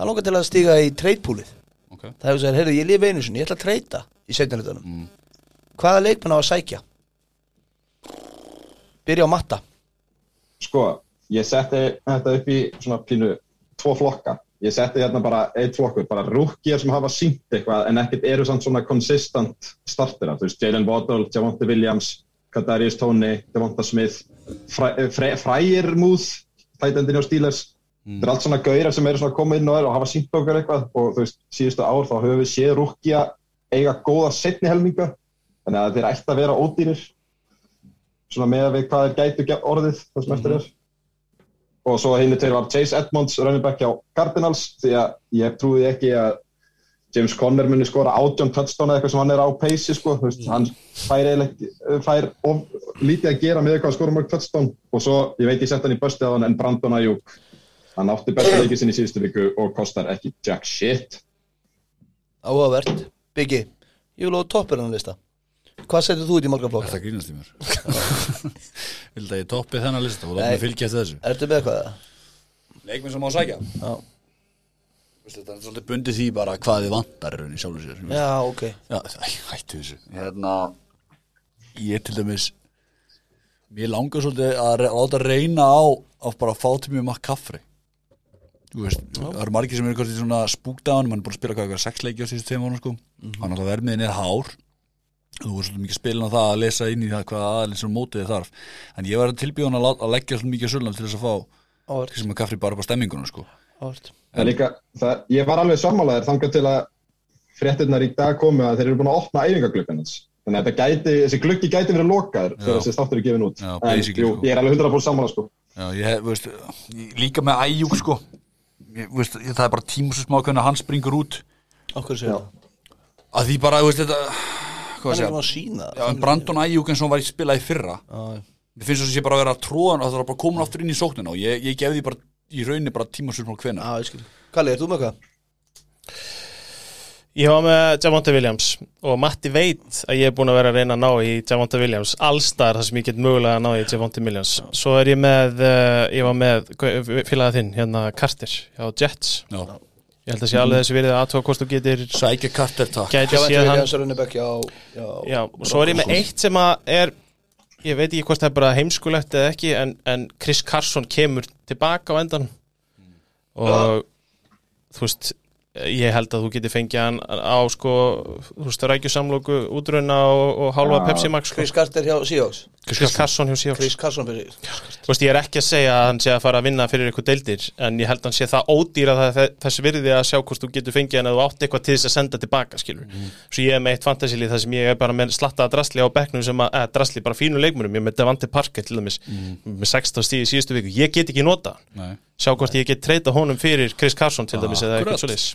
D: Það langar til að stíga í treytpúlið
A: Ok.
D: Það hefur sagt, heyrðu, ég lifi einu sinni, ég ætla að treyta í setjarnutunum mm. Hvaða leikmenn á að sækja? Byrja á matta
E: sko ég setti þetta upp í svona pínu tvo flokka, ég setti hérna bara eitt flokkur, bara rúkir sem hafa sínt eitthvað en ekkert eru samt svona consistent startera, þú veist Jalen Waddell, Javonte Williams, Kadarius Tóni Javonta Smith, Fræ- eh, Fre- Fræir Múð, tætendin á Steelers þetta er allt svona gauðir sem eru svona að koma inn og er og hafa sínt okkur eitthvað og þú veist, síðustu ár þá höfum við séð rúkja eiga góða setni helminga þannig að þeir ætti að vera ódýrir svona með að við hvað þeir gætu ge- orðið það sem eftir er og svo hinn til var Chase Edmonds running back hjá Cardinals því að ég trúði ekki að James Conner muni skora átjón touchdown eða eitthvað sem hann er á peysi sko, þú veist, hann fær, eiginlega ekki- eh, fær of, lítið að gera með eitthvað að skora mörg touchdown og svo, ég veit ég sett hann í böstið á hann en Brandon Ayuk hann átti bestu leikið sinni í síðustu viku og kostar ekki jack shit
D: Áhugavert, Biggi Ég vil á toppur hann lista Hvað setur þú út í morganflokk?
A: Þetta grínast í mér Vildi að ég toppi þennan lista og láta
D: Nei.
A: mig fylgja eftir þessu
D: Ertu með eitthvað? eða?
G: Leikminn sem má sækja
D: Já,
A: Þetta er svolítið bundið því bara hvað þið vantar í raun í sjálfur sér
D: já ok
A: Já, æ, hættu þessu hérna, ég til dæmis mér langar svolítið að re- láta reyna á að bara fá til mjög makk kaffri þú veist, það eru margir sem eru hvort í svona spúkdáin, mann er búin að spila hvað eitthvað sex leiki á síðustu tveim ára sko hann alltaf vermiðin er hár þú voru svolítið mikið spilin á það að lesa inn í það hvað aðeins sem mótið þið þarf en ég var tilbjóðan að, láta- að leggja svolítið mikið sölum til þess að fá
D: Áhört.
A: sem að kaffri bara bara stemmingunum sko
D: Áhört
E: en líka, það, ég var alveg sammálaðir þangað til að fréttirnar í dag komu að þeir eru búin að opna æfingagluggan hans þannig að þetta gæti, þessi gluggi gæti verið lokaður
A: Já.
E: þegar þessi státtur er gefin út
A: Já,
E: en
A: basically,
E: jú,
A: sko.
E: ég er alveg 100% sammála sko
A: Já, ég hef, veist, ég- líka með æjúk sko ég, veist, ég, það er bara tíma svo smá hvernig hann springur út
D: Okkur séu það
A: að því bara, veist, þetta hvað að
D: Hann er
A: segja,
D: maður að sína
A: já, en Brandon Ayuk eins og hann var í spila í fyrra mér finnst þess að sé bara að vera tróðan að það er bara komin aftur inn í sóknina og ég, ég gef því bara í rauninni bara tíma svo smá hvenær
D: Já, ég skil Kalli, er þú með eitthvað?
B: Ég var með Javonte Williams og Matti veit að ég er búin að vera að reyna að ná í Javonte Williams allstar þar sem ég get mögulega að ná í Javonte Williams Svo er ég með, uh, ég var með hva- félaga þinn, hérna Carter hjá Jets
A: Já.
B: Ég held að sé alveg þessi verið að aðtóa hvort þú getur
A: sækja karter takk
B: gæti
D: Kjavandi
B: séð hann
D: Williams er runnibæk, já, já
B: Já, og svo er ég með eitt sem að er ég veit ekki hvort það er bara heimskulegt eða ekki en, en Chris Carson kemur tilbaka á endan og þú veist ég held að þú geti fengið hann á sko, þú veist, rækjusamlóku útrunna og, og hálfa
E: Já.
B: Pepsi Max sko.
D: Chris Carter hjá Seahawks
B: Chris Carson hjá Seahawks
D: Chris Carson fyrir
B: Þú veist, ég er ekki að segja að hann sé að fara að vinna fyrir eitthvað deildir en ég held að hann sé það ódýra það, það- þess virði að sjá hvort þú getur fengið hann að þú átt eitthvað til þess að senda tilbaka skilur. Svo ég er með eitt fantasilið þar sem ég er bara með slattaða drasli á bekknum sem að, eða drasli bara fínu leikmurum, ég er með Devante Parker til dæmis með 16 stíð í síðustu viku, ég get ekki nota hann.
A: Nei.
B: sjá hvort ég get treyta honum fyrir Chris Carson til dæmis eða eitthvað svoleiðis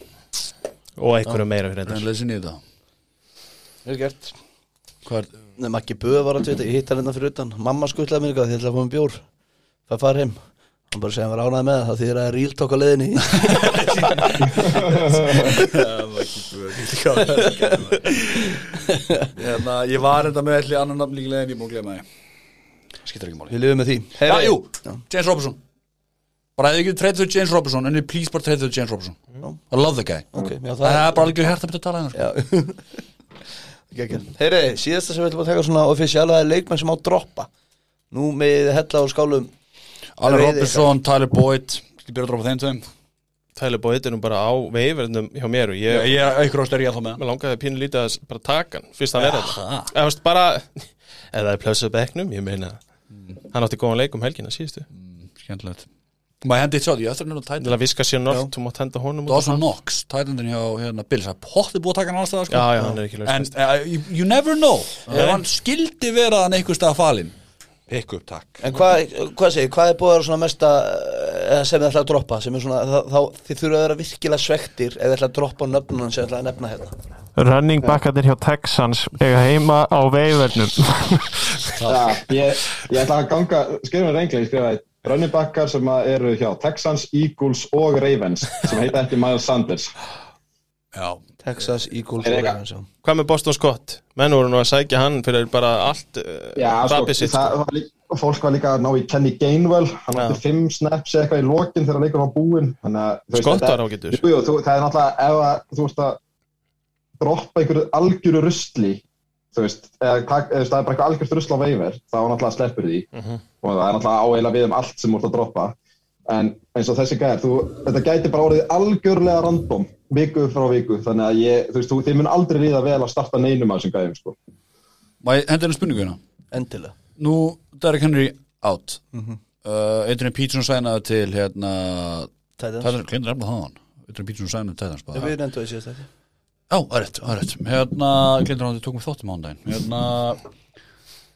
B: og einhverju meira fyrir þetta.
A: en lesi niður það
D: Er gert
A: Hvað er,
D: Nei, Maggi Böð var að tvita Ég hitt hann hérna fyrir utan Mamma skuttlaði mér eitthvað Þið ætlaði að fá mér bjór Það fara heim Hann bara segja hann var ánæði með það Það þýðir að real tók á leiðinni í-
A: hérna, ég var enda með allir annan nafn líklega en ég múið að glema því skiptir ekki máli
D: Við lifum með því
A: já, jú, James Robinson bara hefði ekki treyðið James Robinson en ég please bara treyðið James Robinson I love the guy
D: Ok, já,
A: það
D: það
A: er bara alveg hægt að byrja að tala hennar sko.
D: Gekja. Heyri, síðasta sem við ætlum að taka svona ofisjala er leikmenn sem á droppa Nú með hella og skálum
A: Allen
D: Reyði
A: Robinson, Tyler Boyd Ég byrja að droppa þeim tveim
B: Tyler Boyd er nú bara á veifurnum hjá mér og ég,
A: Ég er einhver ást er ég alltaf með
B: Mér langaði pínu lítið að s- bara taka hann Fyrst hann er þetta Eða þú veist, bara Eða það er plössuð bekknum, ég meina Hann átti góðan leik um helgina síðustu Til
A: Skemmtilegt Má ég hendi eitt sjá því, ég ætla að nefna Titan
B: að viska sér nort, þú mátt henda honum út
A: Dawson Knox, Titaninn hjá hérna, Bills Það er pottið búið að taka hann alls það
B: Já,
A: sko.
B: já, hann er ekki laus
A: En uh, you- you never know Ef hann skildi vera hann einhver stað falinn Pick up, takk
D: En hvað, hvað segir, hvað er búið að vera svona mesta eh, sem þið ætla að droppa sem er svona, þá, þá þið þurfa að vera virkilega svektir ef þið ætla að droppa nöfnum sem þið ætla að nefna hérna
J: Running backarnir hjá Texans eiga heima á veifernum
E: Já, ég, ég ætla að ganga, skrifa mér reynglega, ég skrifa eitt running backar sem að eru hjá Texans, Eagles og Ravens sem heita ekki Miles Sanders
A: Já,
D: Texas Eagles
E: Er
D: og
E: eitthvað-
D: Ravens, já.
B: Hvað með Boston Scott? Menn voru nú að sækja hann fyrir bara allt eh,
E: Já, sko,
B: Rappi sitt
E: það var líka, fólk var líka að ná í Kenny Gainwell, hann
B: Já.
E: átti fimm snaps eða eitthvað í lokin þegar leikur var búinn þannig að þú veist,
B: Scott
E: þetta-
B: var ágætur.
E: Jú, jú, þú, það er náttúrulega ef að, þú veist að droppa einhverju algjöru rusli þú veist, eða, tak, eða þú veist, það er bara eitthvað algjört rusl á veifir, þá náttúrulega sleppur því
B: Mhm.
E: og það er náttúrulega áeila við um allt sem þú ert að droppa en eins og þessi gæðir, þú, þetta gæti bara orðið algjörlega random viku frá viku, þannig að ég, þú veist, þú, þið mun aldrei líða vel að starta neinum af þessum gæðum, sko.
A: má ég hendi henni spurningu hérna
D: Endilega
A: Nú, Eh, Derek Henry out mm -hmm. uh, Adrian Peterson sænaði til hérna
D: Titans
A: Tæðan, glemdu nefna það hann Utan Pítsson sagði með Tæðans bara
D: Við nefndum þessi þetta
A: Já, það er rétt, það er rétt Hérna, glemdu hann, þið tókum við þóttum á hann daginn Hérna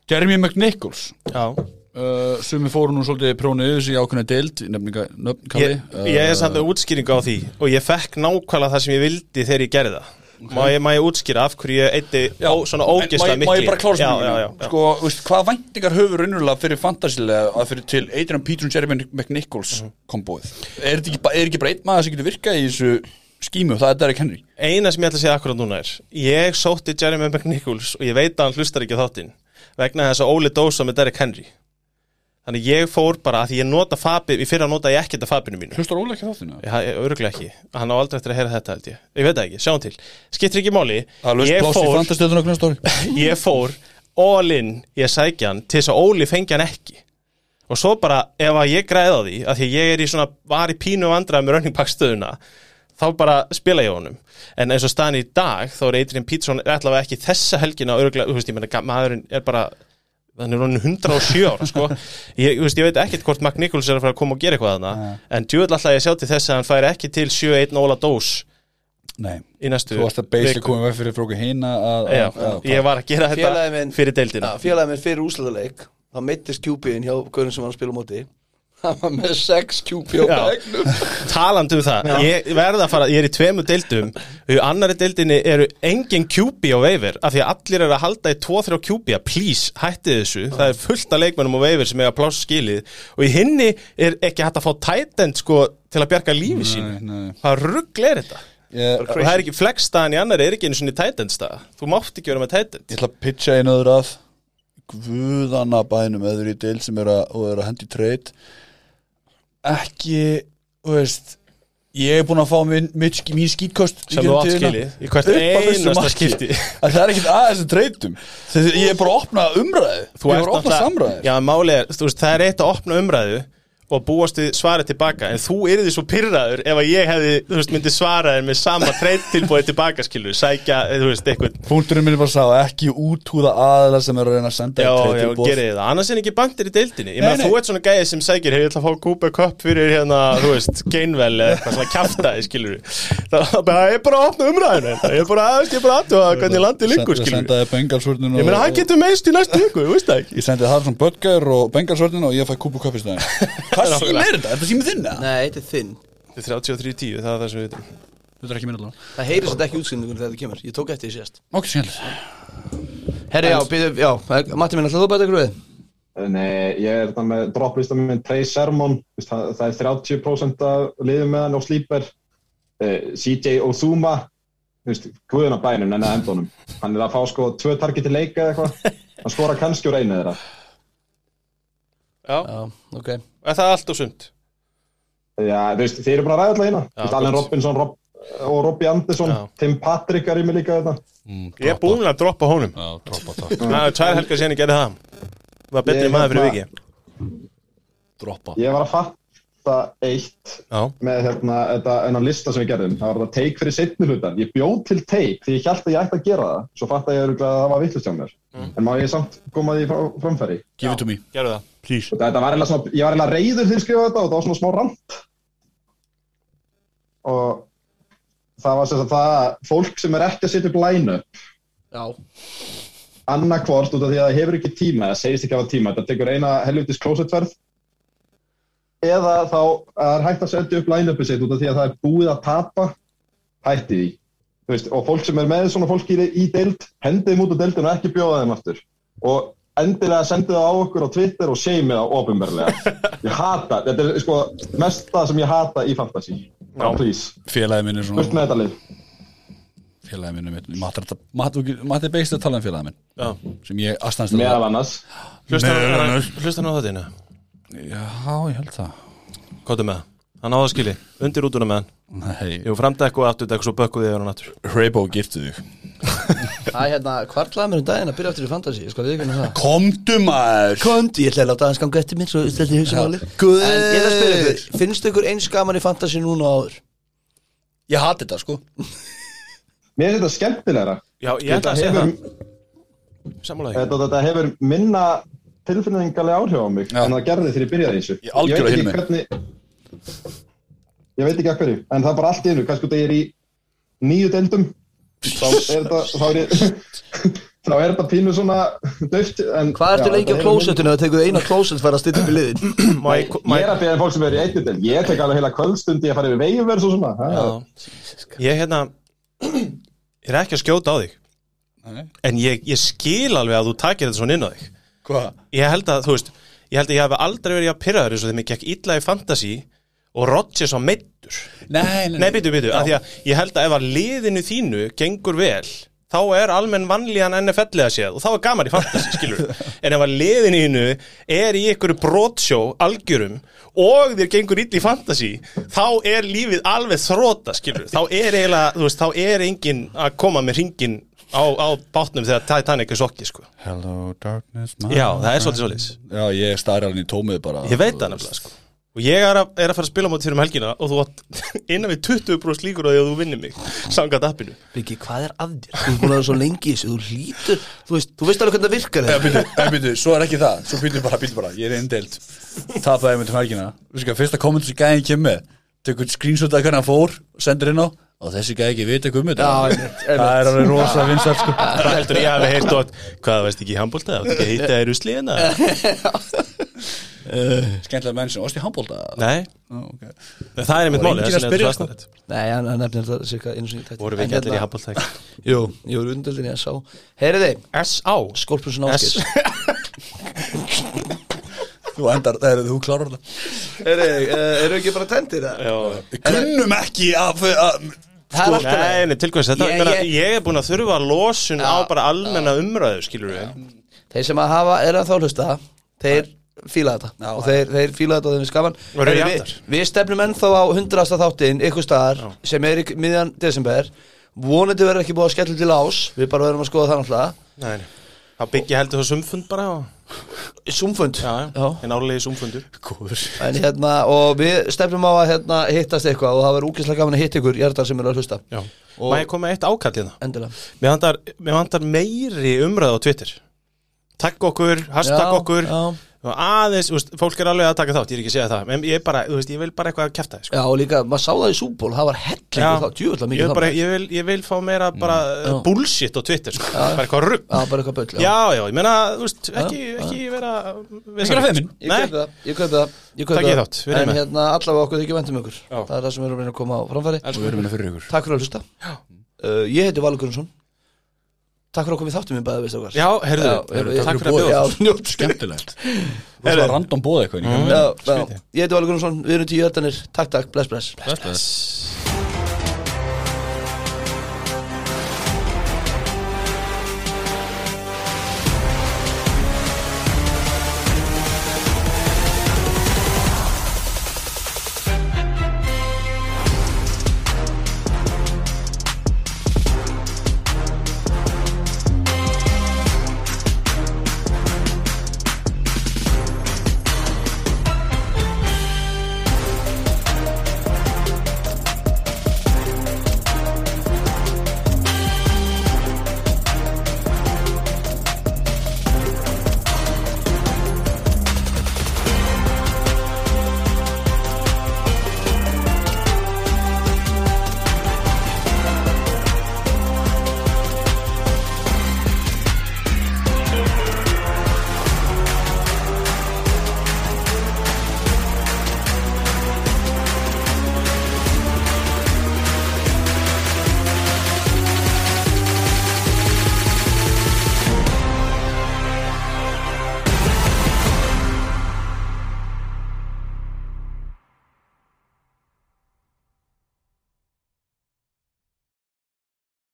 A: Jeremy McNichols
B: Já.
A: uh, Sumi fóru nú svolítið prónið yfir sig ákveðna deild Nefninga, nöfn, kalli
B: ég,
G: Uh,
B: ég
A: eh,
B: er samt með útskýringu á því og ég fekk nákvæmlega það sem ég vildi þegar ég gerði það má, ég, má ég útskýra af hverju ég eitti já, svona ógisla
G: Má ég bara klára
B: já, já,
G: spurninguna?
B: já, já.
G: Sko, veist, hvað væntingar höfur raunverulega fyrir fantasilega að fyrir til Adrian Peterson, Jeremy McNichols
B: Mhm.
G: kombóið? Er þetta ekki, ba- er ekki bara einn maður sem getur virkað í þessu skímu? Það er Derek Henry.
B: eina sem ég ætla að segja akkurat núna er ég sótti Jeremy McNichols og ég veit að hann hlustar ekki á þáttinn vegna þess að Óli dósa með Derek Henry þannig ég fór bara að því ég nota fabi, í fyrra nota ég ekkert að fabinu mínu
A: Hlustar Óla ekki á þáttinu?
B: Já, örgulega ekki, hann á aldrei eftir að heyra þetta held ég ég veit það ekki, sjáum til, skiptir ekki máli
G: Það löst
B: ég
G: pláss í
B: fór,
G: fantastöðuna okkur næsta ári.
B: ég fór all in í að sækja hann til þess að Óli fengi hann ekki og svo bara ef að ég græða á því að því að ég er í svona, var í pínu vandrað með running back stöðuna þá bara spila ég á honum en eins og staðan í dag þá er Adrian Peterson allavega ekki þessa helgina örgulega, þú veist, ég meina ga- maðurinn er bara hann er honum 107 ára sko. ég, þú veist, ég veit ekkert hvort Mac Nichols er að fara að koma og gera eitthvað þarna en djúvel alltaf ég sjá til þess að hann færi ekki til 7-1 Óla Dós
A: Nei
B: í næstu
A: Þú varst að basically
B: viku.
A: komið veg fyrir fróku hina að,
B: Já, ég var að gera
D: Félagi
B: þetta
D: minn-
B: fyrir deildina
D: Félagið minn fyrir úsleðuleik Það meittist QB-in hjá Gaurin sem var að spila á móti Það var með 6 QB á
B: Já.
D: begnum
B: talandi um það, ég verða að fara ég er í tveimu deildum og í annari deildinni eru engin QB á veifir af því að allir eru að halda í 2-3 QB please, hætti þessu, það er fullt af leikmennum á veifir sem eiga pláss skilið og í hinni er ekki hægt að fá tætend sko, til að bjarga lífi sínu
A: nei.
B: hvað rugg er þetta?
G: Ég,
B: og það er ekki flexstaðan í annari, er ekki einu sinni tætendstaða þú mátt ekki vera með tætend
G: ég ætla að pitcha einu öðru að guðana bænum öðru í deil sem er að, og er að hendi treyt ekki þú veist ég er búin að fá minn, minn, mín skítkost í
B: Sem
G: gegnum
B: þú átt
G: tíðina
B: skilið, í hvert
G: upp að þessu
B: einasta
G: marki.
B: skipti.
G: að það er ekkert aðeins að treytum Þessi, ég er bara að opna umræðu ég er
B: Þú ert
G: bara að opna
B: náttúrulega-
G: samræðu
B: Já, málið er, þú veist, það er eitt að opna umræðu og búast við svarið tilbaka en þú yrði svo pyrraður ef að ég hefði þú veist, myndi svara þér með sama treyt tilbúið tilbaka, skilur, sækja eh, þú veist, eitthvað,
G: punkturinn minn er bara að sá ekki útúða aðla sem er að reyna að senda
B: já,
G: þér
B: já,
G: treytuboð.
B: gerið þið það annars er ekki bandir í deildinni, ég
G: Nei,
B: meðan
G: nei.
B: þú ert svona gæði sem sækir, hefur ég ætla að fá kúpa köpp fyrir hérna, þú veist, geinvel eða eitthvað svona kjaftaði, skilur það er bara að opna umræðinu, ég er bara aðeins ég er bara aðtúa hvernig landið liggur,
G: Send-
B: skilur
G: sendaði bengalsvörnun
B: ég meina, hann getur meist í næstu viku, þú veist það ekki
G: Ég sendi Haraldsson Böttgær og Bengalsvörnin og ég fæ kúpu kappistæðin Hvað
B: Nákvæmlega.
G: síma er þetta? Er þetta síma þinn? eða?
D: Nei, þetta er þinn
B: Þetta er 33-10, það er það sem við vitum
A: Þetta er ekki minn allavega
D: Það heyrir svolítið ekki útskynningunum þegar það kemur Ég tók eftir því sérst
A: Ok, skemmtilegt
D: Herri, já, byrju, já, Matti minn, ætlaðu að bæta ykkur við?
E: Nei, eh, ég er þetta með dropplista minn Trey Sermon, þú veist, það, það er 30% af liðum með hann á slíper uh, CJ Ozuma þú veist, guðun á bænum en að endunum hann er að fá sko tvö targeti leika eða eitthvað, hann skora kannski úr einu þeirra
B: Já,
D: Já, ok
B: Er það allt og sumt?
E: Já, þú veist, þeir eru búin að ræða alltaf hérna Þú veist, Allen
B: gott.
E: Robinson Rob, og Robbie Anderson
B: Já.
E: Tim Patrick er í mig líka þetta
B: Ég er búin að droppa honum
A: Já, droppa það
B: Það er tvær helgar síðan ég gerði það Var betri
E: Ég-
B: maður fyrir viki
E: hérna-
A: Droppa
E: Ég var að fatta eitt
B: Já,
E: með hérna, þetta enn lista sem við gerðum það var það teik fyrir setni hlutan ég bjóð til teik því ég held að ég ætti að gera það svo fatt að ég örugglega að það var vittlust hjá mér en má ég samt koma því frá, framfæri
A: Give it to me
B: gerðu það
E: Og þetta var eiginlega svona, ég var eiginlega reyður þegar ég skrifaði þetta og þetta var svona smá rand og það var sem sagt það að fólk sem er ekki að setja upp line-up
D: Já,
E: annarkvort út af því að það hefur ekki tíma það segist ekki hafa tíma, þetta tekur eina helvitis klósetverð eða þá er hægt að setja upp line-upi sitt út af því að það er búið að tapa hætti því Þú veist, og fólk sem er með svona fólki í, í deild hendið þeim út af deildinu og ekki bjóða þeim aftur og endilega sendið það á okkur á Twitter og seimið það ofinverlega ég hata, þetta er sko mesta sem ég hata í fantasy no. please,
A: Félagi minn er svona
E: burt með þetta lið
A: Félagi minn er mitt Matti Matti- Matti er beist að tala um félagi minn
B: Já.
A: Sem ég aðstæðast að
E: meðal annars
B: Hlusta hann á þáttina
A: Já, ég held það
B: Kóta með það Hann áða skili Undir útuna með hann
A: Nei,
B: Jú, framdekku og afturdekku Svo bökkuði yfir hann aftur
A: Hreybo giftu þig
D: það er hérna, hvarlaði mér um daginn að byrja aftur í fantasy Ég skal við ekki það
A: Komdu maður
D: Kondi, ég ætla að láta aðeins ganga eftir mér Svo þetta ég hugsa máli
A: Guð.
D: En ég ætla að spyrja ykkur, finnst ykkur eins gaman í fantasy núna og áður?
G: Ég hati þetta sko
E: mér finnst þetta skemmtilegra
B: Já, ég ætla að segja
E: hefur,
B: það Sammála ekki
E: þetta, þetta hefur minna tilfinningalega áhrif á mig en það gerði þegar ég byrjaði eins og
A: Ég algjörlega
E: veit
A: hinum
E: ekki hvernig ég veit ekki að hverju, en það er bara allt í einu kannski út að ég er í nýju deildum þá er þetta þá er, ég, þá er þetta pínu svona döft
D: Hvað ertu lengi á klósetinu að tekur eina klóset fara að stilla upp í liðin?
B: Má ég, má
E: Ég er
B: ég,
E: að beða fólk sem er í einnig del Ég tek alveg heila kvöldstundi að fara yfir veiðverð og svona Það er-
B: ég hérna Ég er ekki að skjóta á þig
A: Nei.
B: En ég, ég skil alveg að þú takir þetta svona inn á þig
G: Hvað?
B: Ég held að, þú veist Ég held að ég hafi aldrei verið að pyrraður eins og þeim ég gekk illa í fantasy og Rodgers á meittur
A: Nei,
B: Nei, býtu, býtu, af því að ég held að ef að liðinu þínu gengur vel þá er almenn vanlíðan NFL-lega séð og þá er gaman í fantasy, skilur en ef að liðinu þínu er í einhverju brotsjó algjörum og þér gengur illa í fantasy þá er lífið alveg þróta, skilur þá er eiginlega, þú veist, þá er engin að koma með ringin á, á bátnum þegar Titanic er sokki, sko
A: Hello darkness my
B: Já, það er svolítið svolítið
G: Já, ég stæri alveg í tómið bara
B: Ég veit það nefnilega, sko Og ég er að, er að fara að spila á móti fyrir um helgina og þú átt innan við 20% líkur á því að þú vinnir mig samkvæmt appinu
D: Byggi, hvað er að þér? Þú er búin að vera svo lengi í þessu, þú hlýtur Þú veist, þú veist alveg hvernig það virkar
G: Já,
D: þetta
G: býtu, já, býtu, svo er ekki það Svo býtu bara, býtu bara, ég er eindelt Tapaði um mig til mælgina Viska, fyrsta komment sem gæðin kemur Tekur screenshot að hvernig hann fór Sendir inn á Og þessi gæði ekki vita hvað um þetta
D: Já, einmitt, einmitt.
G: Það er alveg rosa vinsalt sko
B: Það heldur ég hafi heyrt og hvað veist ekki í hérna?" handbólta Það ekki að hýta þér úr slíðina
G: Skemmtilega menn sem, varst í handbólta?
B: Nei,
G: Ó, ok.
B: það er einmitt
G: Það var
B: máli
G: enginn að spyrja, sko.
D: Nei, hann hann nefnir þetta cirka einu sinni í þætti.
B: Voru við
D: En
B: ekki allir í
D: hérna-
B: handbólta ekki
D: Jú, ég voru undöldin í S.A. Heyriði,
B: S.A.
D: Skorpjonsson Áskis
G: Þú endar, það er þú klárar það
D: Heyriði, eru eh, ekki bara tendir það?
G: Við kunnum ekki að, að
D: Það er alltaf
B: Nei, nei, til hvers þetta
D: Ég-
B: ég, meina,
D: ég-
B: ég er búin að þurfa losun á bara almenna umræðu, skilur við
D: Þeir sem að hafa, er að þá hlusta Þeir fíla þetta Og þeir, þeir fíla þetta og þeim er skaman
B: Og eru
D: Heyrðu,
B: jafnar.
D: Við stefnum ennþá á hundrasta þáttinn Ykkur staðar sem er í miðjan desember Vonandi verður ekki búið að skella til ás Við bara verðum að skoða það náttúrulega
B: Nei, nei. þá byggja heldur það sumfund bara og,
D: Súmfund
B: Já, já, en árlegi sumfundur
D: En hérna, og við stefnum á að hérna, hittast eitthvað og það verður úkislega gaman að hitta ykkur hjartar sem eru að hlusta
B: Já, og... maður komið eitt ákall hérna
D: Endilega
B: Mér vantar, mér vantar meiri umræð á Twitter Takk okkur, hashtag okkur
D: já.
B: og aðeins, þú veist, fólk er alveg að taka þátt ég er ekki að segja það, en ég er bara, þú veist, ég vil bara eitthvað að kæfta sko.
D: já, og líka, maður sá það í súból, það var hellingur þá, djúvöldlega
B: ég,
D: mikið
B: vil bara,
D: þá
B: ég, vil, ég vil fá meira bara mm.
D: Já.
B: bullshit á Twitter sko. bara eitthvað rugg
D: Já, bara eitthvað böll,
B: já, já, ég meina, þú veist, ekki, ekki vera ekki vera feimin
D: Ég kaupi það, ég kaupi það, ég kaupi
B: Takk ég þátt, við erum
D: En
B: með.
D: hérna allavega okkur þykir vendum ykkur Það er það sem við erum að reyna að koma á framfæri
A: Og við erum hérna fyrir ykkur
D: Takk fyrir að hlusta uh, Ég heiti Valur Gunnarsson Takk fyrir að koma í þáttum minn bæði veist okkar
B: já, heyrðu,
D: heyrðu, ég-
B: takk fyrir að bjóða
D: Já, njótt
A: Skemmtilegt Það var random bóð eitthvað
D: Já, já. Ég heiti Valur Gunnarsson, við erum tíu hjartanir Takk, takk, bless, bless
A: Bless, bless